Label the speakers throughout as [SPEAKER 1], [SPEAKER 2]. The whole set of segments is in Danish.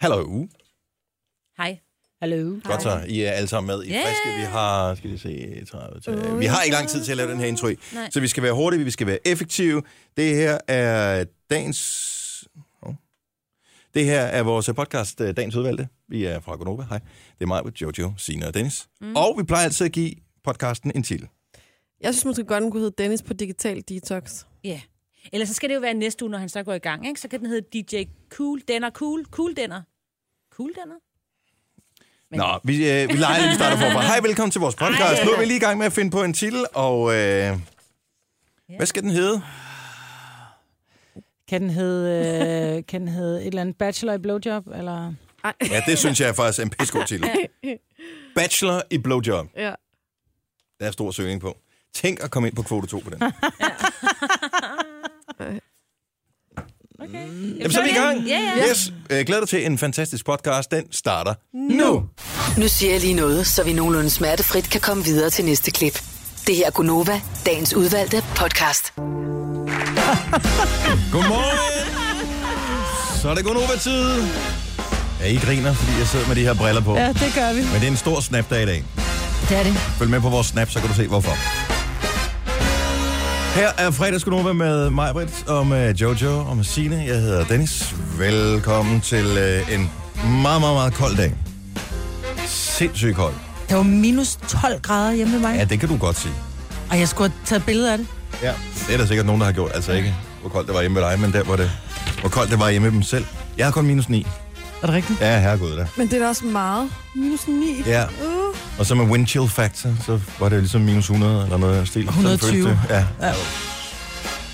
[SPEAKER 1] Hallo.
[SPEAKER 2] Hej.
[SPEAKER 3] Hallo.
[SPEAKER 1] Godt så. I er alle sammen med i
[SPEAKER 2] Yeah.
[SPEAKER 1] yeah. friske. Vi har, skal lige se, 30, til- vi har ikke lang tid til at lave den her intro i.
[SPEAKER 2] Nej.
[SPEAKER 1] Så vi skal være hurtige, vi skal være effektive. Det her er dagens... Hov. Det her er vores podcast, øh, Dagens Udvalgte. Vi er fra Gonova. Hej. Det er mig, Jojo, Sina og Dennis. Mm. Og vi plejer altid at give podcasten en titel.
[SPEAKER 4] Jeg synes måske godt, den kunne hedde Dennis på Digital Detox.
[SPEAKER 2] Ja. Eller så skal det jo være næste uge, når han så går i gang, ikke? Så kan den hedde DJ Cool Denner Cool. Cool Denner. Cool Denner?
[SPEAKER 1] Men... Nå, vi, øh, vi leger lidt, vi starter forfra. Hej, velkommen til vores podcast.
[SPEAKER 2] Ej.
[SPEAKER 1] Nu er vi lige i gang med at finde på en titel, og... Øh, hvad skal den hedde?
[SPEAKER 3] Kan den hedde, øh, kan den hedde et eller andet bachelor i blowjob? Eller?
[SPEAKER 1] Ja, det synes jeg faktisk er en pissegod titel. Bachelor i blowjob.
[SPEAKER 4] Ja.
[SPEAKER 1] Der er stor søgning på. Tænk at komme ind på kvote 2 på den. Jamen, så er vi i gang.
[SPEAKER 2] Ja, ja.
[SPEAKER 1] Yes, øh, glæder dig til en fantastisk podcast. Den starter nu.
[SPEAKER 5] Nu siger jeg lige noget, så vi nogenlunde smertefrit kan komme videre til næste klip. Det her er Gunova, dagens udvalgte podcast.
[SPEAKER 1] Godmorgen. Så er det Gunova-tid. Ja, I griner, fordi jeg sidder med de her briller på.
[SPEAKER 3] Ja, det gør vi.
[SPEAKER 1] Men det er en stor snapdag i dag.
[SPEAKER 3] Det er det.
[SPEAKER 1] Følg med på vores snap, så kan du se hvorfor. Her er fredagskonoma med mig, Britt, og med Jojo og med Signe. Jeg hedder Dennis. Velkommen til øh, en meget, meget, meget kold dag. Sindssygt kold.
[SPEAKER 3] Der var minus 12 grader hjemme ved mig,
[SPEAKER 1] Ja, det kan du godt sige.
[SPEAKER 3] og jeg skulle have taget billeder af det.
[SPEAKER 1] Ja. Det er der sikkert nogen, der har gjort. Altså ikke, hvor koldt det var hjemme ved dig, men der, hvor, det, hvor koldt det var hjemme ved dem selv. Jeg har kun minus 9.
[SPEAKER 3] Er det rigtigt?
[SPEAKER 1] Ja, herregud da.
[SPEAKER 4] Men det er da også meget. Minus 9.
[SPEAKER 1] Ja.
[SPEAKER 4] Uh.
[SPEAKER 1] Og så med wind chill factor, så var det jo ligesom minus 100 eller noget af den stil. Sådan føltes
[SPEAKER 3] 120.
[SPEAKER 1] det. Ja.
[SPEAKER 3] Ja.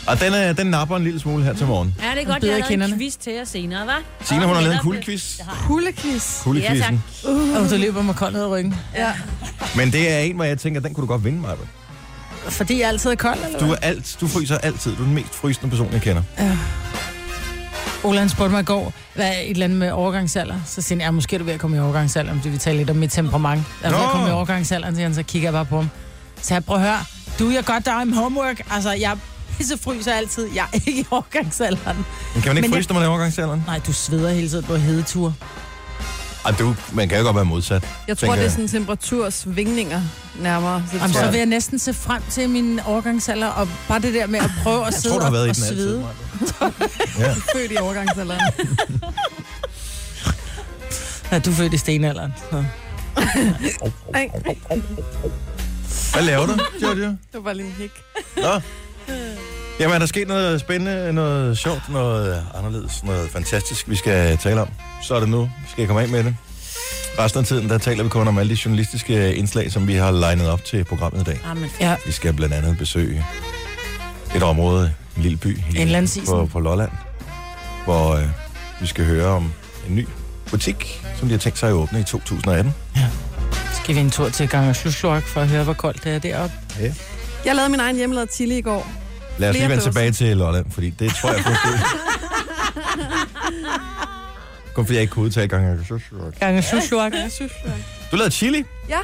[SPEAKER 1] Og den, øh, den napper en lille smule her til morgen.
[SPEAKER 2] Ja, det er
[SPEAKER 3] Bedre
[SPEAKER 2] godt, jeg
[SPEAKER 3] i
[SPEAKER 2] har lavet
[SPEAKER 3] kinderne.
[SPEAKER 2] en quiz til jer senere, hva'?
[SPEAKER 1] Signe,
[SPEAKER 2] Og
[SPEAKER 1] hun har lavet en
[SPEAKER 2] netop-
[SPEAKER 1] kuldquiz.
[SPEAKER 2] Det har jeg.
[SPEAKER 4] Kuldekis.
[SPEAKER 2] Ja, tak.
[SPEAKER 1] Kuldekvisten.
[SPEAKER 3] Og du løber mig koldt ned ad ryggen.
[SPEAKER 1] Men det er en, hvor jeg tænker, den kunne du godt vinde, mig.
[SPEAKER 3] Fordi jeg altid er kold, eller
[SPEAKER 1] Du,
[SPEAKER 3] du...
[SPEAKER 1] er alt, du fryser altid. Du er den mest frysende person, jeg kender.
[SPEAKER 3] Ola han spurgte mig i går, hvad er et eller andet med overgangsalder? Så siger han, ja, måske er du ved at komme i overgangsalder, om du vil tale lidt om mit temperament. Jeg er du ved
[SPEAKER 1] Nå.
[SPEAKER 3] at komme i overgangsalderen, siger han, så kigger jeg bare på ham. Så jeg prøver at høre, du, jeg godt dig med homework. Altså, jeg pissefryser altid. Jeg er ikke i
[SPEAKER 1] Men
[SPEAKER 3] overgangsalderen.
[SPEAKER 1] kan man ikke
[SPEAKER 3] Men jeg-
[SPEAKER 1] fryse, når man er i overgangsalderen?
[SPEAKER 3] Nej, du sveder hele tiden på hedetur.
[SPEAKER 1] Ej, du, man kan jo godt være modsat.
[SPEAKER 4] Jeg tror,
[SPEAKER 1] tænker
[SPEAKER 4] det er
[SPEAKER 1] jeg.
[SPEAKER 4] sådan temperatursvingninger nærmere. Så det
[SPEAKER 3] Jamen,
[SPEAKER 4] tror
[SPEAKER 3] så
[SPEAKER 4] jeg-
[SPEAKER 3] vil jeg næsten se frem til min overgangsalder, og bare det der med at prøve at
[SPEAKER 1] Jeg
[SPEAKER 3] sidde
[SPEAKER 1] tror, du har været
[SPEAKER 3] og,
[SPEAKER 1] i
[SPEAKER 3] og
[SPEAKER 1] den altid.
[SPEAKER 3] svede.
[SPEAKER 1] Maja.
[SPEAKER 4] født i overgangsalderen.
[SPEAKER 3] Ja, du er født i stenalderen. Så.
[SPEAKER 1] Hvad laver du, Jojo?
[SPEAKER 4] det var lige en hik.
[SPEAKER 1] Nå. Jamen, er der sket noget spændende, noget sjovt, noget anderledes, noget fantastisk, vi skal tale om? Så er det nu. Vi skal komme af med det. Resten af tiden, der taler vi kun om alle de journalistiske indslag, som vi har legnet op til programmet i dag.
[SPEAKER 2] Ah, men
[SPEAKER 3] Ja,
[SPEAKER 1] Vi skal blandt andet besøge et område, en lille by i-
[SPEAKER 3] Indlandsisen.
[SPEAKER 1] på, på Lolland, hvor øh, vi skal høre om en ny butik, som de har tænkt sig at åbne i 2018.
[SPEAKER 3] så skal vi en tur til Gang og for at høre, hvor koldt det er deroppe.
[SPEAKER 4] Jeg lavede min egen hjemmelavet chili i går.
[SPEAKER 1] Lad os lige
[SPEAKER 4] Flere
[SPEAKER 1] vende
[SPEAKER 4] dåser.
[SPEAKER 1] tilbage til Lolland, fordi det tror jeg faktisk ikke. Kun fordi jeg ikke kunne udtale gang.
[SPEAKER 3] Gang og
[SPEAKER 4] Jeg synes,
[SPEAKER 1] Du lavede chili.
[SPEAKER 2] Mm,
[SPEAKER 4] Ja.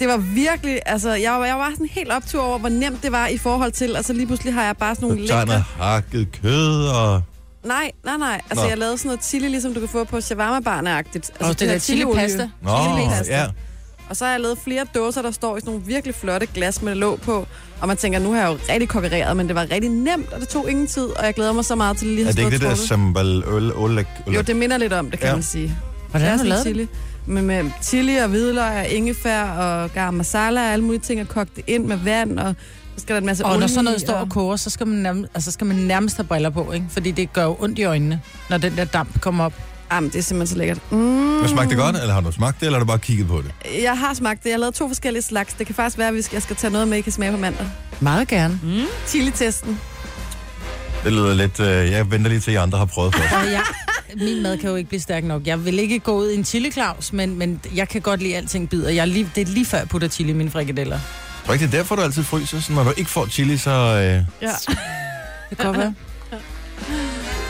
[SPEAKER 4] Det var virkelig, altså jeg, var- jeg var sådan helt optur over, hvor nemt det var i forhold til, altså lige pludselig har jeg bare sådan nogle
[SPEAKER 1] Du tager noget hakket kød og...
[SPEAKER 4] Nej, nej, nej. Altså
[SPEAKER 1] Nå.
[SPEAKER 4] Nå. jeg lavede sådan noget chili, ligesom du kan få på shawarma-barne-agtigt. Altså,
[SPEAKER 3] Og det
[SPEAKER 4] her
[SPEAKER 3] der
[SPEAKER 4] chiliolie.
[SPEAKER 3] chilipasta.
[SPEAKER 1] Nå,
[SPEAKER 4] Chilipasta.
[SPEAKER 1] ja.
[SPEAKER 4] Og så har jeg lavet flere dåser, der står i sådan nogle virkelig flotte glas med låg på. Og man tænker, nu har jeg jo rigtig kokkereret, men det var rigtig nemt, og det tog ingen tid. Og jeg glæder mig så meget til lige at
[SPEAKER 1] Er det
[SPEAKER 4] have
[SPEAKER 1] ikke det der
[SPEAKER 4] stået og
[SPEAKER 1] sambal øl, øl,
[SPEAKER 4] trukket. Jo, det minder lidt om det, kan
[SPEAKER 1] Ja.
[SPEAKER 4] ja. man sige.
[SPEAKER 3] Hvordan har du
[SPEAKER 4] Klassisk chili.
[SPEAKER 3] lavet det?
[SPEAKER 4] Men med chili og hvidløg og ingefær og garam masala og alle mulige ting, og kogt det ind med vand, og så skal der en masse
[SPEAKER 3] Og når
[SPEAKER 4] olie
[SPEAKER 3] sådan noget
[SPEAKER 4] i,
[SPEAKER 3] står og koger, så skal man nærmest, altså, så skal man nærmest have briller på, ikke? Fordi det gør jo ondt i øjnene, når den der damp kommer op.
[SPEAKER 4] Jamen, det er simpelthen så lækkert. Mm.
[SPEAKER 1] Men smagte det godt, eller har du smagt det, eller har du bare kigget på det?
[SPEAKER 4] Jeg har smagt det. Jeg har lavet to forskellige slags. Det kan faktisk være, at vi skal- jeg skal tage noget med, I kan smage på mandag.
[SPEAKER 3] Meget gerne.
[SPEAKER 4] Chili-testen.
[SPEAKER 1] Det lyder lidt... Øh, jeg venter lige til, at I andre har prøvet først.
[SPEAKER 3] Og jeg, min mad kan jo ikke blive stærk nok. Jeg vil ikke gå ud i en chili Claus, men, men jeg kan godt lide at alting bider. Jeg er lige, det er lige før, jeg putter chili i mine frikadeller.
[SPEAKER 1] Tror ikke, det er derfor, du altid fryser? Sådan, når du ikke får chili, så... Øh...
[SPEAKER 4] Ja,
[SPEAKER 3] Det kan godt være.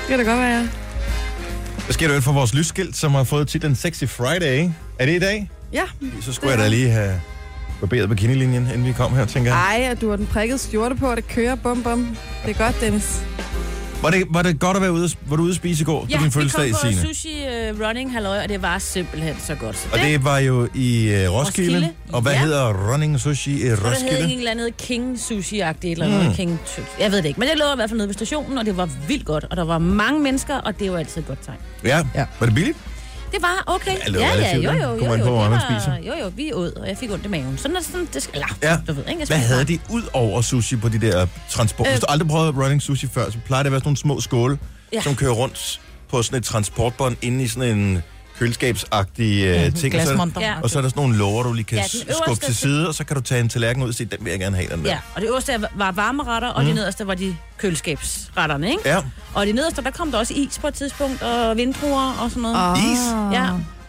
[SPEAKER 4] det kan da godt være, ja.
[SPEAKER 1] Hvad sker der øvrigt for vores lysskilt, som har fået titlen Sexy Friday? Er det i dag?
[SPEAKER 4] Ja.
[SPEAKER 1] Så skulle jeg da lige have barberet bikinilinjen, inden vi kom her, tænker
[SPEAKER 2] Ah.
[SPEAKER 1] jeg.
[SPEAKER 4] Ej, og du har den prikkede skjorte på, og det kører bum bum. Det er godt, Dennis.
[SPEAKER 1] Var det, var det godt at være ude, var du ude at spise i går
[SPEAKER 2] Ja,
[SPEAKER 1] på din
[SPEAKER 2] vi kom
[SPEAKER 1] fødselsdag,
[SPEAKER 2] på
[SPEAKER 1] Signe?
[SPEAKER 2] sushi øh, øh, running halløj, og det var simpelthen så godt. Så
[SPEAKER 1] Og det var jo i øh, Roskilde.
[SPEAKER 2] Roskilde,
[SPEAKER 1] Og hvad
[SPEAKER 2] ja.
[SPEAKER 1] hedder running sushi i
[SPEAKER 2] Og der hed
[SPEAKER 1] Roskilde? Mm.
[SPEAKER 2] en eller anden King Sushi-agtigt, eller noget King Tøs. Jeg ved det ikke, men det lå i hvert fald nede ved stationen, og det var vildt godt. Og der var mange mennesker, og det var altid et godt tegn.
[SPEAKER 1] Ja.
[SPEAKER 3] Ja.
[SPEAKER 1] Var det billigt?
[SPEAKER 2] Det var okay.
[SPEAKER 1] Ja, det var relativt,
[SPEAKER 2] jo, jo,
[SPEAKER 1] ikke?
[SPEAKER 2] jo,
[SPEAKER 1] Kommer
[SPEAKER 2] jo,
[SPEAKER 1] an på,
[SPEAKER 2] det
[SPEAKER 1] hvad man
[SPEAKER 2] var-
[SPEAKER 1] spiser.
[SPEAKER 2] Jo, jo, vi åd, og jeg fik ondt i maven. Sådan er det sådan, det skal, eller,
[SPEAKER 1] Ja.
[SPEAKER 2] du ved, ikke? Jeg
[SPEAKER 1] Hvad
[SPEAKER 2] spiser
[SPEAKER 1] havde
[SPEAKER 2] bare.
[SPEAKER 1] de ud over sushi på de der transport? Øh. Hvis du aldrig prøvede running sushi før, så plejer det at være sådan nogle små skåle, ja.
[SPEAKER 2] Ja.
[SPEAKER 1] som kører rundt på sådan et transportbånd inde i sådan en køleskabsagtig øh, ting. Og så, er der-
[SPEAKER 3] Glasmonter.
[SPEAKER 2] Ja.
[SPEAKER 1] og så er der sådan nogle låger, du lige kan
[SPEAKER 2] Ja,
[SPEAKER 1] ja,
[SPEAKER 2] den øverste
[SPEAKER 1] skubbe til
[SPEAKER 2] til-
[SPEAKER 1] side, og så kan du tage en tallerken ud og sige, den vil jeg gerne have, den der.
[SPEAKER 2] Ja, og det øverste var varmeretter, og mm. det nederste var de køleskabsretterne, ikke?
[SPEAKER 1] Ja.
[SPEAKER 2] Og det nederste, der kom der også is på et tidspunkt, og vindruer og sådan noget.
[SPEAKER 4] Ah.
[SPEAKER 1] Is?
[SPEAKER 2] Ja, så
[SPEAKER 1] Altså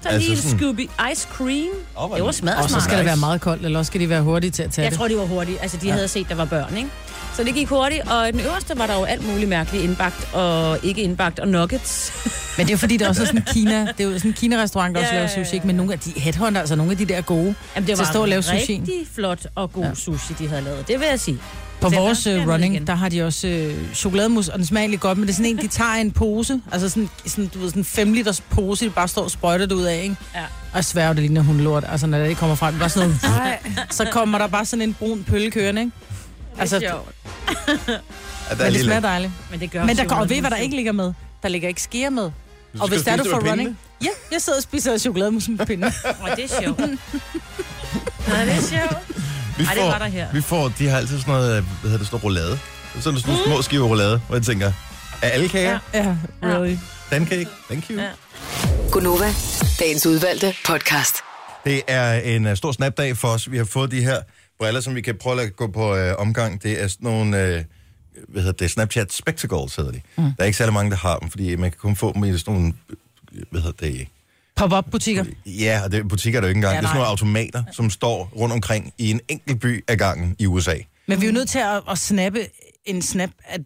[SPEAKER 2] altså lige
[SPEAKER 1] sådan-
[SPEAKER 2] sådan... Scooby Ice Cream.
[SPEAKER 1] Åh, hvor
[SPEAKER 2] det var
[SPEAKER 1] nice.
[SPEAKER 2] smadret
[SPEAKER 3] Og så skal
[SPEAKER 1] Nice.
[SPEAKER 3] det være meget koldt, eller også skal de være hurtige til at tage
[SPEAKER 2] Jeg
[SPEAKER 3] det.
[SPEAKER 2] tror, de var hurtige. Altså, de ja. havde set, der var børn, ikke? Så det gik hurtigt, og i den øverste var der jo alt muligt mærkeligt indbagt og ikke indbagt og nuggets.
[SPEAKER 3] Men det er jo fordi, der også er sådan en Kina, det er jo sådan en Kina-restaurant, der også
[SPEAKER 2] Ja,
[SPEAKER 3] laver
[SPEAKER 2] ja, ja.
[SPEAKER 3] sushi, ikke? men nogle af de headhunter, altså nogle af de der gode,
[SPEAKER 2] Jamen, det
[SPEAKER 3] til
[SPEAKER 2] var
[SPEAKER 3] at stå og lave sushi.
[SPEAKER 2] rigtig flot og god ja. sushi, de havde lavet. Det vil jeg sige.
[SPEAKER 3] På
[SPEAKER 2] Den
[SPEAKER 3] vores
[SPEAKER 2] skal jeg
[SPEAKER 3] uh,
[SPEAKER 2] ned
[SPEAKER 3] running,
[SPEAKER 2] igen.
[SPEAKER 3] der har de også øh, chokolademus, og den smager egentlig godt, men det er sådan en, de tager i en pose, altså sådan, sådan, du ved, sådan en 5 liters pose, de bare står og sprøjter det ud af, ikke?
[SPEAKER 2] Ja.
[SPEAKER 3] Og jeg sværger, det ligner hundlort, altså når det kommer frem, det er bare sådan noget,
[SPEAKER 4] Nej.
[SPEAKER 3] så kommer der bare sådan en brun pølle kørende, ikke? Altså,
[SPEAKER 2] Altså, det er sjovt.
[SPEAKER 1] Ja, der er
[SPEAKER 3] men det
[SPEAKER 1] lige
[SPEAKER 3] smager
[SPEAKER 1] lidt.
[SPEAKER 3] dejligt.
[SPEAKER 2] Men det gør
[SPEAKER 3] Men der
[SPEAKER 2] også
[SPEAKER 3] går, og ved I,
[SPEAKER 2] jo
[SPEAKER 3] hvad der
[SPEAKER 2] noget
[SPEAKER 3] ikke ligger med? Der ligger ikke skeer med. Og
[SPEAKER 1] skal
[SPEAKER 3] hvis der er
[SPEAKER 1] spise
[SPEAKER 3] du
[SPEAKER 1] det
[SPEAKER 3] for
[SPEAKER 1] med
[SPEAKER 3] running... Ja, jeg sidder og spiser chokolademus med pinde.
[SPEAKER 2] sjovt. Og det er sjovt. Nej, det er sjovt.
[SPEAKER 1] Vi
[SPEAKER 2] Ej, det var der her.
[SPEAKER 1] Vi får, de har altid sådan noget, øh, hvad hedder det, sådan noget roulade. Sådan nogle mm. små skiver roulade, hvor jeg tænker, er alle kager? Ja.
[SPEAKER 2] Ja.
[SPEAKER 3] ja, really.
[SPEAKER 1] Dancake? Thank you. Ja.
[SPEAKER 2] Ja.
[SPEAKER 5] Gunova, dagens udvalgte podcast.
[SPEAKER 1] Det er en uh, stor snapdag for os. Vi har fået de her briller, som vi kan prøve at lade gå på uh, omgang. Det er sådan nogle, uh, hvad hedder det, Snapchat Spectacles hedder de. Mm. Der er ikke særlig mange, der har dem, fordi man kan kun få dem i sådan nogle, øh, hvad hedder det,
[SPEAKER 3] Pop-up-butikker.
[SPEAKER 1] ja, og det, butikker er der jo ikke engang. Ja,
[SPEAKER 3] Ja,
[SPEAKER 1] det er sådan
[SPEAKER 3] nej.
[SPEAKER 1] nogle automater, som står rundt omkring i en enkelt by ad gangen i USA.
[SPEAKER 3] Men vi er jo nødt til at, at snappe en snap at,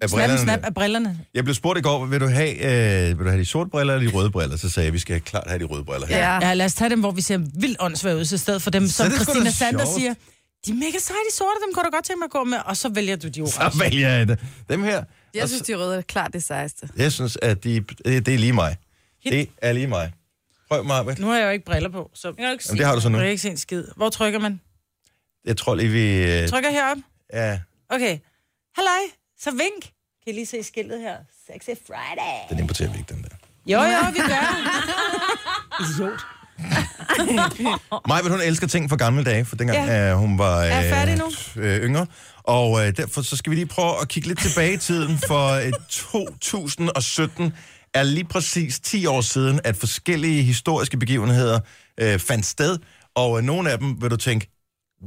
[SPEAKER 1] Af
[SPEAKER 3] snap, en
[SPEAKER 1] brillerne.
[SPEAKER 3] snap af brillerne.
[SPEAKER 1] Jeg blev spurgt i går, vil du have, øh, vil du have de sorte briller eller de røde briller? Så sagde jeg, vi skal klart have de røde briller her.
[SPEAKER 4] Ja.
[SPEAKER 3] Ja, lad os tage dem, hvor vi ser vildt åndssvagt ud, så i stedet for dem,
[SPEAKER 1] Ah. Så
[SPEAKER 3] som
[SPEAKER 1] det er sgu da
[SPEAKER 3] Christina Sander
[SPEAKER 1] sjovt.
[SPEAKER 3] siger, de er mega seje, de sorte, dem kunne du godt tænke mig at gå med, og så vælger du de
[SPEAKER 1] Så
[SPEAKER 3] orange.
[SPEAKER 1] vælger jeg det. dem her.
[SPEAKER 4] Jeg
[SPEAKER 1] Og
[SPEAKER 4] synes, de røde er klart det sejeste.
[SPEAKER 1] så- jeg synes at de, det, det er lige mig. Det er lige mig. Prøv, Marbet.
[SPEAKER 3] Nu har jeg jo ikke briller på, så
[SPEAKER 2] Jeg kan jo ikke
[SPEAKER 1] Jamen,
[SPEAKER 2] sige.
[SPEAKER 1] det har du så nu.
[SPEAKER 3] jeg kan ikke se en skid. Hvor trykker man?
[SPEAKER 1] Jeg tror lige, vi... Øh,
[SPEAKER 3] Trykker herop?
[SPEAKER 1] ja,
[SPEAKER 3] Okay. Halløj, så vink. Kan I lige se skiltet her? Sexy Friday.
[SPEAKER 1] den importerer vi ikke, den der.
[SPEAKER 3] Jo, jo, vi gør det. Idiot.
[SPEAKER 1] Maj, hun elsker ting fra gamle dage, for dengang ja.
[SPEAKER 3] Ja.
[SPEAKER 1] øh, hun var
[SPEAKER 3] jeg færdig nu?
[SPEAKER 1] øh, yngre. Og øh, derfor så skal vi lige prøve at kigge lidt tilbage i tiden, for øh, 2017 er lige præcis 10 år siden, at forskellige historiske begivenheder øh, fandt sted. Og øh, nogle af dem vil du tænke,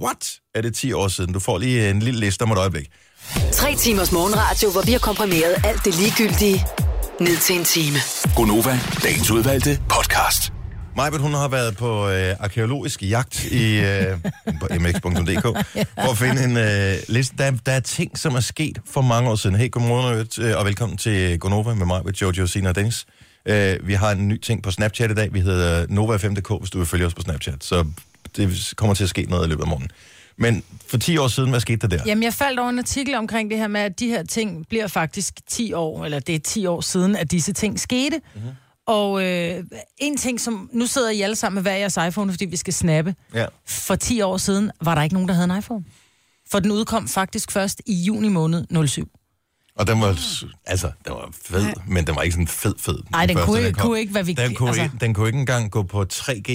[SPEAKER 1] what? Er det 10 år siden? Du får lige en lille liste om et øjeblik.
[SPEAKER 5] Tre timers morgenradio, hvor vi har komprimeret alt det ligegyldige ned til en time.
[SPEAKER 6] Gonova, dagens udvalgte podcast.
[SPEAKER 1] Majbet, hun har været på øh, arkeologisk jagt i, øh, på mx.dk for at finde en øh, liste. Der, der er ting, som er sket for mange år siden. Hey, godmorgen og, øvrigt, øh, og velkommen til Gonova med mig, med Jojo, Sina og Dennis. Øh, vi har en ny ting på Snapchat i dag. Vi hedder Nova5.dk, hvis du vil følge os på Snapchat. Så det kommer til at ske noget i løbet af morgenen. Men for 10 år siden, hvad skete der der?
[SPEAKER 3] Jamen, jeg faldt over en artikel omkring det her med, at de her ting bliver faktisk 10 år, eller det er 10 år siden, at disse ting skete.
[SPEAKER 2] Mhm.
[SPEAKER 3] Mm-hmm. Og øh, en ting, som... Nu sidder I alle sammen med hver jeres iPhone, fordi vi skal snappe.
[SPEAKER 1] Ja.
[SPEAKER 3] For 10 år siden var der ikke nogen, der havde en iPhone. For den udkom faktisk først i juni måned 07.
[SPEAKER 1] Og den var,
[SPEAKER 3] Ah.
[SPEAKER 1] s- altså, den var fed, ja. men den var ikke sådan fed, fed.
[SPEAKER 3] Ej, den
[SPEAKER 1] første,
[SPEAKER 3] kunne,
[SPEAKER 1] kom.
[SPEAKER 3] kunne ikke være vigtig.
[SPEAKER 1] Den kunne, altså...
[SPEAKER 3] altså,
[SPEAKER 1] ikke, den kunne ikke engang gå på 3G.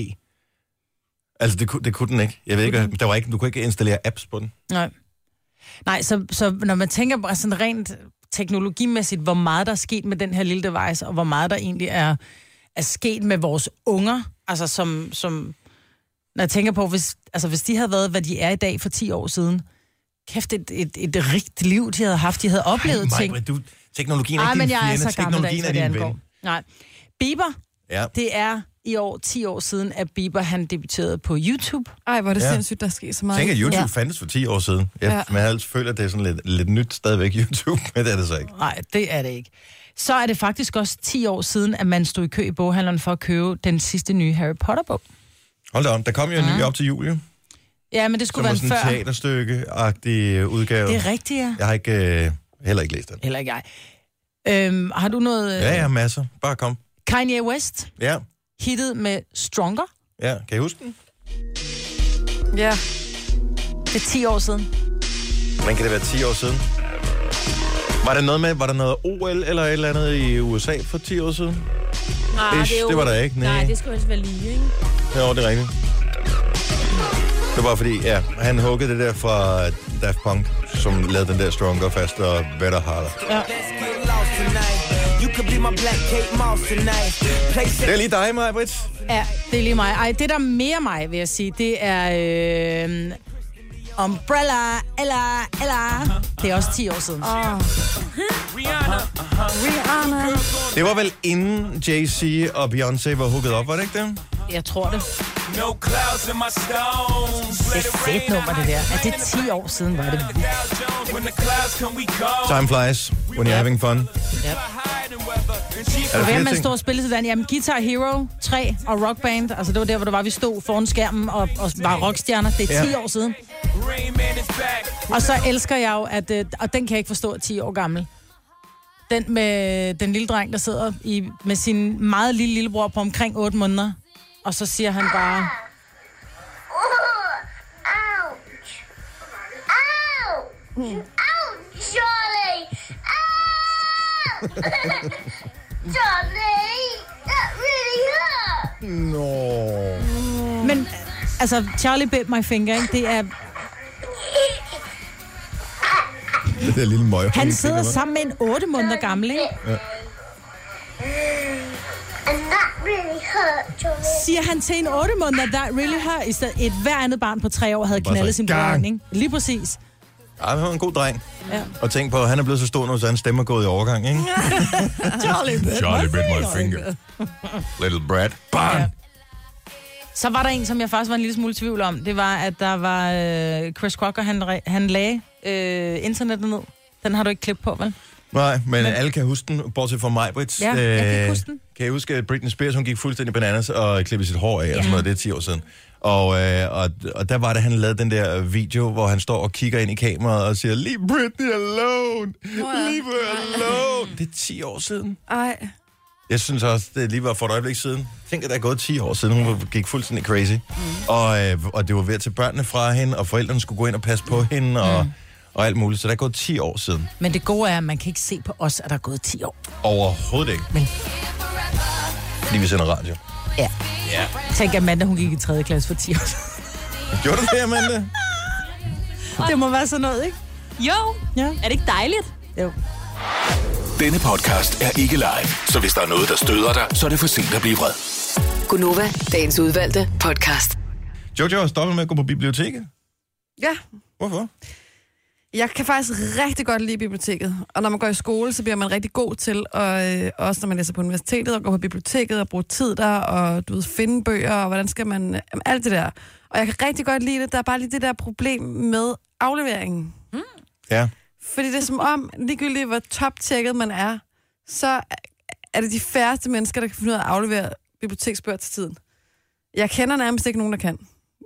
[SPEAKER 1] Altså, det kunne, det kunne den ikke. Jeg ved ikke, der var ikke, du kunne ikke installere apps på den.
[SPEAKER 3] Nej. Nej, så, så når man tænker bare sådan rent teknologimæssigt, hvor meget der er sket med den her lille device, og hvor meget der egentlig er, er sket med vores unger, altså som, som når jeg tænker på, hvis, altså hvis de havde været, hvad de er i dag for 10 år siden, kæft, et, et, et rigtigt liv, de havde haft, de havde oplevet
[SPEAKER 1] Ej,
[SPEAKER 3] ting.
[SPEAKER 1] Maj-Brit, du, teknologien er
[SPEAKER 3] Nej,
[SPEAKER 1] ikke
[SPEAKER 3] men
[SPEAKER 1] din
[SPEAKER 3] jeg er
[SPEAKER 1] fjende,
[SPEAKER 3] så gammel,
[SPEAKER 1] teknologien
[SPEAKER 3] så
[SPEAKER 1] er
[SPEAKER 3] det
[SPEAKER 1] din
[SPEAKER 3] angår.
[SPEAKER 1] ven.
[SPEAKER 3] Nej. Bieber,
[SPEAKER 1] Ja.
[SPEAKER 3] det er i år 10 år siden, at Bieber han debuterede på YouTube.
[SPEAKER 4] Ej, hvor er det
[SPEAKER 1] Ja.
[SPEAKER 4] ja. sindssygt, der sker så meget.
[SPEAKER 1] Tænk, at YouTube
[SPEAKER 3] Ja.
[SPEAKER 1] fandtes for 10 år siden. Jeg, ja.
[SPEAKER 4] Ja.
[SPEAKER 1] Man altså føler, at det er sådan lidt, lidt nyt stadigvæk YouTube, men det er det så ikke.
[SPEAKER 3] Nej, det er det ikke. Så er det faktisk også 10 år siden, at man stod i kø i boghandleren for at købe den sidste nye Harry Potter-bog.
[SPEAKER 1] Hold da om, der kom jo en ny op til Julie,
[SPEAKER 3] Ja, men det
[SPEAKER 1] som
[SPEAKER 3] skulle
[SPEAKER 1] var
[SPEAKER 3] være
[SPEAKER 1] sådan
[SPEAKER 3] en
[SPEAKER 1] en
[SPEAKER 3] før.
[SPEAKER 1] teaterstykke-agtig udgave.
[SPEAKER 3] Det er rigtigt, ja.
[SPEAKER 1] Jeg har ikke, øh, heller ikke læst den.
[SPEAKER 3] Heller ikke jeg. Øhm, har du noget... øh,
[SPEAKER 1] Ja, ja, masser. Bare kom.
[SPEAKER 3] Kanye West
[SPEAKER 1] Ja,
[SPEAKER 3] hittet med Stronger.
[SPEAKER 1] ja. Kan I huske den?
[SPEAKER 4] Ja.
[SPEAKER 3] Det er 10 år siden.
[SPEAKER 1] Men kan det være 10 år siden? Var der noget med, var der noget OL eller et eller andet i USA for 10 år siden?
[SPEAKER 2] Nej,
[SPEAKER 1] Ish, det var der ikke, nej.
[SPEAKER 2] Nej, nej det skulle helst være lige, ikke?
[SPEAKER 1] Jo, det er rigtigt. Det var fordi, ja, han huggede det der fra Daft Punk, som lavede den der Stronger, Faster, Better, Harder. Det er lige dig, Maja Britt.
[SPEAKER 3] Ja, det er lige mig. Ej, det der er mere mig, vil jeg sige, det er... Øh, umbrella, eller, eller... Det er også 10 år siden.
[SPEAKER 4] Rihanna.
[SPEAKER 1] Det var vel inden Jay-Z og Beyoncé var hooket op, var det ikke det?
[SPEAKER 3] Jeg tror det.
[SPEAKER 7] No clouds in my stones.
[SPEAKER 3] Det er fedt nummer, det der. Ja, det er 10 år siden, var det.
[SPEAKER 7] Dow Jones, when the clouds come, we go.
[SPEAKER 1] Time flies, when you're having fun.
[SPEAKER 7] Hide and weather. And she
[SPEAKER 1] Er der
[SPEAKER 3] Hvad
[SPEAKER 1] flere
[SPEAKER 3] man
[SPEAKER 1] ting?
[SPEAKER 3] stod og spillede sådan? Jamen, Guitar Hero 3 og Rock Band. Altså, det var der, hvor det var, vi stod foran skærmen og, og var rockstjerner. Det er 10
[SPEAKER 1] Ja.
[SPEAKER 3] år siden.
[SPEAKER 7] rain man is back.
[SPEAKER 3] Og så elsker jeg jo, at... øh, Og den kan jeg ikke forstå, at 10 år gammel. Den med den lille dreng, der sidder i, med sin meget lille lillebror på omkring 8 måneder. Og så siger han bare...
[SPEAKER 8] Ouch! Ouch! Ouch, Charlie! Ouch! Charlie! That really hurt!
[SPEAKER 3] Men altså, Charlie bit my finger, ikke? Det er,
[SPEAKER 1] Det der lille møg.
[SPEAKER 3] han sidder sammen med en 8 måneder gammel, ikke?
[SPEAKER 8] And that really hurt, Charlie.
[SPEAKER 3] Siger han til en 8 måneder, der really her, i stedet et hver andet barn på 3 år havde
[SPEAKER 1] Bare
[SPEAKER 3] knaldet
[SPEAKER 1] så
[SPEAKER 3] sin bror,
[SPEAKER 1] gang.
[SPEAKER 3] ikke? Lige præcis.
[SPEAKER 1] Ej, han var en god dreng.
[SPEAKER 3] Ja.
[SPEAKER 1] Og tænk på, at han er blevet så stor nu, så han stemmer gået i overgang, ikke?
[SPEAKER 3] Charlie bit
[SPEAKER 1] Charlie bit my finger. Little Brad. Bang!
[SPEAKER 3] Ja. Så var der en, som jeg faktisk var en lille smule i tvivl om. Det var, at der var øh, Chris Crocker, han, re- han lagde øh, internettet ned. Den har du ikke klip på, vel?
[SPEAKER 1] Nej, men, men alle kan huske den, bortset fra mig, Brits.
[SPEAKER 3] Ja, jeg kan ikke huske den.
[SPEAKER 1] Kan jeg huske, at Britney Spears, hun gik fuldstændig bananas og klippede sit hår af, ja. og sådan noget, det er 10 år siden. Og, øh, og, og der var det, han lavede den der video, hvor han står og kigger ind i kameraet og siger, Leave Britney alone! Leave her alone! Det er 10 år siden.
[SPEAKER 4] Ej.
[SPEAKER 1] Jeg synes også, det lige var for et øjeblik siden. Tænk, at der er gået 10 år siden, hun gik fuldstændig crazy. Mm. Og, øh, og det var ved at tage børnene fra hende, og forældrene skulle gå ind og passe på hende, og, mm. og alt muligt. Så der er gået 10 år siden.
[SPEAKER 3] Men det gode er, at man kan ikke se på os, at der er gået 10 år.
[SPEAKER 1] Overhovedet ikke. Men. Fordi vi sender radio.
[SPEAKER 3] Ja.
[SPEAKER 1] Ja.
[SPEAKER 3] Tænk, at Amanda, hun gik i 3. klasse for 10 år.
[SPEAKER 1] Gjorde du det, Amanda?
[SPEAKER 3] det må være sådan noget, ikke?
[SPEAKER 2] Jo,
[SPEAKER 3] Ja.
[SPEAKER 2] er det ikke dejligt?
[SPEAKER 3] Jo.
[SPEAKER 6] Denne podcast er ikke live, så hvis der er noget, der støder dig, så er det for sent at blive vred.
[SPEAKER 5] Gunova, dagens udvalgte podcast.
[SPEAKER 1] Jojo har stoppet med at gå på biblioteket.
[SPEAKER 4] Ja,
[SPEAKER 1] Hvorfor?
[SPEAKER 4] jeg kan faktisk rigtig godt lide biblioteket. Og når man går i skole, så bliver man rigtig god til, og øh, også når man læser på universitetet og går på biblioteket og bruger tid der, og du ved, finde bøger, og hvordan skal man... Øh, jamen, alt det der. Og jeg kan rigtig godt lide det. Der er bare lige det der problem med afleveringen.
[SPEAKER 1] Ja.
[SPEAKER 4] Fordi det er som om, ligegyldigt hvor top-tjekket man er, så er det de færreste mennesker, der kan finde ud af at aflevere biblioteksbøger til tiden. Jeg kender nærmest ikke nogen, der kan.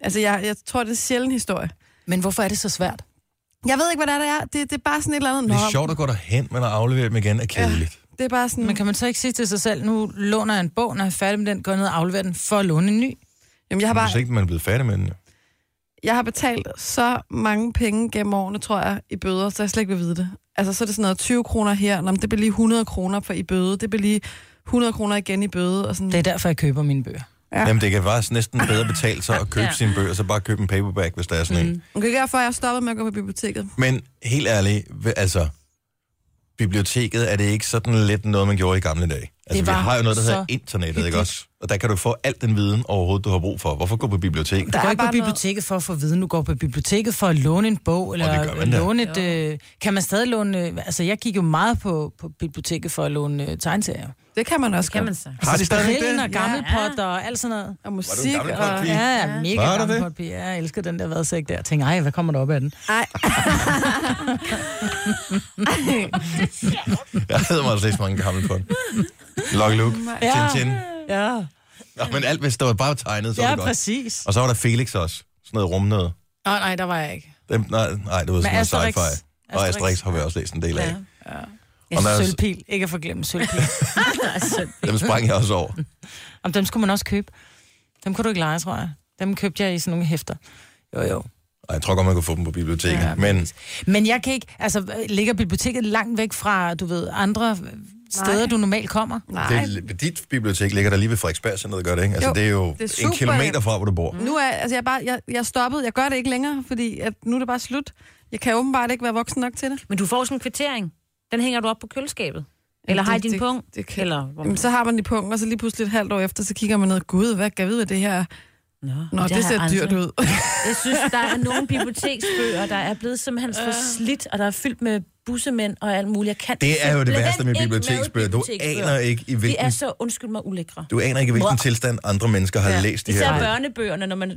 [SPEAKER 4] Altså, jeg, jeg tror, det er sjældent historie.
[SPEAKER 3] Men hvorfor er det så svært?
[SPEAKER 4] Jeg ved ikke, hvad det er, der er. Det, det er bare sådan et eller andet.
[SPEAKER 1] Det er sjovt at gå derhen, men at aflevere dem igen er kedeligt.
[SPEAKER 4] Det er bare sådan...
[SPEAKER 3] Men kan man så ikke sige til sig selv, nu låner jeg en bog, når jeg er færdig med den, går jeg ned og afleverer den for at låne en ny?
[SPEAKER 4] Jamen, jeg har
[SPEAKER 1] Ja. Hvis
[SPEAKER 4] bare...
[SPEAKER 1] ikke man er blevet færdig med den. jo.
[SPEAKER 4] Jeg har betalt så mange penge gennem årene, tror jeg, i bøder, så jeg slet ikke vil vide det. Altså, så er det sådan noget 20 kroner her. Nå, men det bliver lige 100 kroner for i bøde. Det bliver lige 100 kroner igen i bøde. Og sådan.
[SPEAKER 3] Det er derfor, jeg køber mine bøger.
[SPEAKER 4] Ja.
[SPEAKER 1] Jamen, det kan faktisk næsten bedre betale sig at købe ja. sine bøger, så bare købe en paperback, hvis der er sådan mm. en.
[SPEAKER 4] Okay, derfor er jeg stoppet med at gå på biblioteket.
[SPEAKER 1] Men helt ærligt, hv- altså, biblioteket er det ikke sådan lidt noget, man gjorde i gamle dage. Altså, vi
[SPEAKER 3] Det var
[SPEAKER 1] har jo noget, der
[SPEAKER 3] så
[SPEAKER 1] hedder internettet, ikke også? Og der kan du få al den viden overhovedet, du har brug for. Hvorfor gå på biblioteket?
[SPEAKER 4] Der
[SPEAKER 3] Du
[SPEAKER 4] er
[SPEAKER 3] går ikke på
[SPEAKER 4] bare noget-
[SPEAKER 3] biblioteket for at få viden, du går på biblioteket for at låne en bog,
[SPEAKER 1] det gør
[SPEAKER 3] eller
[SPEAKER 1] man da.
[SPEAKER 3] låne et... Øh, kan man stadig låne... øh, Altså, jeg gik jo meget på, på biblioteket for at låne øh, tegneserier.
[SPEAKER 4] Det kan man også
[SPEAKER 2] Kan
[SPEAKER 4] godt.
[SPEAKER 2] man så?
[SPEAKER 1] Har de stadig
[SPEAKER 3] Grillen og
[SPEAKER 1] det?
[SPEAKER 3] gammelpot og alt sådan noget.
[SPEAKER 4] Og
[SPEAKER 1] Var du en
[SPEAKER 4] musik
[SPEAKER 1] gammel
[SPEAKER 4] og...
[SPEAKER 1] kold pige?
[SPEAKER 3] Ja, ja mega
[SPEAKER 1] Var der det?
[SPEAKER 3] gammelpot. Ja, jeg elsker den der vadsæk der. Jeg tænker, ej, hvad kommer der op af den?
[SPEAKER 4] Ej,
[SPEAKER 1] Jeg havde mig altså ikke så mange gamle på. Lucky Luke,
[SPEAKER 3] Ja.
[SPEAKER 1] Tintin.
[SPEAKER 3] Ja,
[SPEAKER 1] Nå, men alt, hvis der var bare tegnet, så var
[SPEAKER 3] ja
[SPEAKER 1] det godt.
[SPEAKER 3] præcis.
[SPEAKER 1] Og så var der Felix også. Sådan noget rumnød.
[SPEAKER 3] Nå, nej, der var jeg ikke.
[SPEAKER 1] Dem, nej, nej, det var sådan noget
[SPEAKER 3] Asterix.
[SPEAKER 1] sci-fi. Og
[SPEAKER 3] Asterix.
[SPEAKER 1] Asterix har vi også læst en del af. Ja.
[SPEAKER 3] Ja,
[SPEAKER 1] Og der er-
[SPEAKER 3] sølvpil. Ikke at forglemme sølvpil.
[SPEAKER 2] Altså,
[SPEAKER 1] Dem sprang jeg også over.
[SPEAKER 3] Om dem skulle man også købe. Dem kunne du ikke lege, tror jeg. Dem købte jeg i sådan nogle hæfter. Jo, jo.
[SPEAKER 1] Og jeg tror godt, man kunne få dem på biblioteket. Ja, men
[SPEAKER 3] Men jeg kan ikke... Altså, ligger biblioteket langt væk fra, du ved, andre øh, steder, Nej. du normalt kommer?
[SPEAKER 4] Nej.
[SPEAKER 1] det, er- dit bibliotek ligger der lige ved Frederiksberg, sådan noget gør det, ikke? Altså, jo,
[SPEAKER 4] Jo,
[SPEAKER 1] det er jo
[SPEAKER 4] det er
[SPEAKER 1] det er en
[SPEAKER 4] super
[SPEAKER 1] kilometer
[SPEAKER 4] nemt.
[SPEAKER 1] fra, hvor du bor.
[SPEAKER 4] Nu er, altså jeg, er bare, jeg, jeg er stoppet. Jeg gør det ikke længere, fordi at nu er det bare slut. Jeg kan åbenbart ikke være voksen nok til det.
[SPEAKER 2] men du får sådan en kvittering. Den hænger du op på køleskabet. Eller
[SPEAKER 4] Jamen,
[SPEAKER 2] har i
[SPEAKER 4] det-
[SPEAKER 2] din
[SPEAKER 4] det-
[SPEAKER 2] punkt.
[SPEAKER 4] det kan-
[SPEAKER 2] Eller, hvor...
[SPEAKER 4] Jamen, så har man de punkt, og så lige pludselig et halvt år efter, så kigger man ned. Gud, hvad kan jeg vide, hvad det her er? Nå,
[SPEAKER 2] men
[SPEAKER 4] det, det
[SPEAKER 2] har jeg
[SPEAKER 4] ser
[SPEAKER 2] aldrig.
[SPEAKER 4] dyrt ud.
[SPEAKER 2] Jeg synes, der er nogle biblioteksbøger, der er blevet simpelthen for slidt, og der er fyldt med bussemænd og alt muligt. Jeg kan
[SPEAKER 1] Det er jo det
[SPEAKER 2] simpelthen
[SPEAKER 1] værste med
[SPEAKER 2] ikke
[SPEAKER 1] biblioteksbøger. Du
[SPEAKER 2] biblioteksbøger.
[SPEAKER 1] aner ikke, i
[SPEAKER 2] De er
[SPEAKER 1] hvilken,
[SPEAKER 2] så, undskyld mig, ulækre.
[SPEAKER 1] du aner ikke, i hvilken
[SPEAKER 2] Wow.
[SPEAKER 1] tilstand andre mennesker har ja.
[SPEAKER 4] Ja.
[SPEAKER 1] læst de
[SPEAKER 2] Især
[SPEAKER 1] her.
[SPEAKER 2] børnebøgerne, når man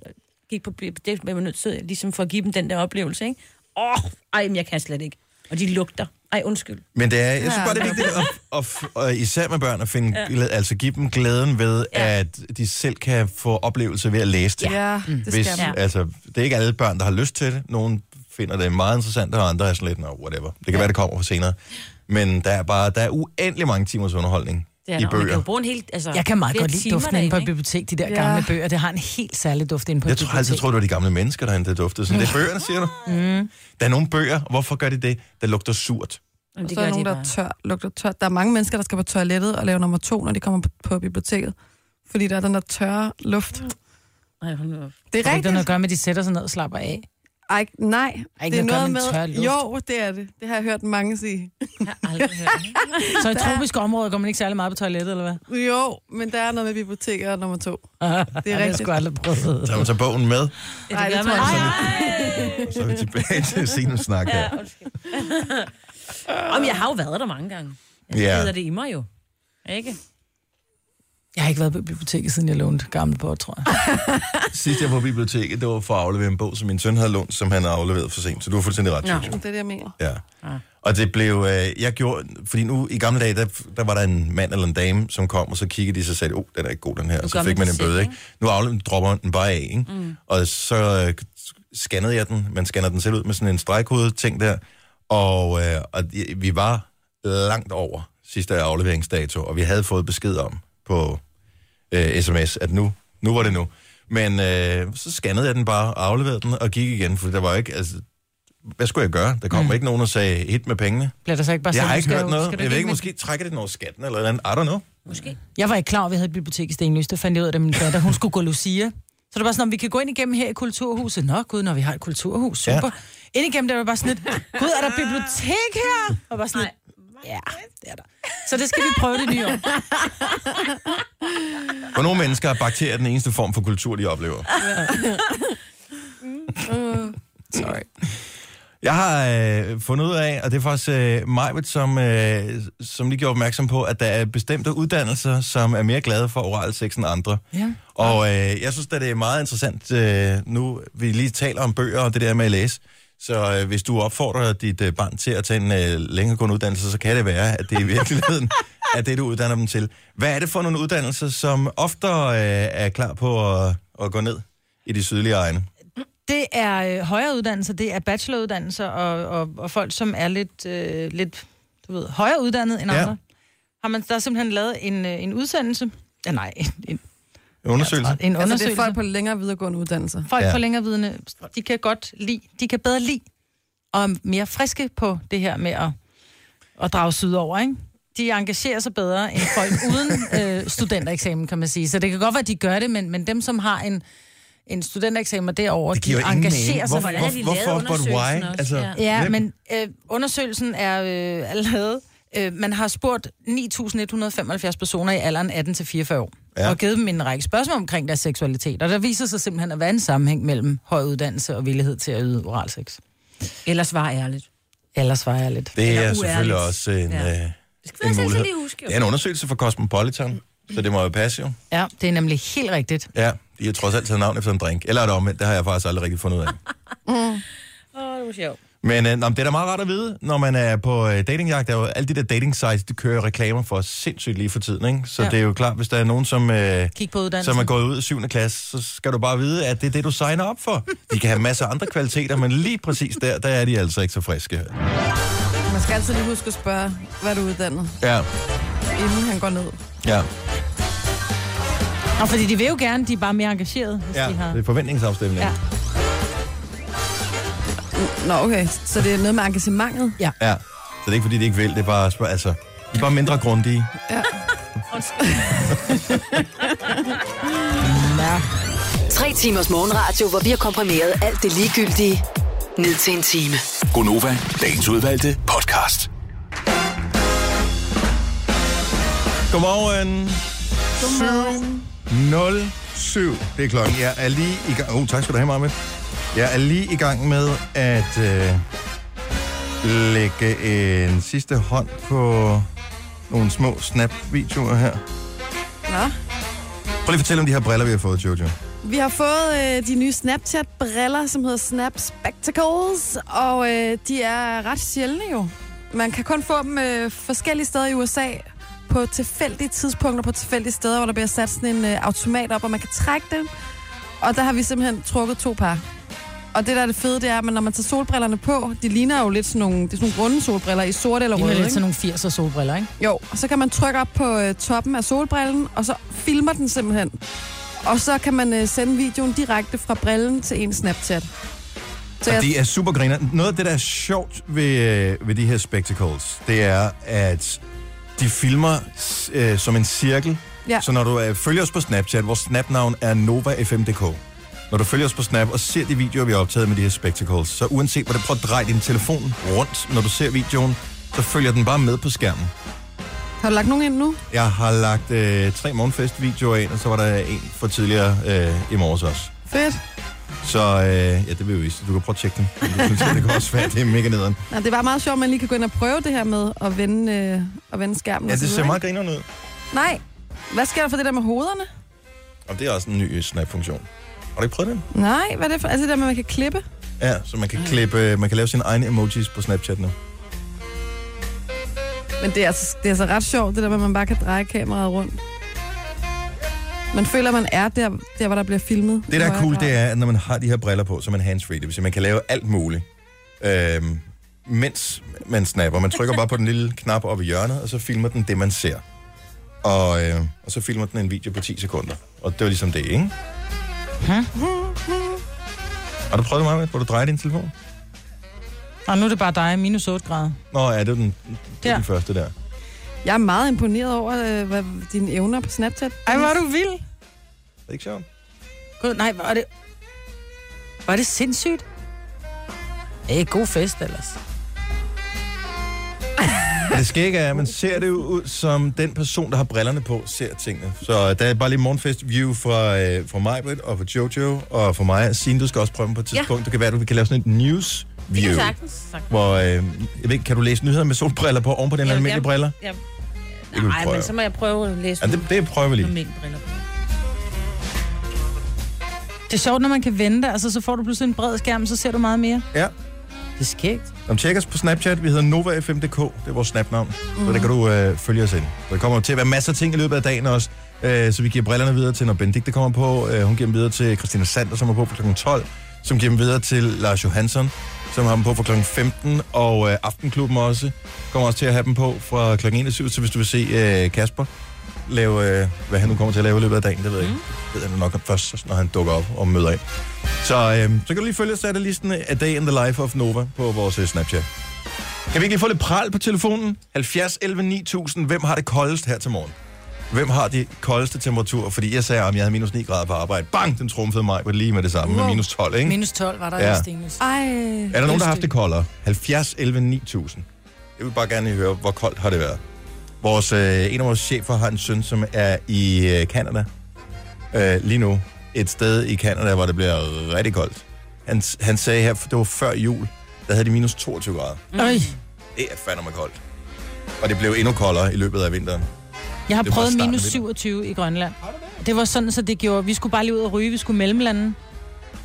[SPEAKER 2] gik på biblioteket, blev man nødt til ligesom for at give dem den der oplevelse, ikke? Åh, oh, ej, men jeg kan slet ikke. Og de lugter. Ej, undskyld.
[SPEAKER 1] Men det er, jeg synes bare, det er vigtigt, at, at, f- og især med børn, at finde, ja. altså give dem glæden ved,
[SPEAKER 2] Ja.
[SPEAKER 1] at de selv kan få oplevelse ved at læse ting.
[SPEAKER 4] ja, det
[SPEAKER 1] Hvis,
[SPEAKER 4] skal man.
[SPEAKER 1] altså, det er ikke alle børn, der har lyst til det. Nogle finder det meget interessant, og andre er sådan lidt, no, whatever. Det kan være, det kommer for senere. Men der er bare der er uendelig mange timers underholdning
[SPEAKER 2] Det er
[SPEAKER 1] i
[SPEAKER 2] der, og Man kan jo
[SPEAKER 1] bøger.
[SPEAKER 2] bruge en hel, altså,
[SPEAKER 3] Jeg kan meget
[SPEAKER 2] flere
[SPEAKER 3] godt lide
[SPEAKER 2] timer
[SPEAKER 3] duften inde på et
[SPEAKER 2] derinde,
[SPEAKER 3] bibliotek, de der
[SPEAKER 4] Ja.
[SPEAKER 3] gamle bøger. Det har en helt særlig duft inde på
[SPEAKER 1] Jeg
[SPEAKER 3] et
[SPEAKER 1] tror
[SPEAKER 3] bibliotek.
[SPEAKER 1] altid, jeg tror, det var de gamle mennesker, der der duftede sådan. Det er bøgerne, siger du? Mm. Der er nogle bøger, og hvorfor gør de det? Der lugter surt.
[SPEAKER 2] ikke?
[SPEAKER 4] Og
[SPEAKER 2] Jamen, det
[SPEAKER 4] så er
[SPEAKER 2] gør
[SPEAKER 4] der
[SPEAKER 2] de
[SPEAKER 4] nogen, der
[SPEAKER 2] bare.
[SPEAKER 4] er tør, lugter tørt. Der er mange mennesker, der skal på toilettet og lave nummer to, når de kommer på, på biblioteket. Fordi der er den der tørre luft.
[SPEAKER 2] Ej, hold nu op.
[SPEAKER 4] Det er
[SPEAKER 3] Tror du ikke, det har noget
[SPEAKER 4] rigtigt.
[SPEAKER 3] at gøre med, at de sætter sig ned og slapper af?
[SPEAKER 4] Ej, nej,
[SPEAKER 3] Ej,
[SPEAKER 4] det er
[SPEAKER 3] noget at gøre
[SPEAKER 4] noget
[SPEAKER 3] med en tør
[SPEAKER 4] med...
[SPEAKER 3] luft.
[SPEAKER 4] Jo, det er det. Det har jeg hørt mange sige.
[SPEAKER 2] Jeg har aldrig hørt det.
[SPEAKER 3] Så i tropiske områder går man ikke særlig meget på toilettet, eller hvad?
[SPEAKER 4] Jo, men der er noget med biblioteker og nummer to.
[SPEAKER 3] Det har jeg
[SPEAKER 4] rigtigt.
[SPEAKER 3] sgu aldrig prøvet.
[SPEAKER 1] Så man tager bogen med,
[SPEAKER 2] Ja,
[SPEAKER 4] Ej,
[SPEAKER 2] det
[SPEAKER 4] det
[SPEAKER 2] gør
[SPEAKER 4] tror
[SPEAKER 2] man.
[SPEAKER 4] jeg
[SPEAKER 2] Ej,
[SPEAKER 4] så
[SPEAKER 2] ej.
[SPEAKER 1] så er vi tilbage til senere snak her.
[SPEAKER 2] Ja, undskyld. Om jeg har jo været der mange gange.
[SPEAKER 1] Ja.
[SPEAKER 2] Jeg ja. det i mig jo. Ikke?
[SPEAKER 3] Jeg har ikke været på biblioteket, siden jeg lånte gamle på, tror jeg.
[SPEAKER 1] Sidst jeg var på biblioteket, det var for at aflevere en bog, som min søn havde lånt, som han har afleveret for sent. Så du har fuldstændig ret, synes jeg.
[SPEAKER 4] Det er det, jeg mener. Altså,
[SPEAKER 1] Ja. Og det blev, øh, jeg gjorde, fordi nu i gamle dage, der, der var der en mand eller en dame, som kom, og så kiggede de sig og sagde, åh, oh, den er ikke god, den her, og så
[SPEAKER 2] gør
[SPEAKER 1] fik
[SPEAKER 2] man
[SPEAKER 1] man en
[SPEAKER 2] det
[SPEAKER 1] bøde,
[SPEAKER 2] selv,
[SPEAKER 1] ikke? Nu afleverer dropper den bare af, ikke? Mm. Og så øh, scannede jeg den, man scanner den selv ud med sådan en stregkode ting der, og, øh, og de- vi var langt over sidste afleveringsdato, og vi havde fået besked om på øh, sms, at nu, nu var det nu. Men øh, så scannede jeg den bare, og afleverede den, og gik igen, for der var jo ikke, altså, hvad skulle jeg gøre? Der kom mm. ikke nogen og sagde, hit med pengene.
[SPEAKER 3] Bliver der så ikke bare
[SPEAKER 1] Jeg
[SPEAKER 3] sagt,
[SPEAKER 1] har
[SPEAKER 3] du
[SPEAKER 1] ikke
[SPEAKER 3] skal
[SPEAKER 1] hørt
[SPEAKER 3] jo-
[SPEAKER 1] noget.
[SPEAKER 3] skal du
[SPEAKER 1] Jeg ved ikke,
[SPEAKER 3] med-
[SPEAKER 1] måske trækker det den over skatten eller noget andet. I don't know.
[SPEAKER 2] Måske.
[SPEAKER 3] Jeg var ikke klar over, at vi havde et bibliotek i Stenløs. Det fandt jeg ud af, da min datter, hun skulle gå Lucia. Så det var sådan, om vi kan gå ind igennem her i Kulturhuset. Nå gud, når vi har et kulturhus, super. Ja. Ind igennem, der var bare sådan et, gud, er der bibliotek her? Og bare sådan et, ja, det er der. Så det skal vi prøve det nye år.
[SPEAKER 1] For nogle mennesker er bakterier den eneste form for kultur, de oplever.
[SPEAKER 3] Sorry.
[SPEAKER 1] Jeg har øh, fundet ud af, og det er faktisk øh, Majbet, som, øh, som lige gjorde opmærksom på, at der er bestemte uddannelser, som er mere glade for oral sex end andre.
[SPEAKER 3] Ja.
[SPEAKER 1] Og øh, jeg synes, at det er meget interessant, øh, nu vi lige taler om bøger og det der med at læse. Så øh, hvis du opfordrer dit øh, barn til at tage en øh, længeregående uddannelse, så kan det være, at det i virkeligheden er det, du uddanner dem til. Hvad er det for nogle uddannelser, som oftere øh, er klar på at, at gå ned i de sydlige egne?
[SPEAKER 3] Det er øh, højere uddannelser, det er bacheloruddannelser og, og, og folk, som er lidt, øh, lidt du ved, højere uddannet end
[SPEAKER 1] Ja.
[SPEAKER 3] ja. andre. Har man, der er simpelthen lavet en, øh, en udsendelse, ja, nej, en, en,
[SPEAKER 1] Undersøgelser?
[SPEAKER 3] en undersøgelse.
[SPEAKER 4] Altså, det er folk på længere videregående uddannelser.
[SPEAKER 3] Folk
[SPEAKER 1] Ja.
[SPEAKER 3] ja. på længere vidne, de kan godt lide, de kan bedre lide og er mere friske på det her med at, at drage sydover, ikke? De engagerer sig bedre end folk uden øh, studentereksamen, kan man sige. Så det kan godt være, at de gør det, men, men dem, som har en, en studentereksamen og derovre,
[SPEAKER 1] Det giver
[SPEAKER 3] de
[SPEAKER 1] jo ingen
[SPEAKER 3] engagerer
[SPEAKER 1] mening.
[SPEAKER 3] sig.
[SPEAKER 1] Hvorfor,
[SPEAKER 2] hvordan har de
[SPEAKER 1] hvor,
[SPEAKER 2] lavet
[SPEAKER 1] hvorfor, but
[SPEAKER 2] undersøgelsen
[SPEAKER 1] why?
[SPEAKER 2] også?
[SPEAKER 1] Altså,
[SPEAKER 2] Ja.
[SPEAKER 3] Ja,
[SPEAKER 1] hvem-
[SPEAKER 3] men øh, undersøgelsen er, øh, er lavet. Øh, man har spurgt 9.175 personer i alderen 18-44 år,
[SPEAKER 1] Ja.
[SPEAKER 3] ja. og givet dem en række spørgsmål omkring deres seksualitet. Og der viser sig simpelthen at være en sammenhæng mellem høj uddannelse og villighed til at yde oralsex.
[SPEAKER 2] Ellers var ærligt.
[SPEAKER 3] Ellers var jeg lidt.
[SPEAKER 1] Det er
[SPEAKER 2] uærligt.
[SPEAKER 1] selvfølgelig også en,
[SPEAKER 2] Ja.
[SPEAKER 1] ja. øh,
[SPEAKER 2] Det skal
[SPEAKER 1] en
[SPEAKER 2] man selv
[SPEAKER 1] mulighed.
[SPEAKER 2] lige huske, jo.
[SPEAKER 1] Det er en undersøgelse fra Cosmopolitan, så det må jo passe jo.
[SPEAKER 3] Ja, det er nemlig helt rigtigt.
[SPEAKER 1] Ja, de har trods alt taget navn efter en drink. Eller er det omvendt, det har jeg faktisk aldrig rigtig fundet ud af.
[SPEAKER 2] Åh, det var sjovt.
[SPEAKER 1] Men øh, nå, men det er da meget rart at vide, når man er på øh, datingjagt. Der er jo alle de der dating sites, de kører reklamer for sindssygt lige for tiden, ikke? Så ja.
[SPEAKER 3] Ja.
[SPEAKER 1] det er jo klart, hvis der er nogen, som, øh,
[SPEAKER 3] Kig på uddannelsen.
[SPEAKER 1] som er gået ud af 7. klasse, så skal du bare vide, at det er det, du signer op for. De kan have masser af andre kvaliteter, men lige præcis der, der er de altså ikke så friske.
[SPEAKER 4] Man skal altid lige huske at spørge, hvad du er uddannet,
[SPEAKER 1] Ja,
[SPEAKER 4] inden han går ned.
[SPEAKER 1] ja.
[SPEAKER 3] Nå, fordi de vil jo gerne, de er bare mere engagerede, hvis
[SPEAKER 1] ja.
[SPEAKER 3] de har...
[SPEAKER 1] Det er forventningsafstemning.
[SPEAKER 3] Ja.
[SPEAKER 4] Nå, okay. Så det er noget med engagementet.
[SPEAKER 1] ja. Så det er ikke, fordi de ikke vil, det er bare, spørg- altså, de er bare mindre grundige.
[SPEAKER 4] Ja.
[SPEAKER 5] Tre timers morgenradio, hvor vi har komprimeret alt det ligegyldige ned til en time.
[SPEAKER 6] Gonova, dagens udvalgte podcast.
[SPEAKER 1] Godmorgen. Godmorgen. 07. Det er klokken. Jeg er lige i gang... Oh, tak skal du have, Marmit. Jeg er lige i gang med at øh, lægge en sidste hånd på nogle små snap-videoer her. Prøv
[SPEAKER 4] Nå.
[SPEAKER 1] lige at fortælle om de her briller, vi har fået, Jojo.
[SPEAKER 4] Vi har fået øh, de nye Snapchat-briller, som hedder Snap Spectacles, og øh, de er ret sjældne jo. Man kan kun få dem øh, forskellige steder i USA på tilfældige tidspunkter, på tilfældige steder, hvor der bliver sat sådan en øh, automat op, og man kan trække dem. Og der har vi simpelthen trukket to par. Og det, der er det fede, det er, at man- når man tager solbrillerne på, de ligner jo lidt sådan nogle, det er sådan nogle runde solbriller i sort eller
[SPEAKER 3] De har
[SPEAKER 4] rød,
[SPEAKER 3] lidt
[SPEAKER 4] ikke?
[SPEAKER 3] sådan nogle 80'er solbriller, ikke?
[SPEAKER 4] Jo, og så kan man trykke op på øh, toppen af solbrillen, og så filmer den simpelthen. Og så kan man øh, sende videoen direkte fra brillen til en Snapchat. Så
[SPEAKER 1] Og
[SPEAKER 4] jeg,
[SPEAKER 1] de er super griner. Noget af det, der er sjovt ved, øh, ved de her spectacles, det er, at de filmer øh, som en cirkel.
[SPEAKER 4] Ja.
[SPEAKER 1] Så når du øh, følger os på Snapchat, vores snapnavn er NovaFM.dk. Når du følger os på Snap og ser de videoer, vi har optaget med de her spectacles, så uanset hvordan prøv at dreje din telefon rundt, når du ser videoen, så følger den bare med på skærmen.
[SPEAKER 4] har du lagt nogen ind nu?
[SPEAKER 1] Jeg har lagt øh, tre morgenfest-videoer ind, og så var der en for tidligere øh, i morges også.
[SPEAKER 4] Fedt.
[SPEAKER 1] Så øh, ja, det vil jeg vise. Du kan prøve at tjekke dem. Du synes, det kan også være, det er mega nederen.
[SPEAKER 4] Ja, det var meget sjovt, at man lige kan gå ind og prøve det her med at vende, øh, at vende skærmen.
[SPEAKER 1] Ja,
[SPEAKER 4] og
[SPEAKER 1] det
[SPEAKER 4] så
[SPEAKER 1] ser
[SPEAKER 4] videre,
[SPEAKER 1] meget grinerende ud.
[SPEAKER 4] ikke? Nej. Hvad sker der for det der med hovederne?
[SPEAKER 1] Og det er også en ny øh, snap-funktion. Har du ikke prøvet den?
[SPEAKER 4] Nej, hvad er det for? Altså det der med, at man kan klippe?
[SPEAKER 1] Ja, så man kan, klippe, øh, man kan lave sine egne emojis på Snapchat nu.
[SPEAKER 4] Men det er, altså, det er altså ret sjovt, det der med, at man bare kan dreje kameraet rundt. Man føler, at man er der, der hvor der bliver filmet.
[SPEAKER 1] Det, der er cool, det er, at når man har de her briller på, så er man handsfree. Det vil sige, man kan lave alt muligt, øhm, mens man snapper. Man trykker bare på den lille knap oppe i hjørnet, og så filmer den det, man ser. Og, øh, og så filmer den en video på 10 sekunder. Og det var ligesom det, ikke? Har du prøvet det meget med, hvor du drejer din telefon?
[SPEAKER 3] Og nu er det bare dig, minus 8 grader.
[SPEAKER 1] Nå, ja, det er den, det er
[SPEAKER 3] Der.
[SPEAKER 1] den første der.
[SPEAKER 4] Jeg er meget imponeret over øh, hvad, dine evner på Snapchat.
[SPEAKER 3] Ej, hvor er du vild.
[SPEAKER 1] Er det ikke sjovt?
[SPEAKER 3] Gud, nej, var det... Var det sindssygt? Ej, god fest ellers.
[SPEAKER 1] Det skal ikke er, at man ser det jo ud som den person, der har brillerne på, ser tingene. Så øh, der er bare lige morgenfest view fra, øh, fra mig, Britt, og fra Jojo, og fra mig. Signe, du skal også prøve dem på et tidspunkt. Ja. Det kan være, at du kan lave sådan et news
[SPEAKER 2] Det
[SPEAKER 1] view.
[SPEAKER 2] er sagtens. sagtens.
[SPEAKER 1] Hvor, øh, jeg ved, ikke, kan du læse nyheder med solbriller på oven på den
[SPEAKER 2] Ja,
[SPEAKER 1] almindelige
[SPEAKER 2] ja.
[SPEAKER 1] briller?
[SPEAKER 2] Ja.
[SPEAKER 1] kan vi
[SPEAKER 2] Nej,
[SPEAKER 1] prøve.
[SPEAKER 2] men så må jeg prøve at læse
[SPEAKER 1] Ja, det, det prøver vi
[SPEAKER 2] med
[SPEAKER 1] lige.
[SPEAKER 2] mine briller.
[SPEAKER 3] Det er sjovt, når man kan vente, altså så får du pludselig en bred skærm, så ser du meget mere.
[SPEAKER 1] Ja.
[SPEAKER 3] Det er skægt.
[SPEAKER 1] Om tjek os på Snapchat. Vi hedder NovaFM.dk. Det er vores snapnavn. Mm. Så der kan du øh, følge os ind. Der kommer til at være masser af ting i løbet af dagen også. Øh, så vi giver brillerne videre til, når Benedikte kommer på. Øh, hun giver dem videre til Christina Sander, som er på kl. 12. Som giver dem videre til Lars Johansson, som har dem på fra kl. 15. Og øh, Aftenklubben også kommer også til at have dem på fra kl. 21. Så hvis du vil se øh, Kasper lave, øh, hvad han nu kommer til at lave i løbet af dagen, det ved jeg ikke. Det ved han nok først, når han dukker op og møder ind. Så, øh, så kan du lige følge os af det listen A Day in the Life of Nova på vores øh, Snapchat. Kan vi ikke lige få lidt pral på telefonen? 70 11 9000. Hvem har det koldest her til morgen? Hvem har de koldeste temperaturer? Fordi jeg sagde, at jeg havde minus 9 grader på arbejde. Bang, den trumfede mig på lige med det samme. Med
[SPEAKER 4] Wow.
[SPEAKER 1] minus 12, ikke?
[SPEAKER 3] Minus 12 var der
[SPEAKER 1] Ja.
[SPEAKER 3] ja. i Stenhus.
[SPEAKER 4] Ej,
[SPEAKER 1] Er der nogen, der har haft det koldere? 70 11 9000. Jeg vil bare gerne høre, hvor koldt har det været. Vores, øh, en af vores chefer har en søn, som er i øh, Canada øh, lige nu. Et sted i Canada, hvor det bliver rigtig koldt. Han, han sagde her, det var før jul, der havde de minus 22 grader.
[SPEAKER 3] Øj,
[SPEAKER 1] Det er fandme koldt. Og det blev endnu koldere i løbet af vinteren.
[SPEAKER 3] jeg har
[SPEAKER 1] Det var
[SPEAKER 3] prøvet
[SPEAKER 1] starten
[SPEAKER 3] minus
[SPEAKER 1] af det.
[SPEAKER 3] 27 i Grønland. Det var sådan, så det gjorde, vi skulle bare lige ud og ryge, vi skulle mellemlande.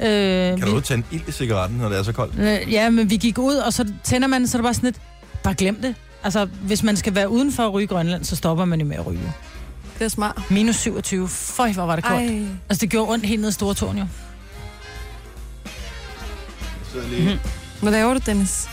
[SPEAKER 3] Øh,
[SPEAKER 1] Kan du udtænde ild i cigaretten, når det er så koldt?
[SPEAKER 3] Øh, Ja, men vi gik ud, og så tænder man, så er det bare sådan lidt, bare glem det. Altså, hvis man skal være uden for at ryge i Grønland, så stopper man jo med at ryge.
[SPEAKER 4] det er smart.
[SPEAKER 3] Minus 27. Føj, hvor var det koldt.
[SPEAKER 4] Ej.
[SPEAKER 3] Altså, det gjorde ondt helt ned i store tårn, jo.
[SPEAKER 4] Hvad laver du, Dennis?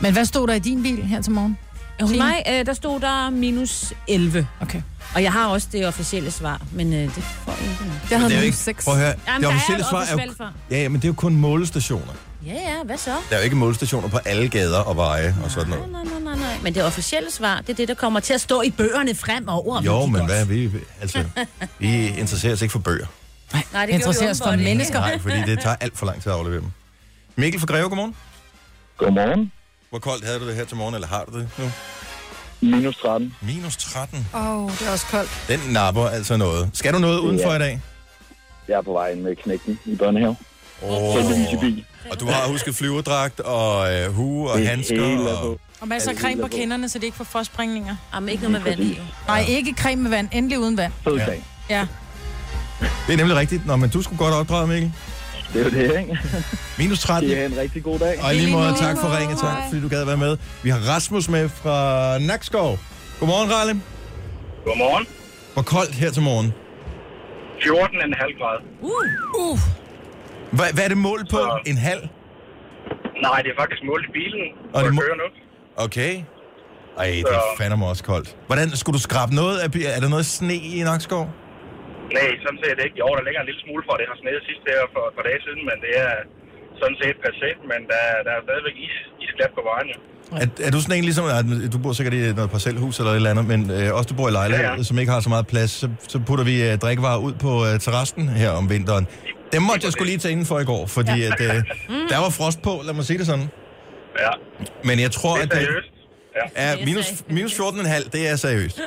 [SPEAKER 3] Men hvad stod der i din bil her til morgen?
[SPEAKER 2] Hos
[SPEAKER 3] Signe?
[SPEAKER 2] mig, øh, der stod der minus 11.
[SPEAKER 3] Okay.
[SPEAKER 2] Og jeg har også det officielle svar, men øh, det får jeg ikke. nu.
[SPEAKER 4] Jeg havde
[SPEAKER 1] Det er
[SPEAKER 4] minus
[SPEAKER 1] jo ikke...
[SPEAKER 4] 6.
[SPEAKER 1] Prøv at høre.
[SPEAKER 2] Jamen,
[SPEAKER 1] det
[SPEAKER 2] der er
[SPEAKER 1] officielle
[SPEAKER 2] et
[SPEAKER 1] svar er jo...
[SPEAKER 2] officielt svar.
[SPEAKER 1] Ja, ja, men det er jo kun målestationer.
[SPEAKER 2] Ja, ja, hvad så?
[SPEAKER 1] Der er jo ikke målestationer på alle gader og veje og sådan noget.
[SPEAKER 2] Nej, nej, nej, nej, nej. Men det officielle svar, det er det, der kommer til at stå i bøgerne fremover. ved
[SPEAKER 1] Jo,
[SPEAKER 2] de
[SPEAKER 1] men
[SPEAKER 2] godt.
[SPEAKER 1] hvad er vi? Altså, vi interesserer os ikke for bøger.
[SPEAKER 2] Nej, det
[SPEAKER 3] Vi interesserer os for
[SPEAKER 2] gjorde vi
[SPEAKER 3] mennesker.
[SPEAKER 1] Nej, fordi det tager alt for lang tid at aflevere dem. Mikkel fra Greve, godmorgen.
[SPEAKER 9] Godmorgen.
[SPEAKER 1] Hvor koldt havde du det her til morgen, eller har du det nu?
[SPEAKER 9] Minus 13.
[SPEAKER 1] Minus 13.
[SPEAKER 4] Åh, oh, det er også koldt.
[SPEAKER 1] Den napper altså noget. Skal du noget udenfor i dag?
[SPEAKER 9] Jeg er på vej ind med knækken i børnehave.
[SPEAKER 1] Oh.
[SPEAKER 9] Lyse bil.
[SPEAKER 1] Og du har husket flyverdragt og øh, hue og
[SPEAKER 9] Det er
[SPEAKER 1] handsker.
[SPEAKER 9] hele på.
[SPEAKER 1] Og...
[SPEAKER 3] Og masser af creme på kinderne, så det ikke får forspringninger.
[SPEAKER 2] Jamen, ikke noget med vand i. jo.
[SPEAKER 3] Nej, ikke creme med vand. Endelig uden vand.
[SPEAKER 9] Fed
[SPEAKER 1] Ja.
[SPEAKER 9] dag.
[SPEAKER 3] Ja.
[SPEAKER 1] Det er nemlig rigtigt. Nå, men du skulle godt opdrage, Mikkel.
[SPEAKER 9] Det er jo det, ikke?
[SPEAKER 1] Minus 13.
[SPEAKER 9] Det er en rigtig god dag.
[SPEAKER 1] Og i lige måde,
[SPEAKER 3] Lige
[SPEAKER 1] tak for ringet, tak fordi du gad være med. Vi har Rasmus med fra Nakskov. Godmorgen, Ralle.
[SPEAKER 9] Godmorgen.
[SPEAKER 1] Hvor koldt her til morgen.
[SPEAKER 9] 14,5 grad.
[SPEAKER 2] Uh, uh.
[SPEAKER 1] Hvad, hvad er det mål på?
[SPEAKER 9] Så-
[SPEAKER 1] En halv?
[SPEAKER 9] Nej, det er faktisk målt i bilen.
[SPEAKER 1] Og det må-
[SPEAKER 9] kører nu.
[SPEAKER 1] Okay. Ej, det er
[SPEAKER 9] Så-
[SPEAKER 1] fandme også koldt. Hvordan, skulle du skrabe noget af, bi- er der noget sne i Nakskov?
[SPEAKER 9] Nej, sådan set ikke. Jo, der ligger en lille smule for, det har sneet sidste her for et par dage siden, men det er sådan set passé, men der, der er stadigvæk is, isglat på vejen. Jo.
[SPEAKER 1] Er, er du sådan en ligesom, at du bor sikkert i noget parcelhus eller et eller andet, men øh, også du bor i lejlighed, ja,
[SPEAKER 9] Ja,
[SPEAKER 1] ja.
[SPEAKER 9] ja.
[SPEAKER 1] som ikke har så meget plads, så, så putter vi øh, drikkevarer ud på øh, terrassen her om vinteren. Dem måtte jeg skulle lige tage indenfor i går, fordi ja. at, øh, der var frost på, lad mig sige det sådan.
[SPEAKER 9] Ja,
[SPEAKER 1] Men jeg tror,
[SPEAKER 9] det
[SPEAKER 1] at
[SPEAKER 9] er
[SPEAKER 1] det
[SPEAKER 9] seriøst. Ja.
[SPEAKER 1] er minus, minus 14,5, det er seriøst.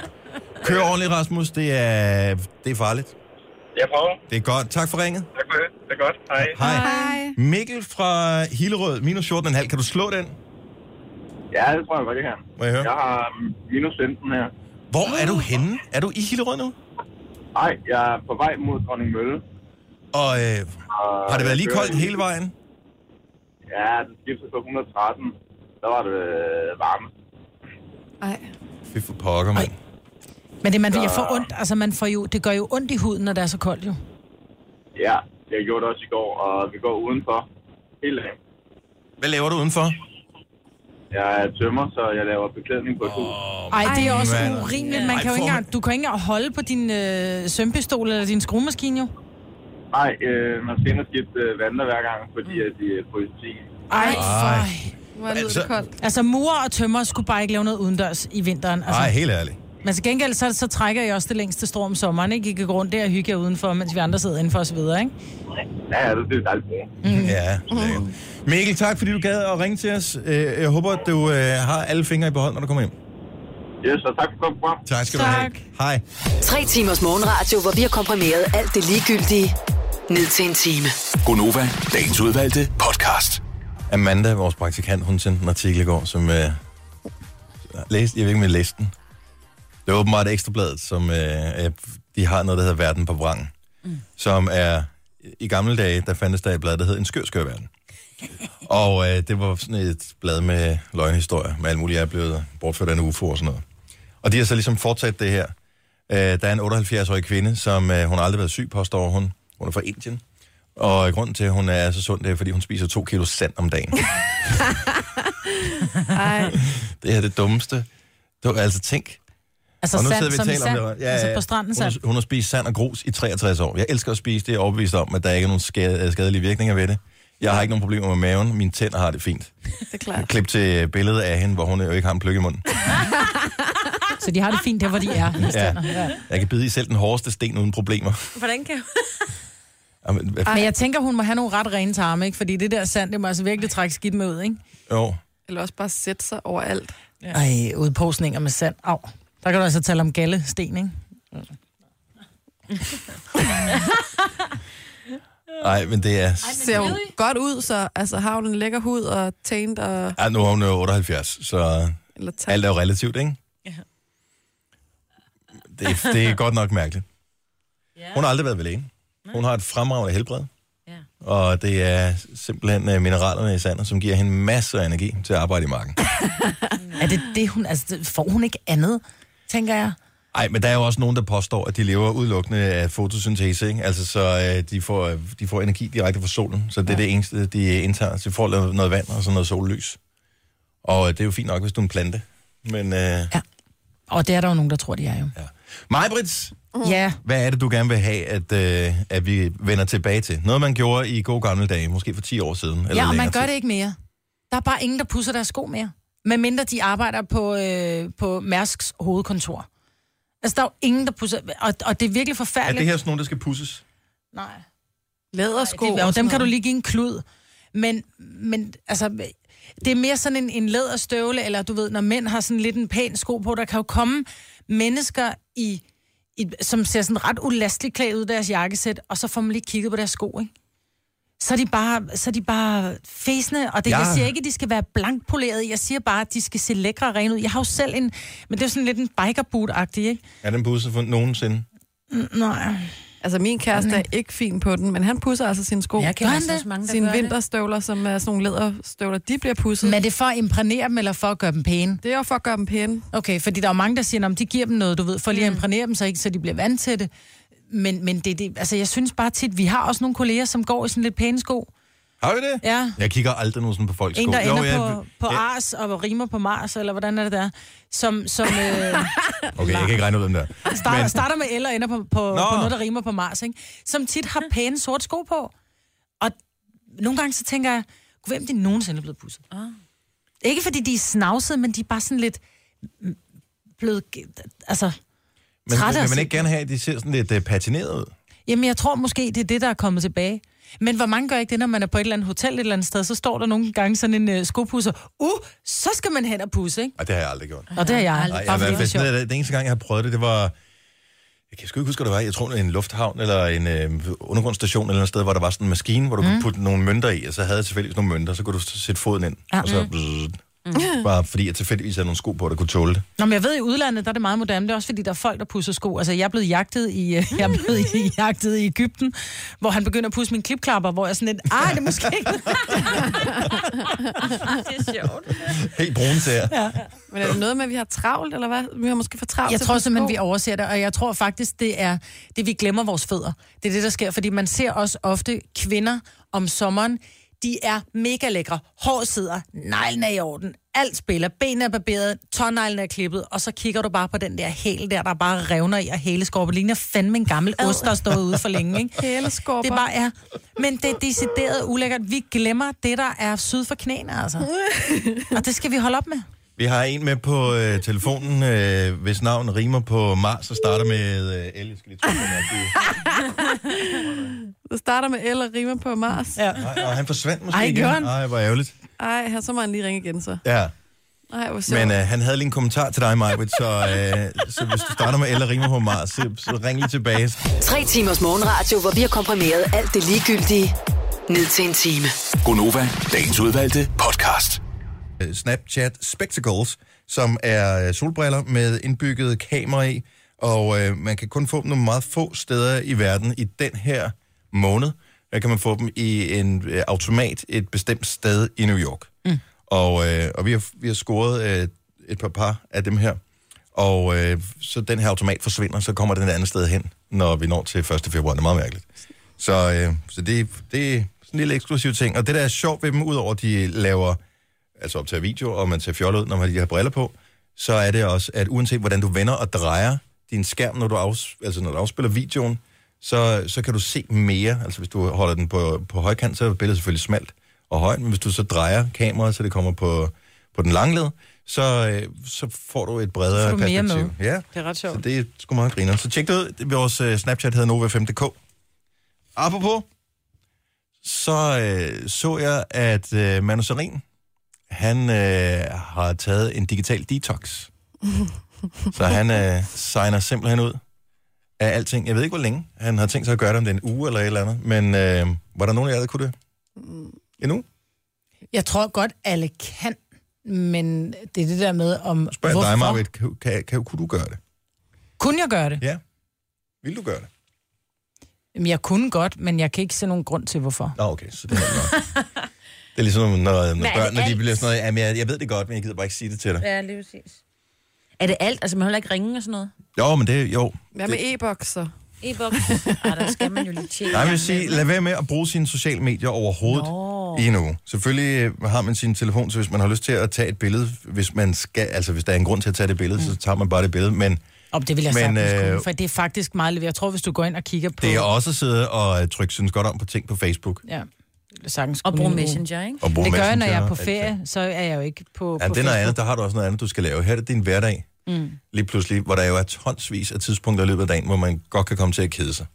[SPEAKER 1] Kør ordentligt, Rasmus, det er, det er farligt.
[SPEAKER 9] Jeg prøver.
[SPEAKER 1] Det er godt. Tak for ringet.
[SPEAKER 9] Tak for det. Det er godt. Hej.
[SPEAKER 1] Hej.
[SPEAKER 4] Hej.
[SPEAKER 1] Mikkel fra Hillerød, minus 14,5. Kan du slå den?
[SPEAKER 9] Ja, det tror jeg godt, det kan.
[SPEAKER 1] Må jeg høre?
[SPEAKER 9] Jeg har mm, minus 15 her.
[SPEAKER 1] Hvor er du henne? Er du i Hillerød nu?
[SPEAKER 9] Nej, jeg er på vej mod Dronning Mølle.
[SPEAKER 1] Og øh, har det været lige koldt hele vejen?
[SPEAKER 9] Ja, den skiftede på 113. Der var det øh, varme.
[SPEAKER 4] Ej.
[SPEAKER 1] Fy for pokker, mand.
[SPEAKER 3] Men det, man, jeg får ondt, altså man får jo, det gør jo ondt i huden, når det er så koldt jo.
[SPEAKER 9] Ja, jeg gjorde det også i går, og vi går udenfor hele dagen.
[SPEAKER 1] Hvad laver du udenfor?
[SPEAKER 9] Jeg er tømmer, så jeg laver beklædning på et hus.
[SPEAKER 3] Ej, det er også
[SPEAKER 1] mand.
[SPEAKER 3] urimeligt. Man
[SPEAKER 1] Ej,
[SPEAKER 3] kan
[SPEAKER 1] får
[SPEAKER 3] jo ikke
[SPEAKER 1] man-
[SPEAKER 3] engang, du kan jo ikke engang holde på din øh, sømpistol eller din skruemaskine jo.
[SPEAKER 9] Nej, øh, man skal ind og skifte øh, vandler hver gang, fordi at øh, de er på esti.
[SPEAKER 3] Ej, for...
[SPEAKER 4] Hvor lyder
[SPEAKER 1] Altså-
[SPEAKER 4] det koldt.
[SPEAKER 3] Altså, murer og tømmer skulle bare ikke lave noget udendørs i vinteren. Altså.
[SPEAKER 1] Nej, helt ærligt.
[SPEAKER 3] Men til gengæld, så, så trækker jeg også det længste strå om sommeren, ikke? I kan gå rundt der og hygge jer udenfor, mens vi andre sidder indenfor osv., ikke?
[SPEAKER 9] Ja, ja, det det er dejligt brugt.
[SPEAKER 3] Mm.
[SPEAKER 1] Ja, lækkert. Mikkel, tak fordi du gad at ringe til os. Øh, Jeg håber, at du øh, har alle fingre i behold, når du kommer hjem.
[SPEAKER 9] Yes, og tak for at komme
[SPEAKER 1] Tak skal du have.
[SPEAKER 3] Tak.
[SPEAKER 1] Hej.
[SPEAKER 5] Tre timers morgenradio, hvor vi har komprimeret alt det ligegyldige ned til en time.
[SPEAKER 6] Gonova, dagens udvalgte podcast.
[SPEAKER 1] Amanda, vores praktikant, hun sendte en artikel i går, som øh, læste, jeg ved ikke, om jeg læste den. Det var åbenbart Ekstrabladet, som øh, øh, de har noget, der hedder Verden på Vrang, mm. som er, i gamle dage, der fandtes der et blad, der hed En skør, skør verden. og øh, det var sådan et blad med løgnhistorier, med alt muligt, jeg er blevet bortført af en UFO og sådan noget. Og de har så ligesom fortsat det her. Øh, der er en 78-årig kvinde, som øh, hun har aldrig været syg, påstår hun. Hun er fra Indien. Og grunden til, at hun er så sund, det er, fordi hun spiser to kilo sand om dagen.
[SPEAKER 4] Ej.
[SPEAKER 1] Det er det dummeste. Du, altså tænk.
[SPEAKER 3] Altså
[SPEAKER 1] og nu
[SPEAKER 3] sand
[SPEAKER 1] sidder vi og
[SPEAKER 3] som i
[SPEAKER 1] taler
[SPEAKER 3] sand.
[SPEAKER 1] om det.
[SPEAKER 3] altså på stranden
[SPEAKER 1] hun,
[SPEAKER 3] sand.
[SPEAKER 1] har- hun har spist sand og grus i 63 år. Jeg elsker at spise det. Jeg er overbevist om, at der ikke er nogen skade, øh, skadelige virkninger ved det. Jeg har ikke nogen problemer med maven. Mine tænder har det fint.
[SPEAKER 4] Det er klart.
[SPEAKER 1] Klip til billedet af hende, hvor hun jo ikke har en pløk i munden.
[SPEAKER 3] Så de har det fint der, hvor de er.
[SPEAKER 1] Ja. Jeg kan bide i selv den hårdeste sten uden problemer.
[SPEAKER 2] Hvordan kan
[SPEAKER 1] Jamen, hvad f-
[SPEAKER 3] Men jeg tænker, hun må have nogle ret rene tarme, ikke? Fordi det der sand, det må altså virkelig trække skidt med ud, ikke?
[SPEAKER 1] Jo.
[SPEAKER 4] Eller også bare sætte sig overalt.
[SPEAKER 3] Ja. Ej, udposninger med sand. Au. Der kan du altså tale om gallesten, ikke?
[SPEAKER 1] Ej, men det er...
[SPEAKER 4] Ser jo godt ud, så altså, har hun en lækker hud og tændt og...
[SPEAKER 1] Ej, nu er hun jo 78, så
[SPEAKER 4] Eller tand.
[SPEAKER 1] alt er jo relativt, ikke? Det, det er godt nok mærkeligt. Hun har aldrig været ved lægen. Hun har et fremragende helbred.
[SPEAKER 2] Ja.
[SPEAKER 1] Og det er simpelthen øh, mineralerne i sandet, som giver hende masser af energi til at arbejde i marken.
[SPEAKER 3] Er det det, hun... Altså, det- får hun ikke andet, tænker jeg?
[SPEAKER 1] Nej, men der er jo også nogen, der påstår, at de lever udelukkende af fotosyntese, ikke? Altså, så øh, de, får, øh, de får energi direkte fra solen, så det er det eneste, de indtager. Så de får lavet noget vand og sådan noget sollys. Og øh, det er jo fint nok, hvis du er en plante. Men øh,
[SPEAKER 3] Ja. Og det er der jo nogen, der tror, de er jo.
[SPEAKER 1] Mm.
[SPEAKER 3] Ja.
[SPEAKER 1] Majbrits,
[SPEAKER 3] ja.
[SPEAKER 1] hvad er det, du gerne vil have, at, øh, at vi vender tilbage til? Noget, man gjorde i gode gamle dage, måske for 10 år siden. Eller
[SPEAKER 3] ja, og man
[SPEAKER 1] længere
[SPEAKER 3] gør
[SPEAKER 1] tid.
[SPEAKER 3] det ikke mere. Der er bare ingen, der pusser deres sko mere. Medmindre de arbejder på, øh, på Mærsks hovedkontor. Altså, der er jo ingen, der pusser... Og, og det er virkelig
[SPEAKER 1] Er
[SPEAKER 3] forfærdeligt.
[SPEAKER 1] det her sådan nogen, der skal pusses?
[SPEAKER 3] Nej.
[SPEAKER 4] Lædersko.
[SPEAKER 3] Det,
[SPEAKER 4] og
[SPEAKER 3] og
[SPEAKER 4] sådan
[SPEAKER 3] dem kan du
[SPEAKER 4] noget.
[SPEAKER 3] lige give en klud. Men, men altså, det er mere sådan en, en læderstøvle, eller du ved, når mænd har sådan lidt en pæn sko på, der kan jo komme mennesker i, i som ser sådan ret ulasteligt klædt ud i deres jakkesæt, og så får man lige kigget på deres sko, ikke? Så er de bare, så er de bare fæsende, og det,
[SPEAKER 1] Ja.
[SPEAKER 3] ja. jeg siger ikke, at de skal være blankpolerede, jeg siger bare, at de skal se lækre og rene ud. Jeg har jo selv en, men det er jo sådan lidt en bikerboot-agtig, ikke?
[SPEAKER 1] Er den pusset for nogensinde?
[SPEAKER 3] Nej.
[SPEAKER 4] Altså, min kæreste er ikke fin på den, men han pusser altså sine sko.
[SPEAKER 2] Jeg kender
[SPEAKER 3] Gør han
[SPEAKER 2] altså
[SPEAKER 3] det?
[SPEAKER 2] også mange, der
[SPEAKER 4] Sine
[SPEAKER 2] gør det.
[SPEAKER 4] vinterstøvler, som er sådan nogle læderstøvler, de bliver pusset.
[SPEAKER 3] Men er
[SPEAKER 4] Men...
[SPEAKER 3] det for at imprægnere dem, eller for at gøre dem pæne?
[SPEAKER 4] Det er jo for at gøre dem pæne.
[SPEAKER 3] Okay, fordi der er jo mange, der siger, at de giver dem noget, du ved, for lige at imprægnere dem, så, ikke, så de bliver vant til det. Men, men det, det, altså, jeg synes bare tit, vi har også nogle kolleger, som går i sådan lidt pæne sko.
[SPEAKER 1] Har vi det?
[SPEAKER 3] Ja.
[SPEAKER 1] Jeg kigger aldrig nogen sådan på folks
[SPEAKER 3] En,
[SPEAKER 1] sko.
[SPEAKER 3] der ender
[SPEAKER 1] jeg,
[SPEAKER 3] på, på Ars og rimer på Mars, eller hvordan er det der? Som, som øh,
[SPEAKER 1] Okay, jeg kan ikke regne ud, hvem der.
[SPEAKER 3] starter, starter med L og ender på, på,
[SPEAKER 1] Nå.
[SPEAKER 3] på noget, der rimer på Mars, ikke? Som tit har pæne sorte sko på. Og nogle gange så tænker jeg, "Gud, hvem de nogensinde er blevet pusset? Ah. Ikke fordi de er snavsede, men de er bare sådan lidt mm, blevet... Altså,
[SPEAKER 1] Men
[SPEAKER 3] træt af
[SPEAKER 1] vil
[SPEAKER 3] at
[SPEAKER 1] man
[SPEAKER 3] se
[SPEAKER 1] ikke gerne have, at de ser sådan lidt uh, patineret ud?
[SPEAKER 3] Jamen, jeg tror måske, det er det, der er kommet tilbage. Men hvor mange gør ikke det, når man er på et eller andet hotel et eller andet sted, så står der nogle gange sådan en øh, skopusser. Uh, så skal man hen og pusse, ikke?
[SPEAKER 1] Og det har jeg aldrig gjort.
[SPEAKER 3] Og det har jeg
[SPEAKER 1] Nej,
[SPEAKER 3] aldrig.
[SPEAKER 1] jeg har
[SPEAKER 3] Bare fordi
[SPEAKER 1] været
[SPEAKER 3] det var sjovt.
[SPEAKER 1] fascineret af det. øh, Den eneste gang, jeg har prøvet det, det var... Jeg kan sgu ikke huske, hvad det var. Jeg tror, det var en lufthavn eller en øh, undergrundsstation eller et eller andet sted, hvor der var sådan en maskine, hvor du mm. kunne putte nogle mønter i, og så havde jeg tilfældigvis nogle mønter, så kunne du sætte foden ind, ja. og så... Mm. Bare fordi jeg tilfældigvis havde nogle sko på, der kunne tåle det.
[SPEAKER 3] Nå, men jeg ved, i udlandet, der er det meget moderne. Det er også fordi, der er folk, der pusser sko. Altså, jeg er blevet jagtet i, øh, jeg er blevet i- jagtet i Ægypten, hvor han begynder at pusse mine klipklapper, hvor jeg sådan lidt, ej, det er måske ikke.
[SPEAKER 2] Det er sjovt.
[SPEAKER 1] Helt brune tæer. Ja.
[SPEAKER 4] Men er det noget med, at vi har travlt, eller hvad? Vi har måske for travlt
[SPEAKER 3] Jeg
[SPEAKER 4] til
[SPEAKER 3] tror
[SPEAKER 4] at pusse
[SPEAKER 3] simpelthen,
[SPEAKER 4] sko.
[SPEAKER 3] vi overser det, og jeg tror faktisk, det er det, vi glemmer vores fødder. Det er det, der sker, fordi man ser også ofte kvinder om sommeren, de er mega lækre. Hår sidder, neglen er i orden, alt spiller, benene er barberet, tåneglen er klippet, og så kigger du bare på den der hæl der, der bare revner i, og hæleskorpe ligner fandme en gammel ost, der står ude for længe, ikke?
[SPEAKER 4] Hæleskorper.
[SPEAKER 3] Det er bare er. Men det er decideret ulækkert. Vi glemmer det, der er syd for knæene, altså. Og det skal vi holde op med.
[SPEAKER 1] Vi har en med på øh, telefonen, øh, hvis navn rimer på Mars og starter med øh, L. Jeg skal lige trykke på den rigtige.
[SPEAKER 4] Det starter med L og rimer på Mars. Ja.
[SPEAKER 1] Ej, og han forsvandt måske
[SPEAKER 3] Ej,
[SPEAKER 1] igen.
[SPEAKER 3] gjorde han?
[SPEAKER 1] Ej, hvor ærgerligt.
[SPEAKER 4] Ej, her, så må han lige ringe igen så.
[SPEAKER 1] Ja.
[SPEAKER 4] Ej, hvor sjovt.
[SPEAKER 1] Men øh, han havde lige en kommentar til dig, Majbrit, så, øh, så hvis du starter med Ella rimer på Mars, så, så ring lige tilbage.
[SPEAKER 5] Tre timers morgenradio, hvor vi har komprimeret alt det ligegyldige ned til en time.
[SPEAKER 6] Gonova, dagens udvalgte podcast.
[SPEAKER 1] Øh, Snapchat Spectacles, som er øh, solbriller med indbygget kamera i, og øh, man kan kun få dem nogle meget få steder i verden i den her måned. Der kan man få dem i en øh, automat et bestemt sted i New York. Mm. Og, øh, og vi har, vi har scoret øh, et par par af dem her. Og øh, så den her automat forsvinder, så kommer den et andet sted hen, når vi når til 1. februar. Det er meget mærkeligt. Så, øh, så det, det er sådan en lille eksklusiv ting. Og det, der er sjovt ved dem, udover at de laver altså optager video, og man ser fjollet ud, når man lige har briller på, så er det også, at uanset hvordan du vender og drejer din skærm, når du, afs- altså når du afspiller videoen, så, så kan du se mere. Altså hvis du holder den på, på højkant, så er billedet selvfølgelig smalt og højt, men hvis du så drejer kameraet, så det kommer på, på den lange led, så, øh, så får du et bredere
[SPEAKER 3] Så får du mere
[SPEAKER 1] perspektiv.
[SPEAKER 3] med.
[SPEAKER 1] Ja.
[SPEAKER 3] Det er ret sjovt.
[SPEAKER 1] Så det er sgu meget griner. Så tjek det ud. Vores øh, Snapchat hedder Nova5.dk. Apropos, så øh, så jeg, at øh, Manu Serin, han øh, har taget en digital detox. Så han øh, signer simpelthen ud af alting. Jeg ved ikke, hvor længe han har tænkt sig at gøre det, om det er en uge eller et eller andet. Men øh, var der nogen af jer, der kunne det?
[SPEAKER 3] Mm.
[SPEAKER 1] Endnu?
[SPEAKER 3] Jeg tror godt, alle kan, men det er det der med, om
[SPEAKER 1] Spørg dig, Marvitt, kan, kan, kan, kunne du gøre det?
[SPEAKER 3] Kunne jeg gøre det?
[SPEAKER 1] Ja. Vil du gøre det?
[SPEAKER 3] Jamen, jeg kunne godt, men jeg kan ikke se nogen grund til, hvorfor.
[SPEAKER 1] Nå, okay, så det er nok. Det er ligesom, når, når
[SPEAKER 2] det
[SPEAKER 1] børn, når de
[SPEAKER 2] alt?
[SPEAKER 1] bliver sådan noget, jamen, jeg, jeg ved det godt, men jeg gider bare ikke sige det til dig.
[SPEAKER 2] Ja, lige præcis. Er det alt? Altså, man holder ikke ringe og sådan noget?
[SPEAKER 1] Jo, men det, jo.
[SPEAKER 4] Hvad med e-bokser?
[SPEAKER 2] E-boks? Ej, Ah, der skal man jo lige tjekke.
[SPEAKER 1] Nej, jeg vil sige, lad være med at bruge sine sociale medier overhovedet. i en uge. Selvfølgelig øh, har man sin telefon, så hvis man har lyst til at tage et billede, hvis man skal, altså hvis der er en grund til at tage det billede,
[SPEAKER 3] Mm.
[SPEAKER 1] så tager man bare det billede, men
[SPEAKER 3] Om det vil jeg
[SPEAKER 1] Men,
[SPEAKER 3] sagtens
[SPEAKER 1] øh,
[SPEAKER 3] kunne, for det er faktisk meget lidt. Jeg tror, hvis du går ind og kigger på...
[SPEAKER 1] det er også at sidde og øh, trykke synes godt om på ting på Facebook.
[SPEAKER 3] Ja, det ville jeg sagtens
[SPEAKER 2] Og
[SPEAKER 3] kunne
[SPEAKER 2] bruge
[SPEAKER 3] i en uge.
[SPEAKER 2] Messenger, ikke?
[SPEAKER 1] Og bruge
[SPEAKER 3] Det gør jeg, når
[SPEAKER 1] Messenger,
[SPEAKER 3] jeg er på
[SPEAKER 1] alt det.
[SPEAKER 3] ferie, så er jeg jo ikke på,
[SPEAKER 1] Ja,
[SPEAKER 3] på
[SPEAKER 1] det er noget
[SPEAKER 3] Facebook.
[SPEAKER 1] andet. Der har du også noget andet, du skal lave. Her er det din hverdag. Mm. Lige pludselig, hvor der jo er tonsvis af tidspunkter i løbet af dagen, hvor man godt kan komme til at kede sig.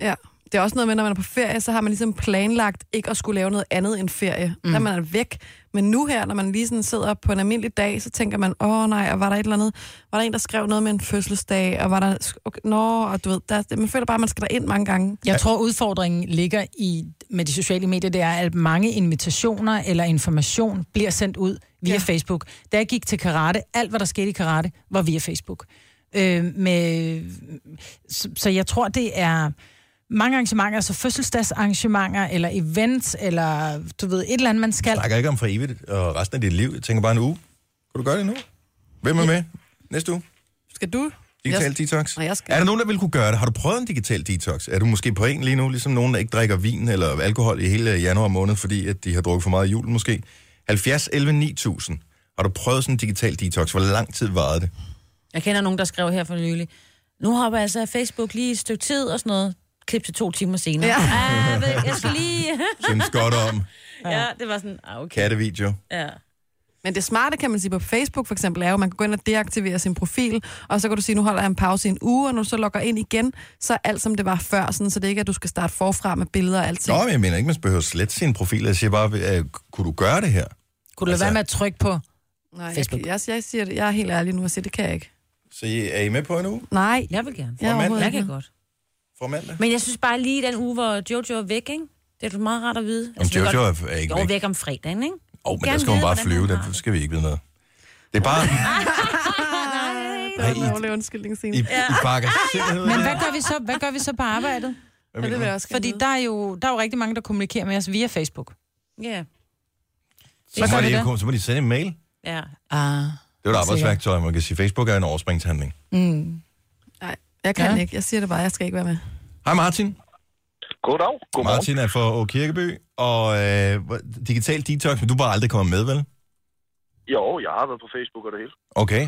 [SPEAKER 4] Ja. Det er også noget med, når man er på ferie, så har man ligesom planlagt ikke at skulle lave noget andet end ferie. Mm. Der er man er væk. Men nu her, når man lige sådan sidder på en almindelig dag, så tænker man, åh nej, og var der et eller andet? Var der en, der skrev noget med en fødselsdag? Og var der... sk- Okay, nå, og du ved, der, man føler bare, at man skal ind mange gange.
[SPEAKER 3] Jeg tror, udfordringen ligger i, med de sociale medier, det er, at mange invitationer eller information bliver sendt ud via ja.
[SPEAKER 4] Ja.
[SPEAKER 3] Facebook. Da jeg gik til karate, alt hvad der skete i karate, var via Facebook. Øh, med, så, så jeg tror, det er mange arrangementer, altså fødselsdagsarrangementer, eller events, eller du ved, et eller andet, man skal.
[SPEAKER 1] Jeg snakker ikke om for evigt og resten af dit liv. Jeg tænker bare en uge. Kan du gøre det nu? Hvem er med? Næste uge?
[SPEAKER 4] Skal du?
[SPEAKER 1] Digital
[SPEAKER 4] Jeg-
[SPEAKER 1] detox?
[SPEAKER 4] Nej, jeg skal.
[SPEAKER 1] Er der nogen, der vil kunne gøre det? Har du prøvet en digital detox? Er du måske på en lige nu, ligesom nogen, der ikke drikker vin eller alkohol i hele januar måned, fordi at de har drukket for meget i julen måske? 70, 11, 9000. Har du prøvet sådan en digital detox? Hvor lang tid varede det?
[SPEAKER 2] Jeg kender nogen, der skrev her for nylig, nu hopper jeg altså af Facebook lige et stykke tid og sådan noget. Klip til to timer senere. Ja.
[SPEAKER 4] Ja.
[SPEAKER 2] Ah, vel, jeg skal lige...
[SPEAKER 1] Synes godt om
[SPEAKER 2] ja, det var sådan, ah, okay.
[SPEAKER 1] kattevideo.
[SPEAKER 2] Ja.
[SPEAKER 4] Men det smarte, kan man sige, på Facebook for eksempel, er jo, at man kan gå ind og deaktivere sin profil, og så kan du sige, nu holder jeg en pause i en uge, og når du så logger ind igen, så er alt som det var før, sådan, så det ikke er, at du skal starte forfra med billeder og alting.
[SPEAKER 1] Nå, men jeg mener ikke, man behøver slet sin profil. Jeg siger bare, øh, kunne du gøre det her?
[SPEAKER 3] Kunne du lade
[SPEAKER 1] altså-
[SPEAKER 3] være med at trykke på?
[SPEAKER 4] Nej,
[SPEAKER 3] Facebook.
[SPEAKER 4] Jeg, jeg, jeg, siger det, jeg er helt ærlig nu og siger, det kan jeg ikke.
[SPEAKER 1] Så I- er I med på en uge
[SPEAKER 4] Nej,
[SPEAKER 2] Jeg vil gerne.
[SPEAKER 4] jeg er
[SPEAKER 1] mand,
[SPEAKER 4] overhovedet
[SPEAKER 2] Jeg
[SPEAKER 4] ikke.
[SPEAKER 2] kan
[SPEAKER 4] med.
[SPEAKER 2] godt.
[SPEAKER 1] fra mandag?
[SPEAKER 2] Men jeg synes bare lige den uge, hvor Jojo er væk, ikke? Det er meget rart at vide. Altså,
[SPEAKER 1] Om
[SPEAKER 2] det
[SPEAKER 1] Jojo
[SPEAKER 2] godt-
[SPEAKER 1] er er ikke
[SPEAKER 2] Jo,
[SPEAKER 1] væk.
[SPEAKER 2] væk om fredagen, ikke?
[SPEAKER 1] Åh, oh, men
[SPEAKER 2] Gerne
[SPEAKER 1] der skal hun
[SPEAKER 2] vide,
[SPEAKER 1] bare
[SPEAKER 2] hvordan
[SPEAKER 1] flyve,
[SPEAKER 2] han har
[SPEAKER 1] der
[SPEAKER 2] det.
[SPEAKER 1] skal vi ikke vide noget. Det er bare,
[SPEAKER 4] Det var
[SPEAKER 1] Nej, I-
[SPEAKER 4] en dårlig undskyldning senere.
[SPEAKER 1] I, I bakker simpelthen ud.
[SPEAKER 3] Men hvad gør vi så, hvad gør vi så på arbejdet?
[SPEAKER 4] Ja, det vil jeg også gerne
[SPEAKER 3] Fordi
[SPEAKER 4] vide.
[SPEAKER 3] der er, jo, der er jo rigtig mange, der kommunikerer med os via Facebook.
[SPEAKER 1] så,
[SPEAKER 2] Ja.
[SPEAKER 3] gør
[SPEAKER 1] må
[SPEAKER 3] vi
[SPEAKER 1] de,
[SPEAKER 3] det.
[SPEAKER 1] jo- så må de sende en mail.
[SPEAKER 2] Ja.
[SPEAKER 3] Ah.
[SPEAKER 1] Det er jo et arbejdsværktøj, man kan sige. Facebook er en overspringshandling.
[SPEAKER 4] Nej, jeg kan
[SPEAKER 3] Ja.
[SPEAKER 4] ja. ikke. Jeg siger det bare, jeg skal ikke være med.
[SPEAKER 1] Hej Martin.
[SPEAKER 9] Goddag. Godmorgen.
[SPEAKER 1] Martin er fra Å Kirkeby, og øh, hvor- digital detox, men du er bare aldrig kommet med, vel?
[SPEAKER 9] Jo, jeg har været på Facebook og det hele.
[SPEAKER 1] Okay.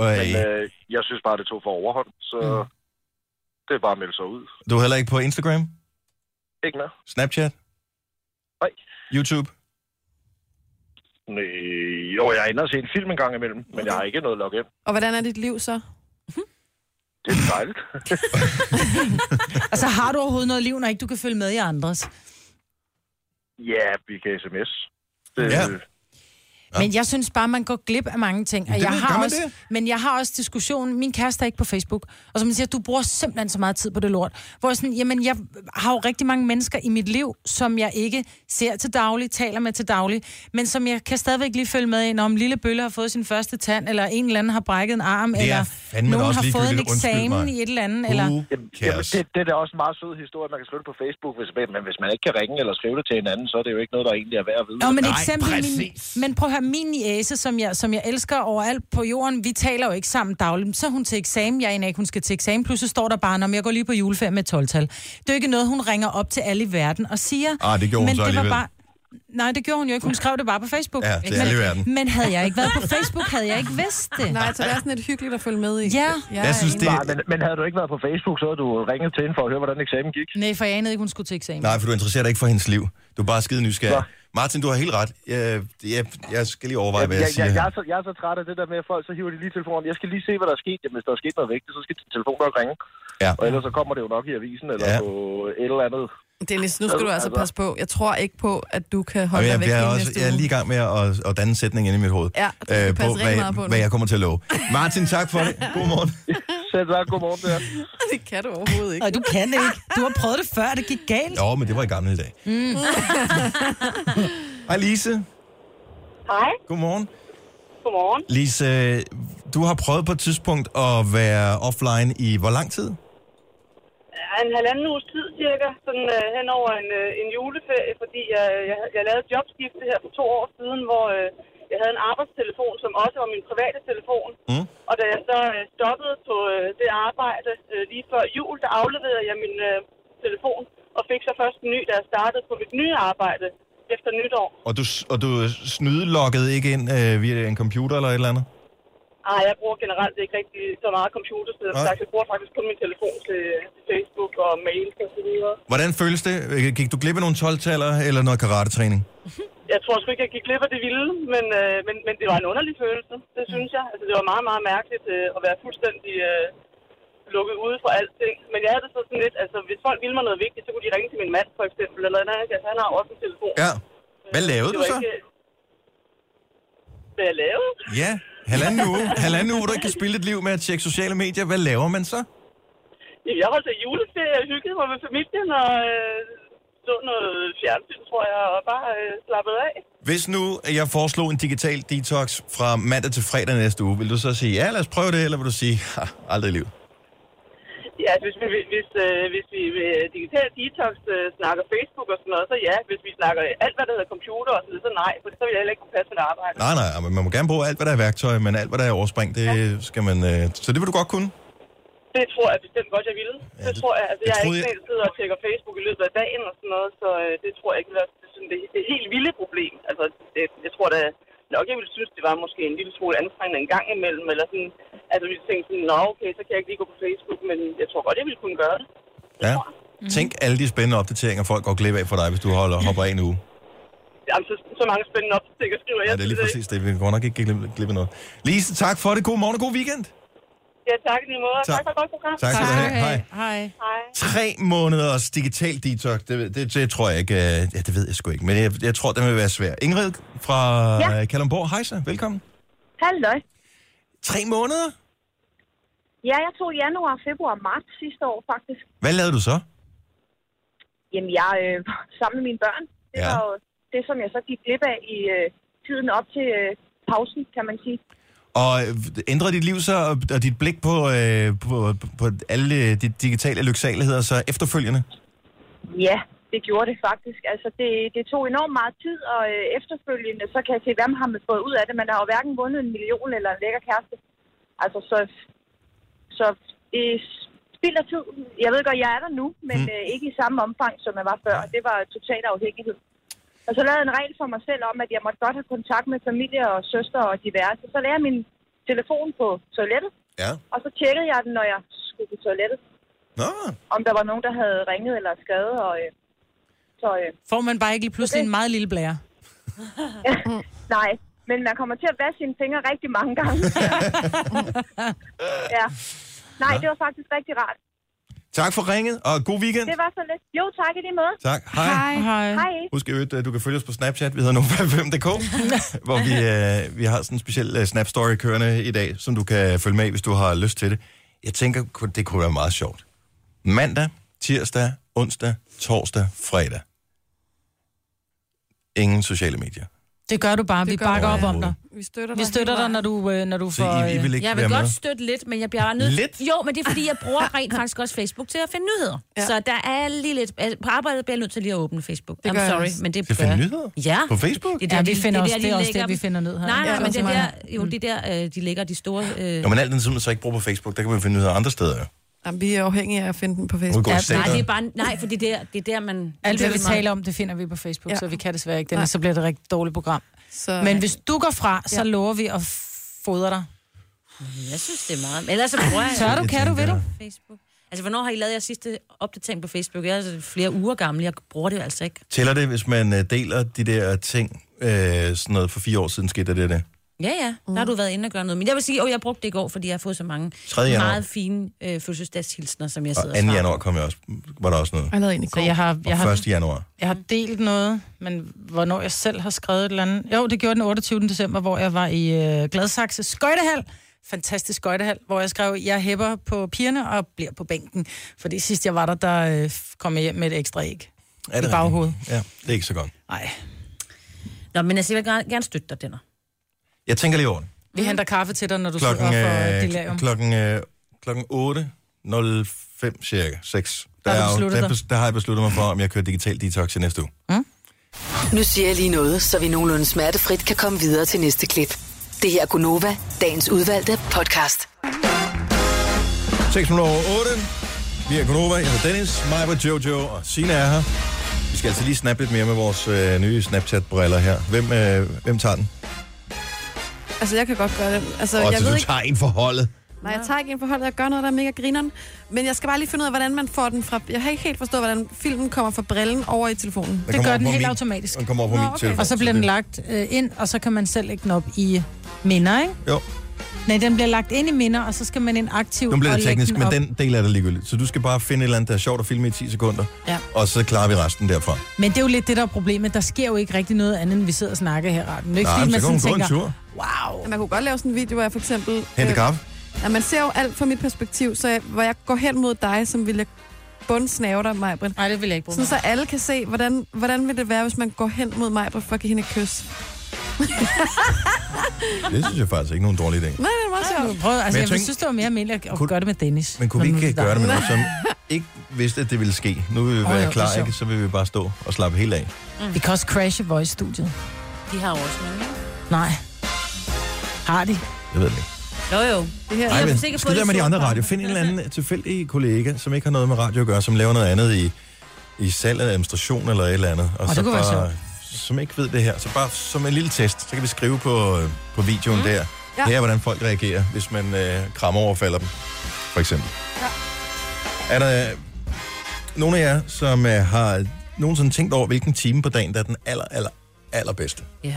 [SPEAKER 1] Og,
[SPEAKER 9] Men
[SPEAKER 1] øh,
[SPEAKER 9] øh, jeg synes bare, det tog for overhånd, så mm. det er bare at melde sig ud.
[SPEAKER 1] du er heller ikke på Instagram,
[SPEAKER 9] Ikke mere?
[SPEAKER 1] Snapchat,
[SPEAKER 9] Nej.
[SPEAKER 1] YouTube?
[SPEAKER 9] Nej. Jo, jeg er inde og se en film en gang imellem, men jeg har ikke noget login.
[SPEAKER 4] Og hvordan er dit liv så?
[SPEAKER 9] Det er dejligt.
[SPEAKER 3] Altså, har du overhovedet noget liv, når ikke du kan følge med i andres?
[SPEAKER 9] ja, vi kan sms. Det,
[SPEAKER 1] Ja.
[SPEAKER 9] ja.
[SPEAKER 1] Ja.
[SPEAKER 3] Men jeg synes bare, man går glip af mange ting. Og
[SPEAKER 1] Det
[SPEAKER 3] jeg
[SPEAKER 1] ved-
[SPEAKER 3] har
[SPEAKER 1] gør man
[SPEAKER 3] også,
[SPEAKER 1] det?
[SPEAKER 3] Men jeg har også diskussionen, min kæreste er ikke på Facebook, og som man siger, du bruger simpelthen så meget tid på det lort. Hvor jeg sådan, jamen, jeg har jo rigtig mange mennesker i mit liv, som jeg ikke ser til daglig, taler med til daglig, men som jeg kan stadigvæk lige følge med i, når om lille Bølle har fået sin første tand, eller en eller anden har brækket en arm,
[SPEAKER 1] er
[SPEAKER 3] eller
[SPEAKER 1] fandme da
[SPEAKER 3] nogen
[SPEAKER 1] også
[SPEAKER 3] har fået en
[SPEAKER 1] ligegyldigt. Undskyld
[SPEAKER 3] eksamen
[SPEAKER 1] mig.
[SPEAKER 3] i et eller andet, eller...
[SPEAKER 1] Who
[SPEAKER 9] Jamen, jamen,
[SPEAKER 1] cares?
[SPEAKER 9] det, det er da også en meget sød historie, man kan skrive det på Facebook, hvis, men hvis man ikke kan ringe eller skrive det til hinanden, så er det jo ikke noget, der egentlig er værd at vide.
[SPEAKER 3] Nå, men,
[SPEAKER 1] Nej,
[SPEAKER 3] eksempel min,
[SPEAKER 1] præcis.
[SPEAKER 3] men prøv at høre, min niæse, som jeg, som jeg elsker overalt på jorden, vi taler jo ikke sammen dagligt. Så er hun til eksamen, jeg aner ikke, hun skal til eksamen. Pludselig står der bare, om jeg går lige på juleferie med 12-tal. Det er jo ikke noget, hun ringer op til alle i verden og siger.
[SPEAKER 1] Ah, det gjorde hun
[SPEAKER 3] men
[SPEAKER 1] så
[SPEAKER 3] det var
[SPEAKER 1] alligevel.
[SPEAKER 3] bare, Nej, det gjorde hun jo ikke. Hun skrev det bare på Facebook.
[SPEAKER 1] Ja, til
[SPEAKER 3] men,
[SPEAKER 1] alle i verden.
[SPEAKER 3] Men havde jeg ikke været på Facebook, havde jeg ikke vidst det.
[SPEAKER 4] Nej, så det er sådan lidt hyggeligt at følge med i.
[SPEAKER 3] Ja.
[SPEAKER 4] Jeg,
[SPEAKER 1] Jeg
[SPEAKER 4] er
[SPEAKER 1] synes,
[SPEAKER 4] enig.
[SPEAKER 1] det...
[SPEAKER 9] Nej, men, men havde du ikke været på Facebook, så havde du ringet til hende for at høre, hvordan eksamen gik.
[SPEAKER 3] Nej, for jeg anede ikke, hun skulle til eksamen.
[SPEAKER 1] Nej, for du interesserer dig ikke for hendes liv. Du er bare skide nysgerrig.
[SPEAKER 9] Nå.
[SPEAKER 1] Martin, du har helt ret. Jeg, jeg, jeg skal lige overveje, hvad jeg,
[SPEAKER 9] jeg,
[SPEAKER 1] siger.
[SPEAKER 9] jeg, jeg,
[SPEAKER 1] her.
[SPEAKER 9] er så, jeg er så træt af det der med, at folk så hiver de lige telefonen. Jeg skal lige se, hvad der er sket. Jamen, hvis der er sket noget vigtigt, så skal telefonen nok ringe.
[SPEAKER 1] Ja.
[SPEAKER 9] Og ellers så kommer det jo nok i avisen eller
[SPEAKER 1] Ja.
[SPEAKER 9] ja. på et eller andet.
[SPEAKER 4] Dennis, nu skal du altså passe på. Jeg tror ikke på, at du kan holde
[SPEAKER 1] Jamen,
[SPEAKER 4] dig væk
[SPEAKER 1] jeg, jeg, er
[SPEAKER 4] hele
[SPEAKER 1] også,
[SPEAKER 4] næste
[SPEAKER 1] jeg er
[SPEAKER 4] uge.
[SPEAKER 1] lige i gang med at, at danne en sætning inde i mit hoved. Øh,
[SPEAKER 4] Ja, du skal passe rigtig
[SPEAKER 1] hvad,
[SPEAKER 4] meget på nu.
[SPEAKER 1] hvad jeg kommer til at love. Martin, tak for det. God morgen.
[SPEAKER 9] Selv tak, godmorgen der.
[SPEAKER 4] Det kan du overhovedet ikke.
[SPEAKER 3] Og du kan det ikke. Du har prøvet det før, det gik galt.
[SPEAKER 1] Jo, men det var i gamle dage. Mm. Hej Lise.
[SPEAKER 10] Hej,
[SPEAKER 1] Godmorgen.
[SPEAKER 10] godmorgen.
[SPEAKER 1] Lise, du har prøvet på et tidspunkt at være offline i hvor lang tid?
[SPEAKER 10] Ja, En halvanden uges tid cirka, sådan øh, hen over en, øh, en juleferie, fordi jeg, jeg, jeg lavede et jobskifte her for to år siden, hvor øh, jeg havde en arbejdstelefon, som også var min private telefon.
[SPEAKER 1] Mm.
[SPEAKER 10] Og da jeg så øh, stoppede på øh, det arbejde øh, lige før jul, der afleverede jeg min øh, telefon og fik så først en ny, da jeg startede på mit nye arbejde. efter nytår.
[SPEAKER 1] Og du, s- og du snydeloggede ikke ind øh, via en computer eller et eller andet?
[SPEAKER 10] Ej, jeg bruger generelt ikke rigtig så meget computer, så
[SPEAKER 1] Nej.
[SPEAKER 10] jeg bruger faktisk kun min telefon til øh, til Facebook og mail og så videre.
[SPEAKER 1] Hvordan føles det? Øh, Gik du glip af nogle 12-taller eller noget karate-træning?
[SPEAKER 10] Jeg tror sgu ikke, jeg gik glip af det vilde, men, øh, men, men det var en underlig følelse, det synes jeg. Altså, det var meget, meget mærkeligt øh, at være fuldstændig øh, lukket ude for alting. Men jeg havde det så sådan lidt, altså hvis folk ville mig noget vigtigt, så kunne de ringe til min mand for eksempel, eller noget andet. Altså, han har jo også en telefon.
[SPEAKER 1] Ja. Hvad lavede
[SPEAKER 10] Det
[SPEAKER 1] du
[SPEAKER 10] var
[SPEAKER 1] så?
[SPEAKER 10] Ikke, øh, hvad jeg lavede?
[SPEAKER 1] Ja, halvanden uge. Halvanden uge, du ikke kan spille dit liv med at tjekke sociale medier. Hvad laver man så?
[SPEAKER 10] Jamen, jeg holdt af juleferie og hyggede mig med familien og øh, så noget fjernsyn, tror jeg, og bare øh, slappede af.
[SPEAKER 1] Hvis nu at jeg foreslog en digital detox fra mandag til fredag næste uge, vil du så sige, ja, lad os prøve det, eller vil du sige, "Ha, aldrig i livet?
[SPEAKER 10] Ja, altså, hvis vi, hvis, øh, hvis vi ved digital detox øh, snakker Facebook og sådan noget, så ja. Hvis vi snakker alt, hvad der hedder computer og sådan noget, så nej, for så vil jeg heller ikke kunne passe mit arbejde.
[SPEAKER 1] Nej, nej, men man må gerne bruge alt, hvad der er værktøj, men alt, hvad der er overspring, det ja. skal man... Øh, så det vil du godt kunne?
[SPEAKER 10] Det tror jeg bestemt godt, jeg ville. Ja, det, det, tror jeg. Altså,
[SPEAKER 1] det
[SPEAKER 10] jeg er
[SPEAKER 1] troede
[SPEAKER 10] ikke sådan, en, der sidder og tjekker Facebook i løbet af dagen og sådan noget, så øh, det tror jeg ikke vil være det, er sådan, det, det helt vilde problem. Altså, det, jeg tror da nok, jeg ville synes, det var måske en lille smule anstrengende en gang imellem, eller sådan, altså, vi tænkte sådan, nå, okay, så kan jeg ikke lige gå på Facebook, men jeg tror godt, jeg ville kunne gøre det.
[SPEAKER 1] Ja. Tænk alle de spændende opdateringer, folk går glip af for dig, hvis du holder hopper af en uge.
[SPEAKER 10] Jamen, så, så mange spændende opstikker skriver jeg.
[SPEAKER 1] Ja, det er lige
[SPEAKER 10] til
[SPEAKER 1] præcis det. Vi går nok ikke glip- glip af noget. Lise, tak for det. God morgen og god weekend.
[SPEAKER 10] Ja, tak i lige måde.
[SPEAKER 1] Tak.
[SPEAKER 10] Tak, tak for et godt program.
[SPEAKER 1] Tak skal du have. Hej.
[SPEAKER 3] Hej.
[SPEAKER 10] Hej.
[SPEAKER 1] Tre måneders digital detox, det, det, det tror jeg ikke... øh, Ja, det ved jeg sgu ikke, men jeg, jeg tror, det vil være svært. Ingrid fra ja.
[SPEAKER 11] Ja.
[SPEAKER 1] Kalundborg, hej så. Velkommen.
[SPEAKER 11] Halløj.
[SPEAKER 1] Tre måneder?
[SPEAKER 11] Ja, jeg tog januar, februar, marts sidste år faktisk.
[SPEAKER 1] Hvad lavede du så?
[SPEAKER 11] Jamen, jeg øh, sammen med mine børn. Det
[SPEAKER 1] Ja.
[SPEAKER 11] var jo det, som jeg så gik glip af i øh, tiden op til øh, pausen, kan man sige.
[SPEAKER 1] Og øh, ændrede dit liv så, og- og dit blik på, øh, på, på- på alle øh, de digitale lyksaligheder så efterfølgende?
[SPEAKER 11] Ja, det gjorde det faktisk. Altså, det, det tog enormt meget tid, og øh, efterfølgende, så kan jeg se, hvad man har man fået ud af det. Man har jo hverken vundet en million eller en lækker kæreste. Altså, så, så det er spild af tid. Jeg ved godt, jeg er der nu, men
[SPEAKER 1] Mm.
[SPEAKER 11] mm. øh, ikke i samme omfang, som jeg var før. Og det var total afhængighed. Og så lavede jeg en regel for mig selv om, at jeg måtte godt have kontakt med familie og søster og diverse. Så lagde jeg min telefon på toilettet,
[SPEAKER 1] Ja.
[SPEAKER 11] og så tjekkede jeg den, når jeg skulle på toilettet
[SPEAKER 1] Nå.
[SPEAKER 11] om der var nogen, der havde ringet eller skrevet. Og, øh, så, øh,
[SPEAKER 3] Får man bare ikke lige pludselig en meget lille blære?
[SPEAKER 11] nej, men man kommer til at vaske sine fingre rigtig mange gange. ja. Nej, det var faktisk rigtig rart.
[SPEAKER 1] Tak for ringet, og god weekend.
[SPEAKER 11] Det var så lidt. Jo, tak i lige måde.
[SPEAKER 1] Tak. Hej.
[SPEAKER 3] Hej.
[SPEAKER 11] Hej.
[SPEAKER 1] Husk i øvrigt, at du kan følge os på Snapchat. Vi hedder Nova5.dk, hvor vi, øh, vi har sådan en speciel øh, Snap-story kørende i dag, som du kan følge med i, hvis du har lyst til det. Jeg tænker, ku- det kunne være meget sjovt. Mandag, tirsdag, onsdag, torsdag, fredag. Ingen sociale medier.
[SPEAKER 3] Det gør du bare.
[SPEAKER 2] Det
[SPEAKER 3] vi
[SPEAKER 2] gør
[SPEAKER 3] bakker
[SPEAKER 1] du.
[SPEAKER 3] op om dig.
[SPEAKER 4] Vi støtter
[SPEAKER 3] Vi støtter dig, når du, øh, når du
[SPEAKER 1] Så
[SPEAKER 3] får...
[SPEAKER 1] I- I vil ikke
[SPEAKER 2] Jeg
[SPEAKER 1] være
[SPEAKER 2] vil
[SPEAKER 1] med?
[SPEAKER 2] godt støtte lidt, men jeg bliver bare nødt...
[SPEAKER 1] Lidt?
[SPEAKER 2] Jo, men det er, fordi jeg bruger rent faktisk også Facebook til at finde nyheder. Ja. Så der er lige lidt... altså, På arbejdet bliver jeg nødt til lige at åbne Facebook.
[SPEAKER 3] Det
[SPEAKER 2] I'm
[SPEAKER 3] gør jeg
[SPEAKER 2] sorry,
[SPEAKER 3] også.
[SPEAKER 2] men det
[SPEAKER 1] Til at finde
[SPEAKER 2] gør jeg.
[SPEAKER 1] nyheder?
[SPEAKER 2] Ja.
[SPEAKER 1] På Facebook?
[SPEAKER 3] Ja, vi
[SPEAKER 2] de-
[SPEAKER 3] finder
[SPEAKER 2] er
[SPEAKER 3] også-
[SPEAKER 2] de
[SPEAKER 3] det er også
[SPEAKER 2] lægger
[SPEAKER 3] der, vi
[SPEAKER 2] dem.
[SPEAKER 3] finder nyheder.
[SPEAKER 2] Nej,
[SPEAKER 3] Ja,
[SPEAKER 2] nej, men det
[SPEAKER 3] også
[SPEAKER 2] er der, jo, det er der, øh, de lægger de store... øh,
[SPEAKER 1] Jo, men alt den tid, man så ikke bruger på Facebook, der kan man finde nyheder andre steder. jo.
[SPEAKER 4] Jamen, vi er afhængige af at finde den på
[SPEAKER 1] Udgå
[SPEAKER 4] Facebook.
[SPEAKER 1] i stedet.
[SPEAKER 2] Nej, det er bare, nej, for det er der, det er der man...
[SPEAKER 3] Alt, hvad vi
[SPEAKER 2] meget-
[SPEAKER 3] taler om, det finder vi på Facebook,
[SPEAKER 2] Ja.
[SPEAKER 3] ja. så vi kan desværre ikke det,
[SPEAKER 2] Nej.
[SPEAKER 3] så bliver det et rigtig dårligt program.
[SPEAKER 4] Så...
[SPEAKER 3] Men hvis du går fra, så
[SPEAKER 2] Ja.
[SPEAKER 3] lover vi at fodre dig.
[SPEAKER 2] Jeg synes, det er meget. Men ellers så bruger jeg...
[SPEAKER 3] Tør du, kan du, vil du?
[SPEAKER 2] Facebook. Altså, hvornår har I lavet jeres sidste opdatering på Facebook? Jeg er altså flere uger gammel, jeg bruger det altså ikke.
[SPEAKER 1] Tæller det, hvis man øh, deler de der ting, øh, sådan noget for fire år siden skete der det der?
[SPEAKER 2] Ja, ja, der
[SPEAKER 3] Mm.
[SPEAKER 2] har du været inde og gøre noget. Men jeg vil sige, at jeg brugte det i går, fordi jeg har fået så mange
[SPEAKER 1] 3. januar.
[SPEAKER 2] meget fine øh, fødselsdagshilsner, som jeg sidder
[SPEAKER 1] Og 2.
[SPEAKER 2] svarer
[SPEAKER 1] januar kom jeg også, var der også noget.
[SPEAKER 4] Jeg lavede en i
[SPEAKER 3] Så jeg har, jeg,
[SPEAKER 1] Og
[SPEAKER 3] har,
[SPEAKER 1] 1. januar.
[SPEAKER 3] jeg har delt noget, men hvornår jeg selv har skrevet et eller andet. Jo, det gjorde den 28. december, hvor jeg var i øh, Gladsaxe Skøjtehal. Fantastisk skøjtehal, hvor jeg skrev, jeg hæpper på pigerne og bliver på bænken. Fordi sidst jeg var der, der øh, kom jeg hjem med et ekstra æg.
[SPEAKER 1] Er det
[SPEAKER 3] I baghovedet.
[SPEAKER 1] rigtigt? Ja, det er ikke så godt.
[SPEAKER 3] Nej.
[SPEAKER 2] Nå, men altså, jeg vil gerne, gerne støtte dig, Denner.
[SPEAKER 1] Jeg tænker lige over det.
[SPEAKER 3] Vi
[SPEAKER 2] Mm.
[SPEAKER 3] henter kaffe til dig, når du
[SPEAKER 1] Klokken,
[SPEAKER 3] sidder for øh,
[SPEAKER 1] øh,
[SPEAKER 3] delirium.
[SPEAKER 1] klokken, øh, klokken 8.05 cirka, 6. Der,
[SPEAKER 5] Der har du
[SPEAKER 1] er jo-
[SPEAKER 5] besluttet
[SPEAKER 1] der,
[SPEAKER 5] dig.
[SPEAKER 1] bes- der har jeg besluttet mig for, om jeg kører digital detox i næste uge.
[SPEAKER 5] Nu siger jeg lige noget, så vi nogenlunde smertefrit kan komme videre til næste klip. Det her er Gunova, dagens udvalgte podcast.
[SPEAKER 1] 6 minutter over 8. Vi er Gunova, jeg hedder Dennis, mig var Jojo, og Sina er her. Vi skal altså lige snappe lidt mere med vores øh, nye Snapchat-briller her. Hvem, øh, hvem tager den?
[SPEAKER 4] Altså, jeg kan godt gøre det. Altså,
[SPEAKER 1] Og
[SPEAKER 4] jeg
[SPEAKER 1] altså,
[SPEAKER 4] ved
[SPEAKER 1] du
[SPEAKER 4] ikke,
[SPEAKER 1] tager en for holdet.
[SPEAKER 4] nej, jeg tager ikke ind på holdet, jeg gør noget, der er mega grineren. Men jeg skal bare lige finde ud af, hvordan man får den fra... Jeg har ikke helt forstået, hvordan filmen kommer fra brillen over i telefonen.
[SPEAKER 1] Den kommer op på min- Den kommer op på min telefon.
[SPEAKER 3] Og så bliver
[SPEAKER 1] det-
[SPEAKER 3] den lagt øh, ind, og så kan man selv lægge den op i minder, ikke?
[SPEAKER 1] Jo.
[SPEAKER 3] Nej, den bliver lagt ind i minder, og så skal man ind aktivt
[SPEAKER 1] Nu bliver
[SPEAKER 3] og
[SPEAKER 1] det
[SPEAKER 3] lægge
[SPEAKER 1] teknisk,
[SPEAKER 3] den
[SPEAKER 1] men
[SPEAKER 3] op.
[SPEAKER 1] den del er der ligegyldigt. Så du skal bare finde et eller andet, der er sjovt at filme i 10 sekunder,
[SPEAKER 3] Ja.
[SPEAKER 1] og så klarer vi resten derfra.
[SPEAKER 3] Men det er jo lidt det, der er problemet. Der sker jo ikke rigtig noget andet, end vi sidder og snakker her. i radioen. Det er ikke,
[SPEAKER 1] Nej,
[SPEAKER 3] fordi
[SPEAKER 1] men
[SPEAKER 3] man
[SPEAKER 1] så kan
[SPEAKER 3] sådan
[SPEAKER 1] hun gå en
[SPEAKER 3] tænker, Øh.
[SPEAKER 1] tur.
[SPEAKER 3] wow.
[SPEAKER 4] Man kunne godt lave sådan en video, hvor jeg for eksempel...
[SPEAKER 1] Hente kaffe.
[SPEAKER 4] Ja, man ser jo alt fra mit perspektiv, så jeg, hvor jeg går hen mod dig, som ville jeg bundsnave dig, Majbrit.
[SPEAKER 3] Nej, det vil jeg ikke bruge
[SPEAKER 4] Sådan, så alle kan se, hvordan, hvordan vil det være, hvis man går hen mod Majbrit for at give hende et kys.
[SPEAKER 1] Det synes jeg faktisk ikke er nogen dårlig idé.
[SPEAKER 4] Nej, det er meget
[SPEAKER 1] Ah.
[SPEAKER 4] sjovt.
[SPEAKER 3] Prøv,
[SPEAKER 1] Men jeg
[SPEAKER 3] altså, jeg, jeg
[SPEAKER 1] tænker-
[SPEAKER 3] synes, det var mere almindeligt at kunne... gøre det med Dennis.
[SPEAKER 1] Men kunne vi
[SPEAKER 3] Når
[SPEAKER 1] ikke
[SPEAKER 3] nu er
[SPEAKER 1] gøre det med
[SPEAKER 3] der.
[SPEAKER 1] nogen, som ikke vidste, at det ville ske? Nu vil vi
[SPEAKER 3] Åh,
[SPEAKER 1] være
[SPEAKER 3] jo, det
[SPEAKER 1] klar,
[SPEAKER 3] er
[SPEAKER 1] ikke? Så vil vi bare stå og slappe helt af.
[SPEAKER 3] Vi kan også crashe Voice-studiet.
[SPEAKER 2] De har jo også noget, ikke?
[SPEAKER 3] Nej. Har de?
[SPEAKER 1] Jeg ved det ikke.
[SPEAKER 2] Jo, jo. Det her.
[SPEAKER 1] Nej,
[SPEAKER 2] Jeg
[SPEAKER 1] men
[SPEAKER 2] er sikker på,
[SPEAKER 1] skid der med de
[SPEAKER 2] så
[SPEAKER 1] andre
[SPEAKER 2] godt.
[SPEAKER 1] radio. Find en eller anden tilfældig kollega, som ikke har noget med radio at gøre, som laver noget andet i, i salg eller administration eller et eller andet. Og,
[SPEAKER 3] Åh, det
[SPEAKER 1] så
[SPEAKER 3] kunne være
[SPEAKER 1] bare,
[SPEAKER 3] sjovt.
[SPEAKER 1] som ikke ved det her. Så bare som en lille test, så kan vi skrive på, øh, på videoen mm. der.
[SPEAKER 4] Ja.
[SPEAKER 1] Ja. Her er, hvordan folk reagerer, hvis man øh, krammer overfalder dem, for eksempel. Ja. Er der øh, nogen af jer, som øh, har nogensinde tænkt over, hvilken time på dagen, der er den aller, aller, allerbedste?
[SPEAKER 2] Ja.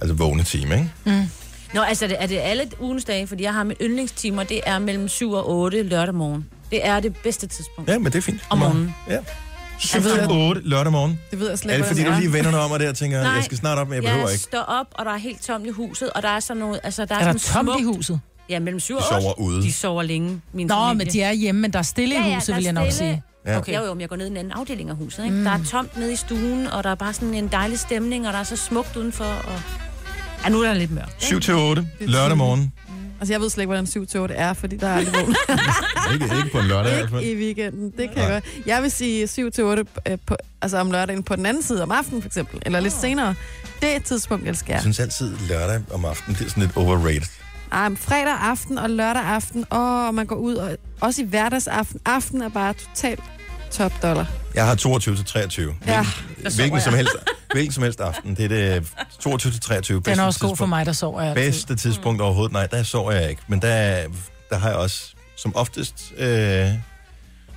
[SPEAKER 1] Altså vågne time, ikke?
[SPEAKER 2] Mm. Nå, altså, er det, er det alle ugens dage? Fordi jeg har min yndlingstimer, det er mellem 7 og 8 lørdag morgen. Det er det bedste tidspunkt.
[SPEAKER 1] Ja, men det er fint.
[SPEAKER 2] Om morgenen.
[SPEAKER 1] Ja.
[SPEAKER 2] Altså,
[SPEAKER 1] 7-8 lørdag morgen.
[SPEAKER 4] Det ved jeg slet
[SPEAKER 1] Er
[SPEAKER 4] ikke,
[SPEAKER 1] det fordi, du
[SPEAKER 4] hvordan
[SPEAKER 1] lige vender dig om og der og tænker,
[SPEAKER 2] Nej.
[SPEAKER 1] jeg skal snart op, men jeg behøver
[SPEAKER 2] jeg
[SPEAKER 1] ikke?
[SPEAKER 2] står op, og der er helt tomt i huset, og der er sådan noget... Altså, der er,
[SPEAKER 3] Er der
[SPEAKER 2] sådan
[SPEAKER 3] tomt i
[SPEAKER 2] smukt-
[SPEAKER 3] huset?
[SPEAKER 2] Ja, mellem 7 og
[SPEAKER 1] De
[SPEAKER 2] 8.
[SPEAKER 1] sover ude.
[SPEAKER 2] De sover længe, min
[SPEAKER 3] Nå,
[SPEAKER 2] familie.
[SPEAKER 3] men de er hjemme, men der er stille i huset,
[SPEAKER 2] der er
[SPEAKER 3] vil jeg nok
[SPEAKER 2] stille.
[SPEAKER 3] sige.
[SPEAKER 2] Ja.
[SPEAKER 3] Okay.
[SPEAKER 2] Okay. Jo, jo, men jeg går ned i en anden afdeling af huset. Ikke? Mm. Der er tomt nede i stuen, og der er bare sådan en dejlig stemning, og der er så smukt udenfor. Og... Ja, nu er der lidt mørkt.
[SPEAKER 1] 7-8 lørdag morgen.
[SPEAKER 4] Altså, jeg ved slet ikke, hvordan 7 til 8 er, fordi der er aldrig vågen.
[SPEAKER 1] Ikke, ikke på en lørdag i hvert
[SPEAKER 4] ikke
[SPEAKER 1] fald.
[SPEAKER 4] i weekenden, det kan jeg
[SPEAKER 1] Nej.
[SPEAKER 4] godt. Jeg vil sige 7 til 8 øh, på, altså om lørdagen på den anden side om aftenen, for eksempel. Eller lidt senere. Det er et tidspunkt, jeg elsker.
[SPEAKER 1] Jeg synes altid, lørdag om aftenen, det er sådan lidt overrated.
[SPEAKER 4] Ej, men fredag aften og lørdag aften, åh, og man går ud, og også i hverdagsaften. Aften er bare totalt top dollar.
[SPEAKER 1] Jeg har 22 til 23.
[SPEAKER 4] Ja,
[SPEAKER 1] Hvilken, hvilken, som helst, hvilken som helst aften. Det er det 22 til 23.
[SPEAKER 3] Den
[SPEAKER 1] bedste
[SPEAKER 3] er også god for
[SPEAKER 1] tidspunkt.
[SPEAKER 3] mig, der sover altid.
[SPEAKER 1] Bedste tidspunkt overhovedet. Nej, der sover jeg ikke. Men der, der har jeg også som oftest øh,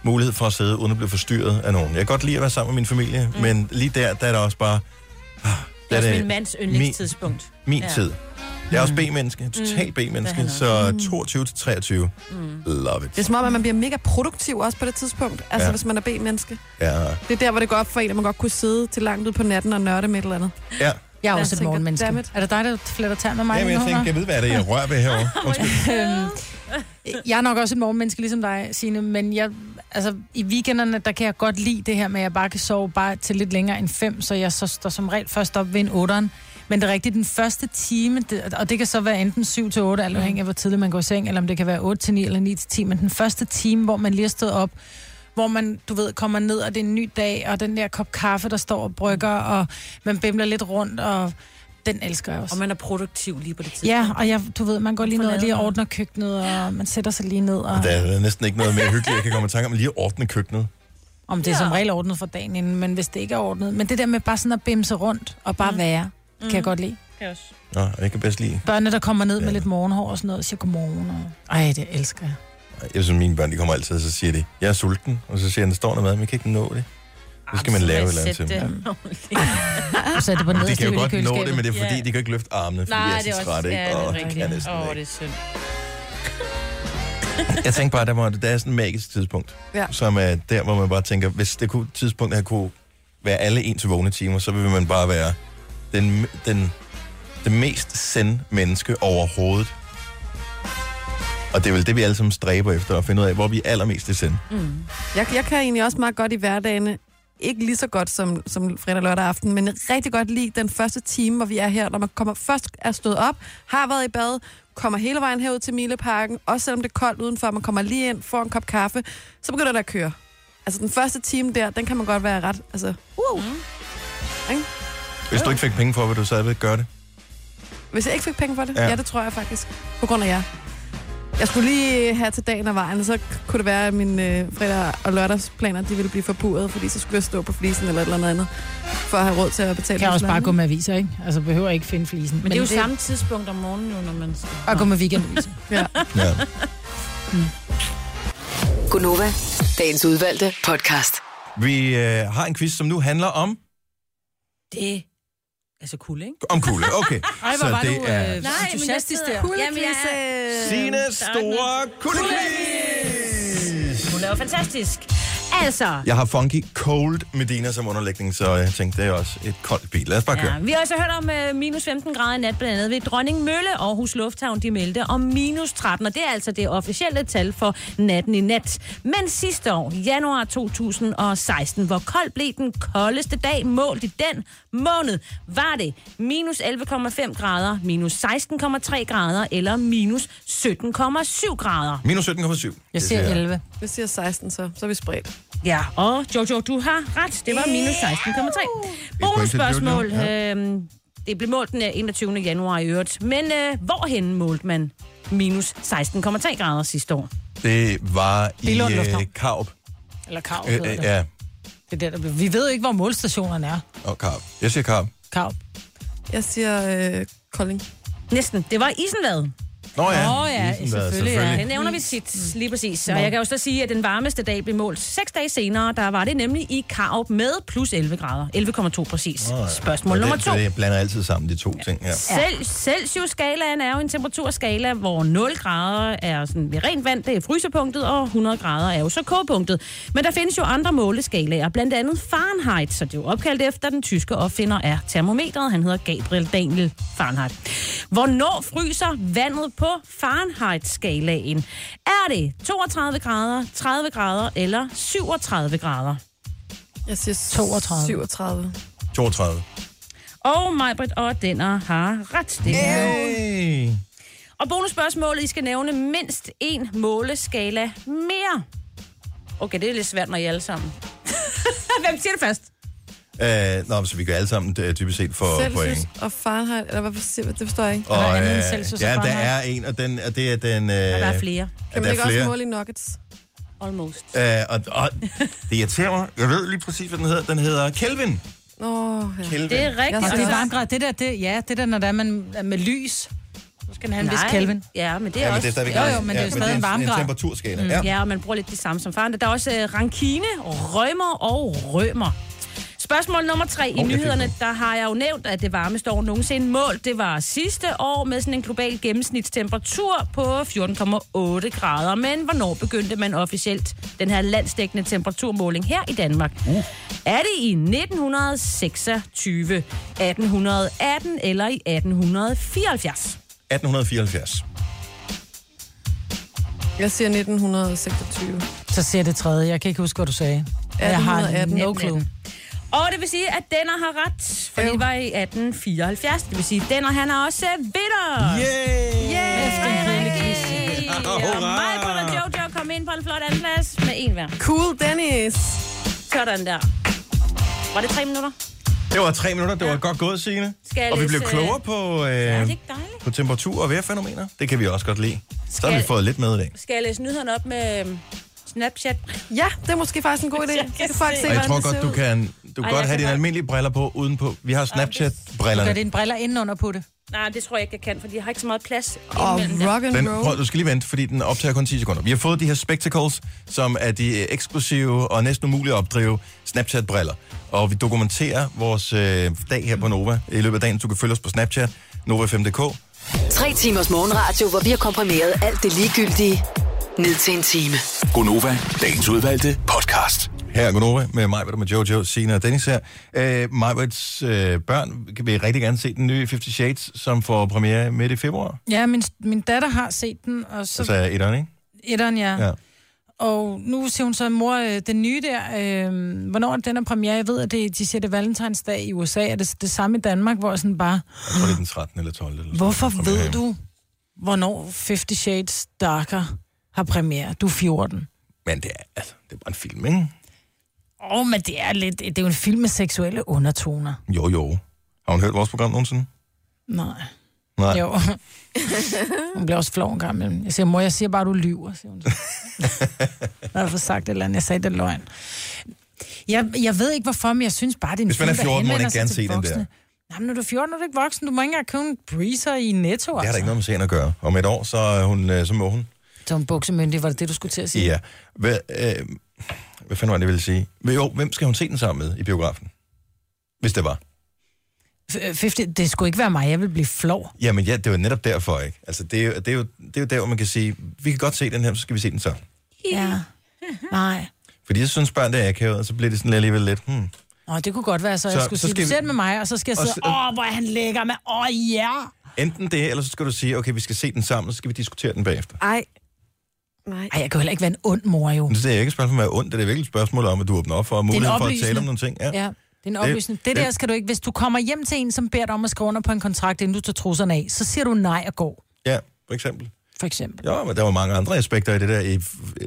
[SPEAKER 1] mulighed for at sidde, uden at blive forstyrret af nogen. Jeg kan godt lide at være sammen med min familie, mm. men lige der, der er der også bare... ah,
[SPEAKER 2] Det er
[SPEAKER 1] der
[SPEAKER 2] også min mands yndlingstidspunkt.
[SPEAKER 1] Min, min
[SPEAKER 2] Ja.
[SPEAKER 1] ja. tid. Jeg er også B-menneske, totalt B-menneske, så 22 til 23. Mm. Love
[SPEAKER 4] Det er
[SPEAKER 1] it.
[SPEAKER 4] som om, at man bliver mega produktiv også på det tidspunkt, altså ja.
[SPEAKER 1] Ja.
[SPEAKER 4] hvis man er B-menneske.
[SPEAKER 1] Ja,
[SPEAKER 4] Det er der, hvor det går op for en, at man godt kunne sidde til langt ud på natten og nørde med et eller andet.
[SPEAKER 1] ja.
[SPEAKER 3] Jeg er
[SPEAKER 4] Jeg
[SPEAKER 3] også et
[SPEAKER 4] tænker,
[SPEAKER 3] morgenmenneske.
[SPEAKER 4] dammit.
[SPEAKER 3] Er det dig, der fletter tær med mig?
[SPEAKER 1] Jamen, jeg
[SPEAKER 3] Nora?
[SPEAKER 1] tænkte, kan jeg vide, hvad er det, jeg rører ved herovre? Undskyld.
[SPEAKER 3] Øhm, jeg er nok også et morgenmenneske, ligesom dig, Signe, men jeg, altså, i weekenderne, der kan jeg godt lide det her med, at jeg bare kan sove bare til lidt længere end fem, så jeg så står som regel først op ved en otteren. Men det er rigtigt, den første time, det, og det kan så være enten 7 til 8, alt afhængig af, hvor tidligt man går i seng, eller om det kan være 8 til 9 eller 9 til 10, men den første time, hvor man lige er stået op, hvor man, du ved, kommer ned, og det er en ny dag, og den der kop kaffe, der står og brygger, og man bimler lidt rundt, og den elsker jeg også.
[SPEAKER 2] Og man er produktiv lige på det tidspunkt.
[SPEAKER 3] Ja, og jeg, du ved, man går lige ned og
[SPEAKER 2] Forlader
[SPEAKER 3] lige
[SPEAKER 2] noget.
[SPEAKER 3] ordner køkkenet, og man sætter sig lige ned. Og,
[SPEAKER 1] Der er næsten ikke noget mere hyggeligt, jeg kan komme i tanke om lige at ordne køkkenet.
[SPEAKER 3] om det er som regel ordnet for dagen inden, men hvis det ikke er ordnet. Men det der med bare sådan at bimse rundt og
[SPEAKER 2] Mm.
[SPEAKER 3] bare være, kan jeg godt lide.
[SPEAKER 1] Nå, jeg kan bedst lide.
[SPEAKER 3] Børnene, der kommer ned med lidt morgenhår og sådan noget, siger godmorgen. Og... Ej, det elsker jeg.
[SPEAKER 1] Jeg synes, mine børn, de kommer altid, og så siger de, jeg er sulten, og så siger jeg, der står noget mad, men jeg kan ikke nå det. Nu skal man lave et eller andet til dem. Ja.
[SPEAKER 3] Og så er det på
[SPEAKER 1] Ah. De
[SPEAKER 3] nederste
[SPEAKER 1] kan jo
[SPEAKER 3] hylde i
[SPEAKER 1] godt nå det,
[SPEAKER 3] køleskabet.
[SPEAKER 1] men det er fordi,
[SPEAKER 2] Ja.
[SPEAKER 1] de kan ikke løfte armene, fordi jeg er så træt, ikke? Åh, det kan jeg næsten
[SPEAKER 2] Åh, det
[SPEAKER 1] ikke.
[SPEAKER 2] er synd.
[SPEAKER 1] Jeg tænkte bare, der, var, der er sådan et magisk tidspunkt,
[SPEAKER 4] Ja.
[SPEAKER 1] som er der, hvor man bare tænker, hvis det kunne, tidspunkt her kunne være alle en til vågne timer, så ville man bare være den, den, den mest send menneske overhovedet. Og det er vel det, vi alle sammen stræber efter, at finde ud af, hvor vi er allermest i send.
[SPEAKER 4] Jeg, jeg kan egentlig også meget godt i hverdagen, ikke lige så godt som, som fredag lørdag aften, men rigtig godt lide den første time, hvor vi er her, når man kommer først er stået op, har været i bad, kommer hele vejen herud til Mileparken, også selvom det er koldt udenfor, man kommer lige ind, får en kop kaffe, så begynder der at køre. Altså den første time der, den kan man godt være ret, altså, wow. Mm.
[SPEAKER 1] Hvis du ikke fik penge for, vil du så gøre det?
[SPEAKER 4] Hvis jeg ikke fik penge for det? Ja.
[SPEAKER 1] Ja.
[SPEAKER 4] ja, det tror jeg faktisk. På grund af jer. Jeg skulle lige have til dagen og vejen, og så kunne det være, at mine øh, fredag- og lørdagsplaner de ville blive forpurret, fordi så skulle jeg stå på flisen eller et eller andet andet, for at have råd til at betale.
[SPEAKER 3] Jeg kan også bare
[SPEAKER 4] huslejen.
[SPEAKER 3] gå med aviser, ikke? Altså, behøver ikke finde flisen.
[SPEAKER 2] Men det er jo samme tidspunkt om morgenen, jo, når man...
[SPEAKER 3] Og gå med weekendaviser.
[SPEAKER 4] ja.
[SPEAKER 1] Ja.
[SPEAKER 5] Gunova, dagens udvalgte podcast.
[SPEAKER 1] Vi øh, har en quiz, som nu handler om...
[SPEAKER 2] Det er så cool, ikke?
[SPEAKER 1] Om kulde, okay.
[SPEAKER 2] Ej, hvor
[SPEAKER 1] så
[SPEAKER 2] var
[SPEAKER 1] det
[SPEAKER 2] du, øh,
[SPEAKER 1] er
[SPEAKER 2] Nej, men jeg sidder...
[SPEAKER 4] der.
[SPEAKER 2] Jamen, jeg er...
[SPEAKER 1] Signe Store
[SPEAKER 2] Kuldequiz! Hun er jo fantastisk. Altså,
[SPEAKER 1] Jeg har Funky Cold Medina som underlægning, så jeg tænkte, det er også et koldt bil. Lad os bare
[SPEAKER 2] Ja,
[SPEAKER 1] køre.
[SPEAKER 2] vi har også hørt om øh, minus 15 grader i nat, blandt andet ved Dronning Mølle. Aarhus Lufthavn, de meldte om minus 13, og det er altså det officielle tal for natten i nat. Men sidste år, januar 2016, hvor kold blev den koldeste dag målt i den måned, var det minus 11,5 grader, minus 16,3 grader eller minus 17,7 grader.
[SPEAKER 1] Minus 17,7. Det
[SPEAKER 4] Jeg siger 16, så. Så er vi spredt.
[SPEAKER 2] Ja, og Jojo, du har ret. Det var minus 16,3. Bonusspørgsmål.
[SPEAKER 4] til Jojo,
[SPEAKER 2] Øhm, det blev målt den øh, 21. januar i øvrigt. Men øh, hvorhen målte man minus 16,3 grader sidste år?
[SPEAKER 1] Det var i
[SPEAKER 3] Billund
[SPEAKER 1] øh,
[SPEAKER 3] Lufthavn.
[SPEAKER 1] Kaup.
[SPEAKER 3] Eller Karup,
[SPEAKER 1] Øh, øh, ja,
[SPEAKER 3] Det er der, der bliver. Vi ved jo ikke, hvor målstationerne er.
[SPEAKER 1] og Kaup. Jeg siger Kaup.
[SPEAKER 3] Karup.
[SPEAKER 4] Jeg siger øh, Kolding.
[SPEAKER 2] Næsten. Det var Isenvad.
[SPEAKER 1] Nå ja,
[SPEAKER 2] Åh ja, Mm.
[SPEAKER 1] Isenvad,
[SPEAKER 2] selvfølgelig.
[SPEAKER 1] selvfølgelig.
[SPEAKER 2] Ja. Det nævner vi tit, lige præcis. Og
[SPEAKER 1] Nå.
[SPEAKER 2] jeg kan jo så sige, at den varmeste dag blev målt seks dage senere. Der var det nemlig i Karup med plus 11 grader. 11,2 præcis.
[SPEAKER 1] Nå ja.
[SPEAKER 2] Spørgsmål
[SPEAKER 1] Og
[SPEAKER 2] nummer
[SPEAKER 1] det,
[SPEAKER 2] to.
[SPEAKER 1] Jeg blander altid sammen de to ting her.
[SPEAKER 2] Selv, Celsius-skalaen er jo en temperaturskala, hvor 0 grader er sådan ved rent vand, det er frysepunktet, og 100 grader er jo så kogepunktet. Men der findes jo andre måleskalaer, blandt andet Fahrenheit, så det er jo opkaldt efter den tyske opfinder af termometret. Han hedder Gabriel Daniel Fahrenheit. Hvornår fryser vandet på Fahrenheit-skalaen? Er det 32 grader, 30 grader eller 37 grader?
[SPEAKER 4] Jeg siger
[SPEAKER 2] 32.
[SPEAKER 4] 37.
[SPEAKER 1] 32.
[SPEAKER 2] Og Majbrit og Denner har ret. Det er jo
[SPEAKER 1] Hey.
[SPEAKER 2] Og bonusspørgsmålet, I skal nævne mindst en måleskala mere. Okay, det er lidt svært, når I er alle sammen. Hvem siger det først?
[SPEAKER 1] Øh, nå, men så vi gør alle sammen øh, dybest set for point.
[SPEAKER 4] Celsius og Fahrenheit, eller hvad siger Det forstår jeg ikke.
[SPEAKER 1] Og, øh, ja, der er en, og, den, og det er den... Øh,
[SPEAKER 4] der er flere.
[SPEAKER 1] Ja,
[SPEAKER 4] Kan
[SPEAKER 1] der
[SPEAKER 4] man
[SPEAKER 1] er
[SPEAKER 4] ikke også
[SPEAKER 1] flere.
[SPEAKER 4] måle i nuggets?
[SPEAKER 2] Almost.
[SPEAKER 1] Øh, og, og, det irriterer mig. Jeg ved lige præcis, hvad den hedder. Den hedder Kelvin.
[SPEAKER 4] Åh, oh, ja.
[SPEAKER 1] Kelvin. Det er rigtigt.
[SPEAKER 3] Og det er varmegrad. Altså, Det der, det, ja, det der, når der er man er med lys. Så skal den have en vis
[SPEAKER 2] Nej.
[SPEAKER 3] Kelvin.
[SPEAKER 2] Ja, men det er
[SPEAKER 1] Ja, men det
[SPEAKER 2] også...
[SPEAKER 1] er stadigvæk
[SPEAKER 3] jo,
[SPEAKER 1] en-
[SPEAKER 3] jo, men det er
[SPEAKER 1] ja,
[SPEAKER 3] jo
[SPEAKER 1] men
[SPEAKER 3] stadig en
[SPEAKER 1] det er en- en
[SPEAKER 3] varmgrad.
[SPEAKER 1] temperaturskala,
[SPEAKER 2] Mm,
[SPEAKER 1] ja.
[SPEAKER 2] ja, og man bruger lidt det samme som faren. Der er også øh, rankine, rømmer og rømer. Spørgsmål nummer tre. I
[SPEAKER 12] jeg fik
[SPEAKER 2] nyhederne, der har jeg jo nævnt, at det varmeste år nogensinde målt, det var sidste år med sådan en global gennemsnitstemperatur på 14,8 grader. Men hvornår begyndte man officielt den her landsdækkende temperaturmåling her i Danmark? Uh. Er det i 1926, 1818 eller i 1874?
[SPEAKER 1] 1874.
[SPEAKER 4] Jeg siger 1926.
[SPEAKER 3] Så ser det tredje. Jeg kan ikke huske, hvad du sagde. Jeg har
[SPEAKER 4] 1818.
[SPEAKER 3] no clue.
[SPEAKER 2] Og det vil sige, at Denner har ret, for det var i 1874. Det vil sige, at Denner han er også vinder.
[SPEAKER 1] Yay!
[SPEAKER 2] Yeah! Efter en lille quiz.
[SPEAKER 1] hurra!
[SPEAKER 2] Og mig, og Jojo kom ind på en flot anden plads med en hver.
[SPEAKER 4] Cool Dennis!
[SPEAKER 2] Sådan der. Var det tre minutter?
[SPEAKER 1] Det var tre minutter. Det var godt gået, Signe.
[SPEAKER 2] Skal jeg
[SPEAKER 1] og vi
[SPEAKER 2] læse,
[SPEAKER 1] blev
[SPEAKER 2] øh,
[SPEAKER 1] klogere på, øh, på temperatur og vejrfænomener. Det kan vi også godt lide. Så har vi
[SPEAKER 2] Skal-
[SPEAKER 1] fået lidt med i dag.
[SPEAKER 2] Skal jeg læse nyhederne op med øhm, Snapchat?
[SPEAKER 4] Ja, det er måske faktisk en god idé.
[SPEAKER 2] Jeg
[SPEAKER 4] Så kan folk se,
[SPEAKER 1] Og jeg
[SPEAKER 4] hvordan
[SPEAKER 1] tror
[SPEAKER 4] det
[SPEAKER 1] godt,
[SPEAKER 4] ser
[SPEAKER 1] du
[SPEAKER 4] ud.
[SPEAKER 1] kan, du
[SPEAKER 2] Ej,
[SPEAKER 1] kan godt
[SPEAKER 2] jeg
[SPEAKER 1] have
[SPEAKER 2] kan
[SPEAKER 1] dine
[SPEAKER 2] godt-
[SPEAKER 1] almindelige briller på udenpå. Vi har
[SPEAKER 3] Du gør
[SPEAKER 1] Snapchat-brillerne.
[SPEAKER 3] dine briller indenunder på det.
[SPEAKER 2] Nej, det tror jeg ikke, jeg kan, fordi jeg har ikke så meget plads.
[SPEAKER 1] Og
[SPEAKER 2] imellem dem.
[SPEAKER 1] den, prøv, du skal lige vente, fordi den optager kun 10 sekunder. Vi har fået de her spectacles, som er de eksklusive og næsten umulige at opdrive Snapchat-briller. Og vi dokumenterer vores øh, dag her på Nova i løbet af dagen. Du kan følge os på Snapchat, nova5.dk.
[SPEAKER 5] Tre timers morgenradio, hvor vi har komprimeret alt det ligegyldige ned til en time.
[SPEAKER 1] Gonova, dagens udvalgte podcast. Her er Gonova med mig, med Jojo, Sina og Dennis her. Øh, Majbrits øh, børn kan vi rigtig gerne se den nye 50 Shades, som får premiere midt i februar.
[SPEAKER 3] Ja, min, min datter har set den, og så...
[SPEAKER 1] Så... Altså et ikke?
[SPEAKER 3] Etteren, ja.
[SPEAKER 1] Ja.
[SPEAKER 3] ja. Og nu siger hun så, mor, øh, den nye der, øh, hvornår er den er premiere? Jeg ved, at det, de siger, det er valentinsdag i USA, og det er det samme i Danmark, hvor jeg sådan bare,
[SPEAKER 1] Jeg tror, det er den 13. eller 12. Eller sådan
[SPEAKER 3] hvorfor
[SPEAKER 1] noget, der
[SPEAKER 3] ved
[SPEAKER 1] premiere.
[SPEAKER 3] du, hvornår 50 Shades Darker har premiere? Du er 14.
[SPEAKER 1] Men det er, altså, det er bare en film, ikke?
[SPEAKER 3] Åh, oh, men det er lidt, det er jo en film med seksuelle undertoner.
[SPEAKER 1] Jo, jo. Har hun hørt vores program nogensinde?
[SPEAKER 3] Nej.
[SPEAKER 1] Nej.
[SPEAKER 3] Jo. Hun bliver også flov en gang imellem. Jeg siger, mor, jeg siger bare, du lyver, siger hun. så. Jeg har fået sagt et eller andet. Jeg sagde, det er løgn. Jeg, jeg ved ikke, hvorfor, men jeg synes bare, det er en
[SPEAKER 1] Hvis man er
[SPEAKER 3] film, der
[SPEAKER 1] 14, må man
[SPEAKER 3] henvender
[SPEAKER 1] ikke
[SPEAKER 3] sig
[SPEAKER 1] gerne
[SPEAKER 3] til
[SPEAKER 1] se den
[SPEAKER 3] voksne.
[SPEAKER 1] der.
[SPEAKER 3] Nej, men når du er 14, er du ikke voksen. Du må ikke engang købe en breezer i Netto,
[SPEAKER 1] Det har
[SPEAKER 3] altså.
[SPEAKER 1] der ikke noget med serien at gøre. Om et år, så, er hun, øh, så må hun.
[SPEAKER 3] Som buksemyndig, var det det, du skulle til at sige?
[SPEAKER 1] Ja. Hvad, øh, hvad fanden var det, jeg ville sige? Men Jo, hvem skal hun se den sammen med i biografen? Hvis det var.
[SPEAKER 3] F- 50, det skulle ikke være mig, jeg vil blive flov.
[SPEAKER 1] Jamen ja, det var netop derfor, ikke? Altså, det er, jo, det, er jo, det er jo der, hvor man kan sige, vi kan godt se den her, så skal vi se den sammen.
[SPEAKER 3] Ja. Nej.
[SPEAKER 1] Fordi jeg synes, børn det er akavet, og så bliver det sådan alligevel lidt, hmm.
[SPEAKER 3] Nå, det kunne godt være, så, jeg
[SPEAKER 1] Så-
[SPEAKER 3] skulle
[SPEAKER 1] så
[SPEAKER 3] sige,
[SPEAKER 1] skal
[SPEAKER 3] du
[SPEAKER 1] vi-
[SPEAKER 3] ser den med mig, og så skal jeg
[SPEAKER 1] Og
[SPEAKER 3] sidde,
[SPEAKER 1] så-
[SPEAKER 3] åh, hvor er han lækker med, åh, ja.
[SPEAKER 1] Enten det, eller så skal du sige, okay, vi skal se den sammen, og så skal vi diskutere den bagefter.
[SPEAKER 3] Ej. Nej. Ej, jeg kan jo heller ikke være en ond mor, jo.
[SPEAKER 1] Men det er ikke et spørgsmål om at være ondt, det er virkelig et spørgsmål om, at du åbner op for, og
[SPEAKER 3] Det er en
[SPEAKER 1] muligheden for at
[SPEAKER 3] oplysende.
[SPEAKER 1] tale om nogle ting. Ja.
[SPEAKER 3] Ja, det er en
[SPEAKER 1] Det-
[SPEAKER 3] oplysning. Det,
[SPEAKER 1] det-
[SPEAKER 3] der skal du ikke. Hvis du kommer hjem til en, som beder dig om at skrive under på en kontrakt, inden du tager trusserne af, så siger du nej og går,
[SPEAKER 1] ja, for eksempel.
[SPEAKER 3] for eksempel.
[SPEAKER 1] Jo, men der var mange andre aspekter i det der. I,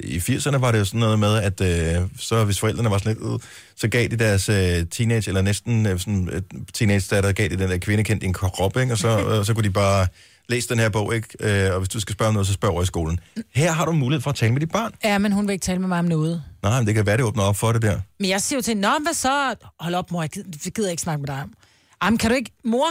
[SPEAKER 1] i 80'erne var det jo sådan noget med, at øh, så hvis forældrene var sådan lidt ud, så gav de deres øh, teenage, eller næsten øh, sådan, øh, teenage-datter, gav de den der kvinde kendt i en krop, ikke? og så, øh, så kunne de bare læse den her bog, ikke? Øh, og hvis du skal spørge om noget, så spørg over i skolen. Her har du mulighed for at tale med dit barn.
[SPEAKER 3] Ja, men hun vil ikke tale med mig om noget.
[SPEAKER 1] Nej, men det kan være, det åbner op for det der.
[SPEAKER 3] Men jeg siger jo til hende, nå, hvad så? Hold op, mor, jeg gider, jeg gider ikke snakke med dig om. Jamen, kan du ikke, mor?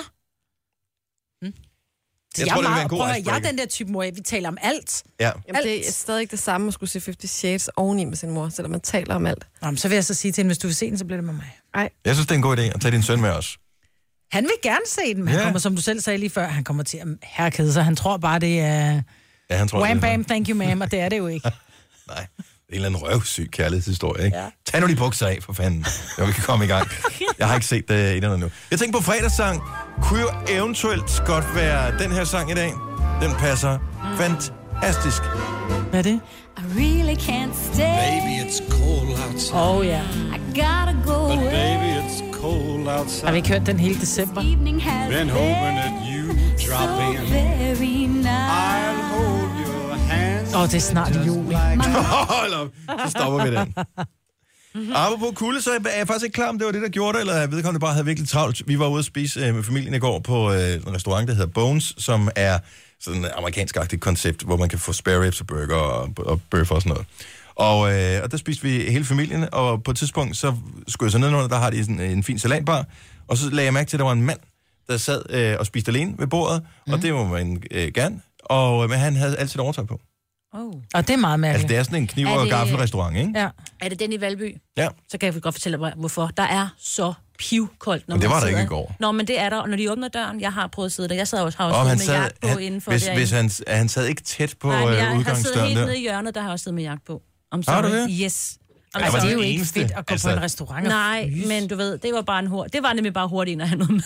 [SPEAKER 3] Så
[SPEAKER 1] Jeg tror, det vil
[SPEAKER 3] er
[SPEAKER 1] være en god
[SPEAKER 3] prøv at høre, jeg
[SPEAKER 1] icebreaker.
[SPEAKER 3] er den der type mor, vi taler om alt.
[SPEAKER 1] Ja.
[SPEAKER 4] Jamen, det er stadig ikke det samme at skulle se 50 Shades oveni med sin mor, selvom man taler om alt.
[SPEAKER 3] Jamen, så vil jeg så sige til hende, hvis du vil se den, så bliver det med mig.
[SPEAKER 4] Nej.
[SPEAKER 1] Jeg synes, det er en god idé at tage din søn med os.
[SPEAKER 3] Han vil gerne se den, men han
[SPEAKER 1] Ja.
[SPEAKER 3] kommer, som du selv sagde lige før, han kommer til at herkede sig. Han tror bare, det er...
[SPEAKER 1] Ja, han tror, det
[SPEAKER 3] Wham,
[SPEAKER 1] er sådan
[SPEAKER 3] bam, thank you, ma'am, og det er det jo ikke.
[SPEAKER 1] en eller anden røvsyg kærlighedshistorie, ikke? Ja. Tag nu de bukser af, for fanden, så vi kan komme i gang. Jeg har ikke set det uh, endnu. Jeg tænkte på fredagssang. Kunne jo eventuelt godt være den her sang i dag. Den passer fantastisk.
[SPEAKER 3] Hvad er det?
[SPEAKER 12] I really can't stay.
[SPEAKER 13] it's cold outside.
[SPEAKER 3] Åh, ja.
[SPEAKER 12] I gotta go
[SPEAKER 13] But
[SPEAKER 12] away.
[SPEAKER 13] baby, it's cold outside.
[SPEAKER 3] Har vi ikke hørt den hele december?
[SPEAKER 12] Evening has
[SPEAKER 13] Been hoping that you drop
[SPEAKER 12] so
[SPEAKER 13] in.
[SPEAKER 12] very nice.
[SPEAKER 3] Åh, oh, det er snart jul.
[SPEAKER 1] Hold op, så stopper vi den. Apropos kulde, så er jeg faktisk ikke klar, om det var det, der gjorde det, eller jeg vedkommende bare havde virkelig travlt. Vi var ude at spise øh, med familien i går på øh, en restaurant, der hedder Bones, som er sådan et amerikansk-agtigt koncept, hvor man kan få spare ribs og burger og, og bøffer og sådan noget. Og, øh, og der spiste vi hele familien, og på et tidspunkt, så skulle jeg så nedenunder, der har de sådan en fin salatbar, og så lagde jeg mærke til, at der var en mand, der sad øh, og spiste alene ved bordet, mm. og det må man øh, gerne, og, øh, men han havde altid overtøj på.
[SPEAKER 3] Oh. Og det er meget
[SPEAKER 1] Altså,
[SPEAKER 3] mærkeligt.
[SPEAKER 1] det er sådan en kniv-
[SPEAKER 3] Er
[SPEAKER 1] og
[SPEAKER 3] det-
[SPEAKER 1] gaffelrestaurant, ikke?
[SPEAKER 3] Ja.
[SPEAKER 14] Er det den i Valby?
[SPEAKER 1] Ja.
[SPEAKER 14] Så kan jeg godt fortælle dig, hvorfor. Der er så pivkoldt, når
[SPEAKER 1] Men det
[SPEAKER 14] man
[SPEAKER 1] var der
[SPEAKER 14] sidder.
[SPEAKER 1] ikke i går.
[SPEAKER 14] Nå, men det er der, og når de åbner døren, jeg har prøvet at sidde der. Jeg sad også, har også
[SPEAKER 1] Og
[SPEAKER 14] siddet
[SPEAKER 1] han
[SPEAKER 14] med
[SPEAKER 1] sad,
[SPEAKER 14] jagt på han,
[SPEAKER 1] han,
[SPEAKER 14] indenfor
[SPEAKER 1] hvis,
[SPEAKER 14] derinde.
[SPEAKER 1] hvis han, han sad ikke tæt på
[SPEAKER 14] Nej, men
[SPEAKER 1] Nej,
[SPEAKER 14] jeg har siddet
[SPEAKER 1] udgangsdøren
[SPEAKER 14] helt
[SPEAKER 1] der.
[SPEAKER 14] nede i hjørnet, der har jeg også siddet med jagt på. I'm
[SPEAKER 1] Har du
[SPEAKER 14] sorry.
[SPEAKER 1] det?
[SPEAKER 14] Yes.
[SPEAKER 1] Ej, var det den eneste? Altså-
[SPEAKER 3] restaurant
[SPEAKER 14] Nej, men du ved, det var bare en hurtig. Det var nemlig bare hurtigt, når han havde med.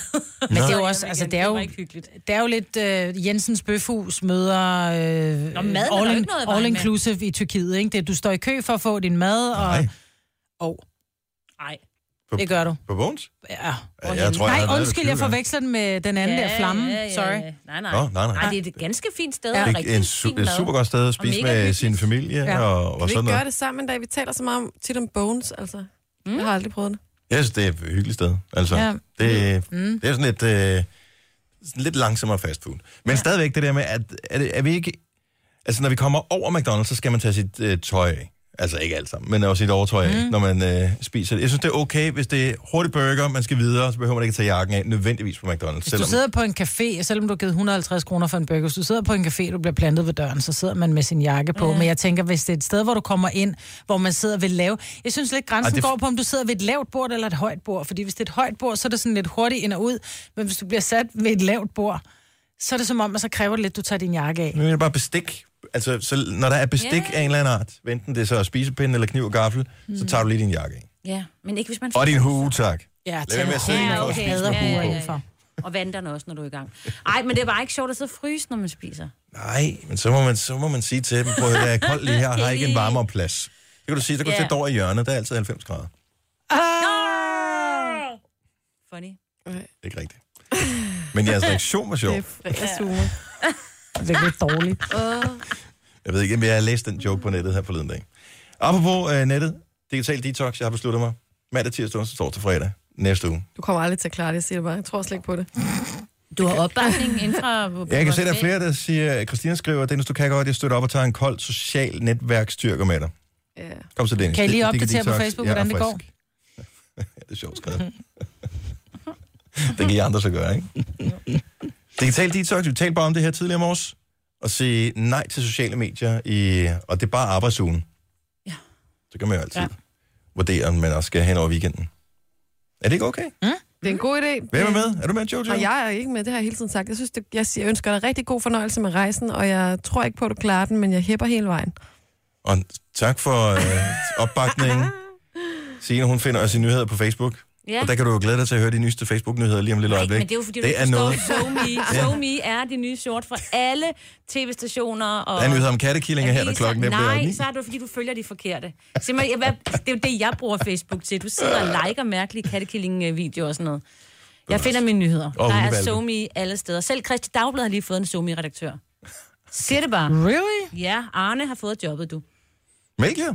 [SPEAKER 3] Men
[SPEAKER 14] Så
[SPEAKER 3] det er jo
[SPEAKER 14] hjem
[SPEAKER 3] også, altså
[SPEAKER 14] igen.
[SPEAKER 3] det er
[SPEAKER 14] Det
[SPEAKER 3] jo,
[SPEAKER 14] var ikke hyggeligt.
[SPEAKER 3] det er jo lidt øh, Jensens Bøfhus møder øh,
[SPEAKER 14] Nå, maden er der jo
[SPEAKER 3] all,
[SPEAKER 14] ikke noget i vejen
[SPEAKER 3] all
[SPEAKER 14] med.
[SPEAKER 3] inclusive i Tyrkiet, ikke? Det, du står i kø for at få din mad, og...
[SPEAKER 1] Nej.
[SPEAKER 3] Og...
[SPEAKER 14] Nej.
[SPEAKER 3] Det gør du.
[SPEAKER 1] På Bones?
[SPEAKER 3] Ja.
[SPEAKER 1] Ja, jeg tror, jeg har været
[SPEAKER 3] nej,
[SPEAKER 1] der
[SPEAKER 3] undskyld,
[SPEAKER 1] 20
[SPEAKER 3] jeg
[SPEAKER 1] gange.
[SPEAKER 3] forveksler den med den anden
[SPEAKER 14] Ja,
[SPEAKER 3] der flamme.
[SPEAKER 14] ja, ja, ja.
[SPEAKER 3] Sorry.
[SPEAKER 14] Nej, nej.
[SPEAKER 1] Nå, nej, nej.
[SPEAKER 14] det er et ganske fint sted.
[SPEAKER 1] Det er en su- et super godt sted at spise
[SPEAKER 4] mega
[SPEAKER 1] med
[SPEAKER 4] hyggeligt.
[SPEAKER 1] sin familie ja. og,
[SPEAKER 4] Kan
[SPEAKER 1] og
[SPEAKER 4] vi
[SPEAKER 1] sådan
[SPEAKER 4] ikke gøre
[SPEAKER 1] noget.
[SPEAKER 4] det sammen en dag? Vi taler så meget om, tit om bones, altså. Mm. Jeg har aldrig prøvet det.
[SPEAKER 1] Jeg synes, det er et hyggeligt sted. Altså,
[SPEAKER 4] Ja.
[SPEAKER 1] ja. det,
[SPEAKER 4] Mm.
[SPEAKER 1] mm. det er sådan lidt, øh, sådan lidt langsommere fast food. Men ja. stadigvæk det der med, at er, det, er vi ikke... Altså, når vi kommer over McDonald's, så skal man tage sit øh, tøj af. Altså ikke alt sammen, men også sit overtøj af,
[SPEAKER 6] Mm.
[SPEAKER 1] mm. når man øh, spiser det. Jeg synes, det er okay, hvis det er hurtig burger, man skal videre, så behøver man ikke tage jakken af nødvendigvis på McDonald's.
[SPEAKER 3] Hvis du sidder på en café, selvom du har givet 150 kroner for en burger, hvis du sidder på en café, og du bliver plantet ved døren, så sidder man med sin jakke på.
[SPEAKER 14] Ja.
[SPEAKER 3] Ja. Men jeg tænker, hvis det er et sted, hvor du kommer ind, hvor man sidder ved lave... Jeg synes lidt, grænsen
[SPEAKER 14] Ej, det-
[SPEAKER 3] det... går på, om du sidder ved et lavt bord eller et højt bord. Fordi hvis det er et højt bord, så er det sådan lidt hurtigt ind og ud. Men hvis du bliver sat ved et lavt bord, så er det som om, at så kræver det lidt, at du tager din jakke af.
[SPEAKER 1] Men det er bare bestik. Altså, så, når der er bestik
[SPEAKER 14] Ja.
[SPEAKER 1] yeah. af en eller anden art, hvad enten det er så spisepinde eller kniv og gaffel, mm. så
[SPEAKER 14] Mm.
[SPEAKER 1] tager du lige din jakke af.
[SPEAKER 14] Ja, men ikke hvis man...
[SPEAKER 1] Og din hue, tak.
[SPEAKER 3] Ja,
[SPEAKER 1] Lad være med at sidde indenfor og spise med hue på.
[SPEAKER 14] Og vanderne også, når du er i gang. Ej, men det er bare ikke sjovt at sidde og fryse, når man spiser.
[SPEAKER 1] Nej, men så må man, så må man sige til dem, prøv at høre, jeg er kold lige her, har ikke en varmere plads. Det kan du sige, så kan du
[SPEAKER 14] Ja.
[SPEAKER 1] sætte dig over i hjørnet, der er altid 90 grader. Det
[SPEAKER 14] Ah! Funny.
[SPEAKER 1] er ikke rigtigt. Men jeres reaktion var sjov.
[SPEAKER 14] Det er
[SPEAKER 4] fredagshumor.
[SPEAKER 3] Det er lidt dårligt.
[SPEAKER 1] Jeg ved ikke, om jeg har læst den joke på nettet her forleden dag. Apropos øh, nettet, digital detox, jeg har besluttet mig. Mandag, tirsdag, onsdag, torsdag, fredag. Næste uge.
[SPEAKER 4] Du kommer aldrig til at klare det, jeg siger det bare. Jeg tror slet ikke på det.
[SPEAKER 2] Du har opbakning inden fra...
[SPEAKER 1] Ja, jeg kan se, der er flere, der siger, Christina skriver, Dennis, du kan godt, jeg støtter op og tager en kold social netværksstyrker med dig. Ja. Kom så, Dennis.
[SPEAKER 8] Kan I lige
[SPEAKER 1] Det-
[SPEAKER 8] opdatere på
[SPEAKER 1] detox.
[SPEAKER 8] Facebook,
[SPEAKER 1] Jeg er
[SPEAKER 8] hvordan det går?
[SPEAKER 1] frisk. Ja, det er sjovt skrevet. det kan I andre så gøre, ikke? Digital detox, vi talte bare om det her tidligere i morges. Og sige nej til sociale medier, i, og det er bare arbejdsugen. Ja. Så kan man jo altid ja. vurdere, om man også skal hen over weekenden. Er det ikke okay?
[SPEAKER 4] Det er en god idé.
[SPEAKER 1] Hvem er med? Er du med, Jojo?
[SPEAKER 4] Og jeg er ikke med, det har jeg hele tiden sagt. Jeg, synes, det, jeg, siger, jeg ønsker dig rigtig god fornøjelse med rejsen, og jeg tror ikke på, at du klarer den, men jeg hæpper hele vejen.
[SPEAKER 1] Og tak for øh, opbakningen. Signe, hun finder også sine nyheder på Facebook.
[SPEAKER 2] Ja.
[SPEAKER 1] Og der kan du jo glæde dig til at høre de nyeste Facebook-nyheder lige om lidt
[SPEAKER 2] Nej,
[SPEAKER 1] øjeblik.
[SPEAKER 2] men det er jo fordi, det du er
[SPEAKER 1] noget.
[SPEAKER 2] forstår, SoMe,
[SPEAKER 1] Ja.
[SPEAKER 2] SoMe er de nye sort for alle tv-stationer. Og
[SPEAKER 1] Der er nyheder om kattekillinger her, når
[SPEAKER 2] aviser.
[SPEAKER 1] klokken er blevet
[SPEAKER 2] Nej,
[SPEAKER 1] ni.
[SPEAKER 2] så er det jo, fordi, du følger de forkerte. Simpelthen, hvad, altså, det er jo det, jeg bruger Facebook til. Du sidder og liker mærkelige kattekilling-videoer og sådan noget. Jeg finder mine nyheder.
[SPEAKER 3] Og
[SPEAKER 2] Der er
[SPEAKER 3] hundevalpe.
[SPEAKER 2] SoMe alle steder. Selv Christi Dagblad har lige fået en SoMe-redaktør. Siger det bare.
[SPEAKER 8] Really?
[SPEAKER 2] Ja, Arne har fået jobbet, du.
[SPEAKER 1] Mælkjør?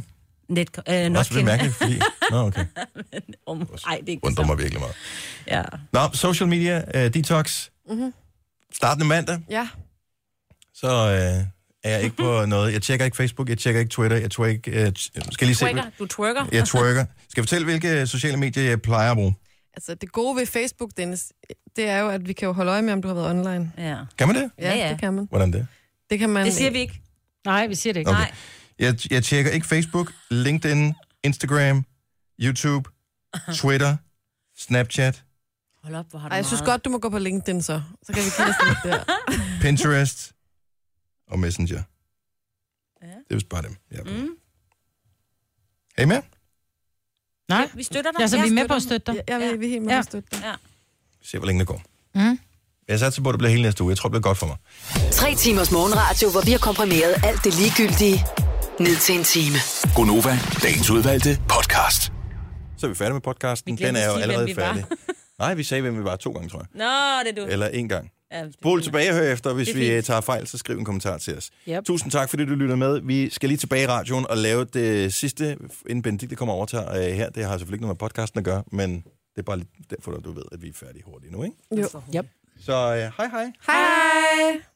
[SPEAKER 2] Net, øh,
[SPEAKER 1] Også lidt
[SPEAKER 2] Notkin.
[SPEAKER 1] mærkeligt, fordi... Nå, okay.
[SPEAKER 2] Om- Ej, det er ikke
[SPEAKER 1] Undrer mig virkelig meget.
[SPEAKER 2] Ja.
[SPEAKER 1] Nå, social media, øh, detox.
[SPEAKER 4] Mm-hmm.
[SPEAKER 1] Startende mandag,
[SPEAKER 4] Ja.
[SPEAKER 1] så øh, er jeg ikke på noget. Jeg tjekker ikke Facebook, jeg tjekker ikke Twitter, jeg twerk... Øh, t- skal lige se...
[SPEAKER 2] Twerker. Du twerker.
[SPEAKER 1] Jeg twerker. Skal jeg fortælle, hvilke uh, sociale medier jeg plejer at bruge?
[SPEAKER 4] Altså, det gode ved Facebook, Dennis, det er jo, at vi kan jo holde øje med, om du har været online.
[SPEAKER 2] Ja.
[SPEAKER 1] Kan man det?
[SPEAKER 4] Ja, ja, ja. det kan man.
[SPEAKER 1] Hvordan det?
[SPEAKER 4] Det kan man.
[SPEAKER 2] Det siger vi ikke.
[SPEAKER 8] Nej, vi siger det ikke.
[SPEAKER 1] Okay. Nej. Jeg, jeg tjekker ikke Facebook, LinkedIn, Instagram, YouTube, Twitter, Snapchat,
[SPEAKER 2] Hold op, hvor har du
[SPEAKER 4] Ej, jeg synes
[SPEAKER 2] meget.
[SPEAKER 4] godt, du må gå på LinkedIn så. Så kan vi kigge os lidt der.
[SPEAKER 1] Pinterest og Messenger. Ja. Det er vist bare dem. Ja. Mm. Er I med?
[SPEAKER 8] Nej.
[SPEAKER 2] Vi støtter dig.
[SPEAKER 8] Ja, så
[SPEAKER 2] Jeg
[SPEAKER 8] vi er med
[SPEAKER 2] støtter
[SPEAKER 8] på at
[SPEAKER 2] dem.
[SPEAKER 8] støtte dig.
[SPEAKER 4] Ja, vi er helt med
[SPEAKER 8] ja.
[SPEAKER 4] at støtte dig.
[SPEAKER 2] Ja.
[SPEAKER 1] Vi ser, hvor længe det går.
[SPEAKER 8] Mm.
[SPEAKER 1] Jeg satser på, at det bliver hele næste uge. Jeg tror, det bliver godt for mig.
[SPEAKER 5] Tre timers morgenradio, hvor vi har komprimeret alt det ligegyldige ned til en time.
[SPEAKER 15] Gonova, dagens udvalgte podcast.
[SPEAKER 1] Så er vi færdige med podcasten.
[SPEAKER 2] Vi glemte
[SPEAKER 1] Den er
[SPEAKER 2] at
[SPEAKER 1] jo
[SPEAKER 2] sige,
[SPEAKER 1] allerede
[SPEAKER 2] hvem vi var.
[SPEAKER 1] færdig. Nej, vi sagde, hvem vi var to gange, tror jeg.
[SPEAKER 2] Nå, det er du.
[SPEAKER 1] Eller en gang.
[SPEAKER 2] Ja,
[SPEAKER 1] Spol tilbage og hør efter,
[SPEAKER 2] Det
[SPEAKER 1] hvis
[SPEAKER 2] er
[SPEAKER 1] vi
[SPEAKER 2] fint.
[SPEAKER 1] øh, tager fejl, så skriv en kommentar til os.
[SPEAKER 2] Yep.
[SPEAKER 1] Tusind tak, fordi du lytter med. Vi skal lige tilbage i radioen og lave det sidste, inden Benedikte kommer og overtager øh, her. Det har selvfølgelig ikke noget med podcasten at gøre, men det er bare lige derfor, at du ved, at vi er færdige hurtigt nu, ikke?
[SPEAKER 4] Jo.
[SPEAKER 8] Yep.
[SPEAKER 1] Så øh, hej hej.
[SPEAKER 4] Hej!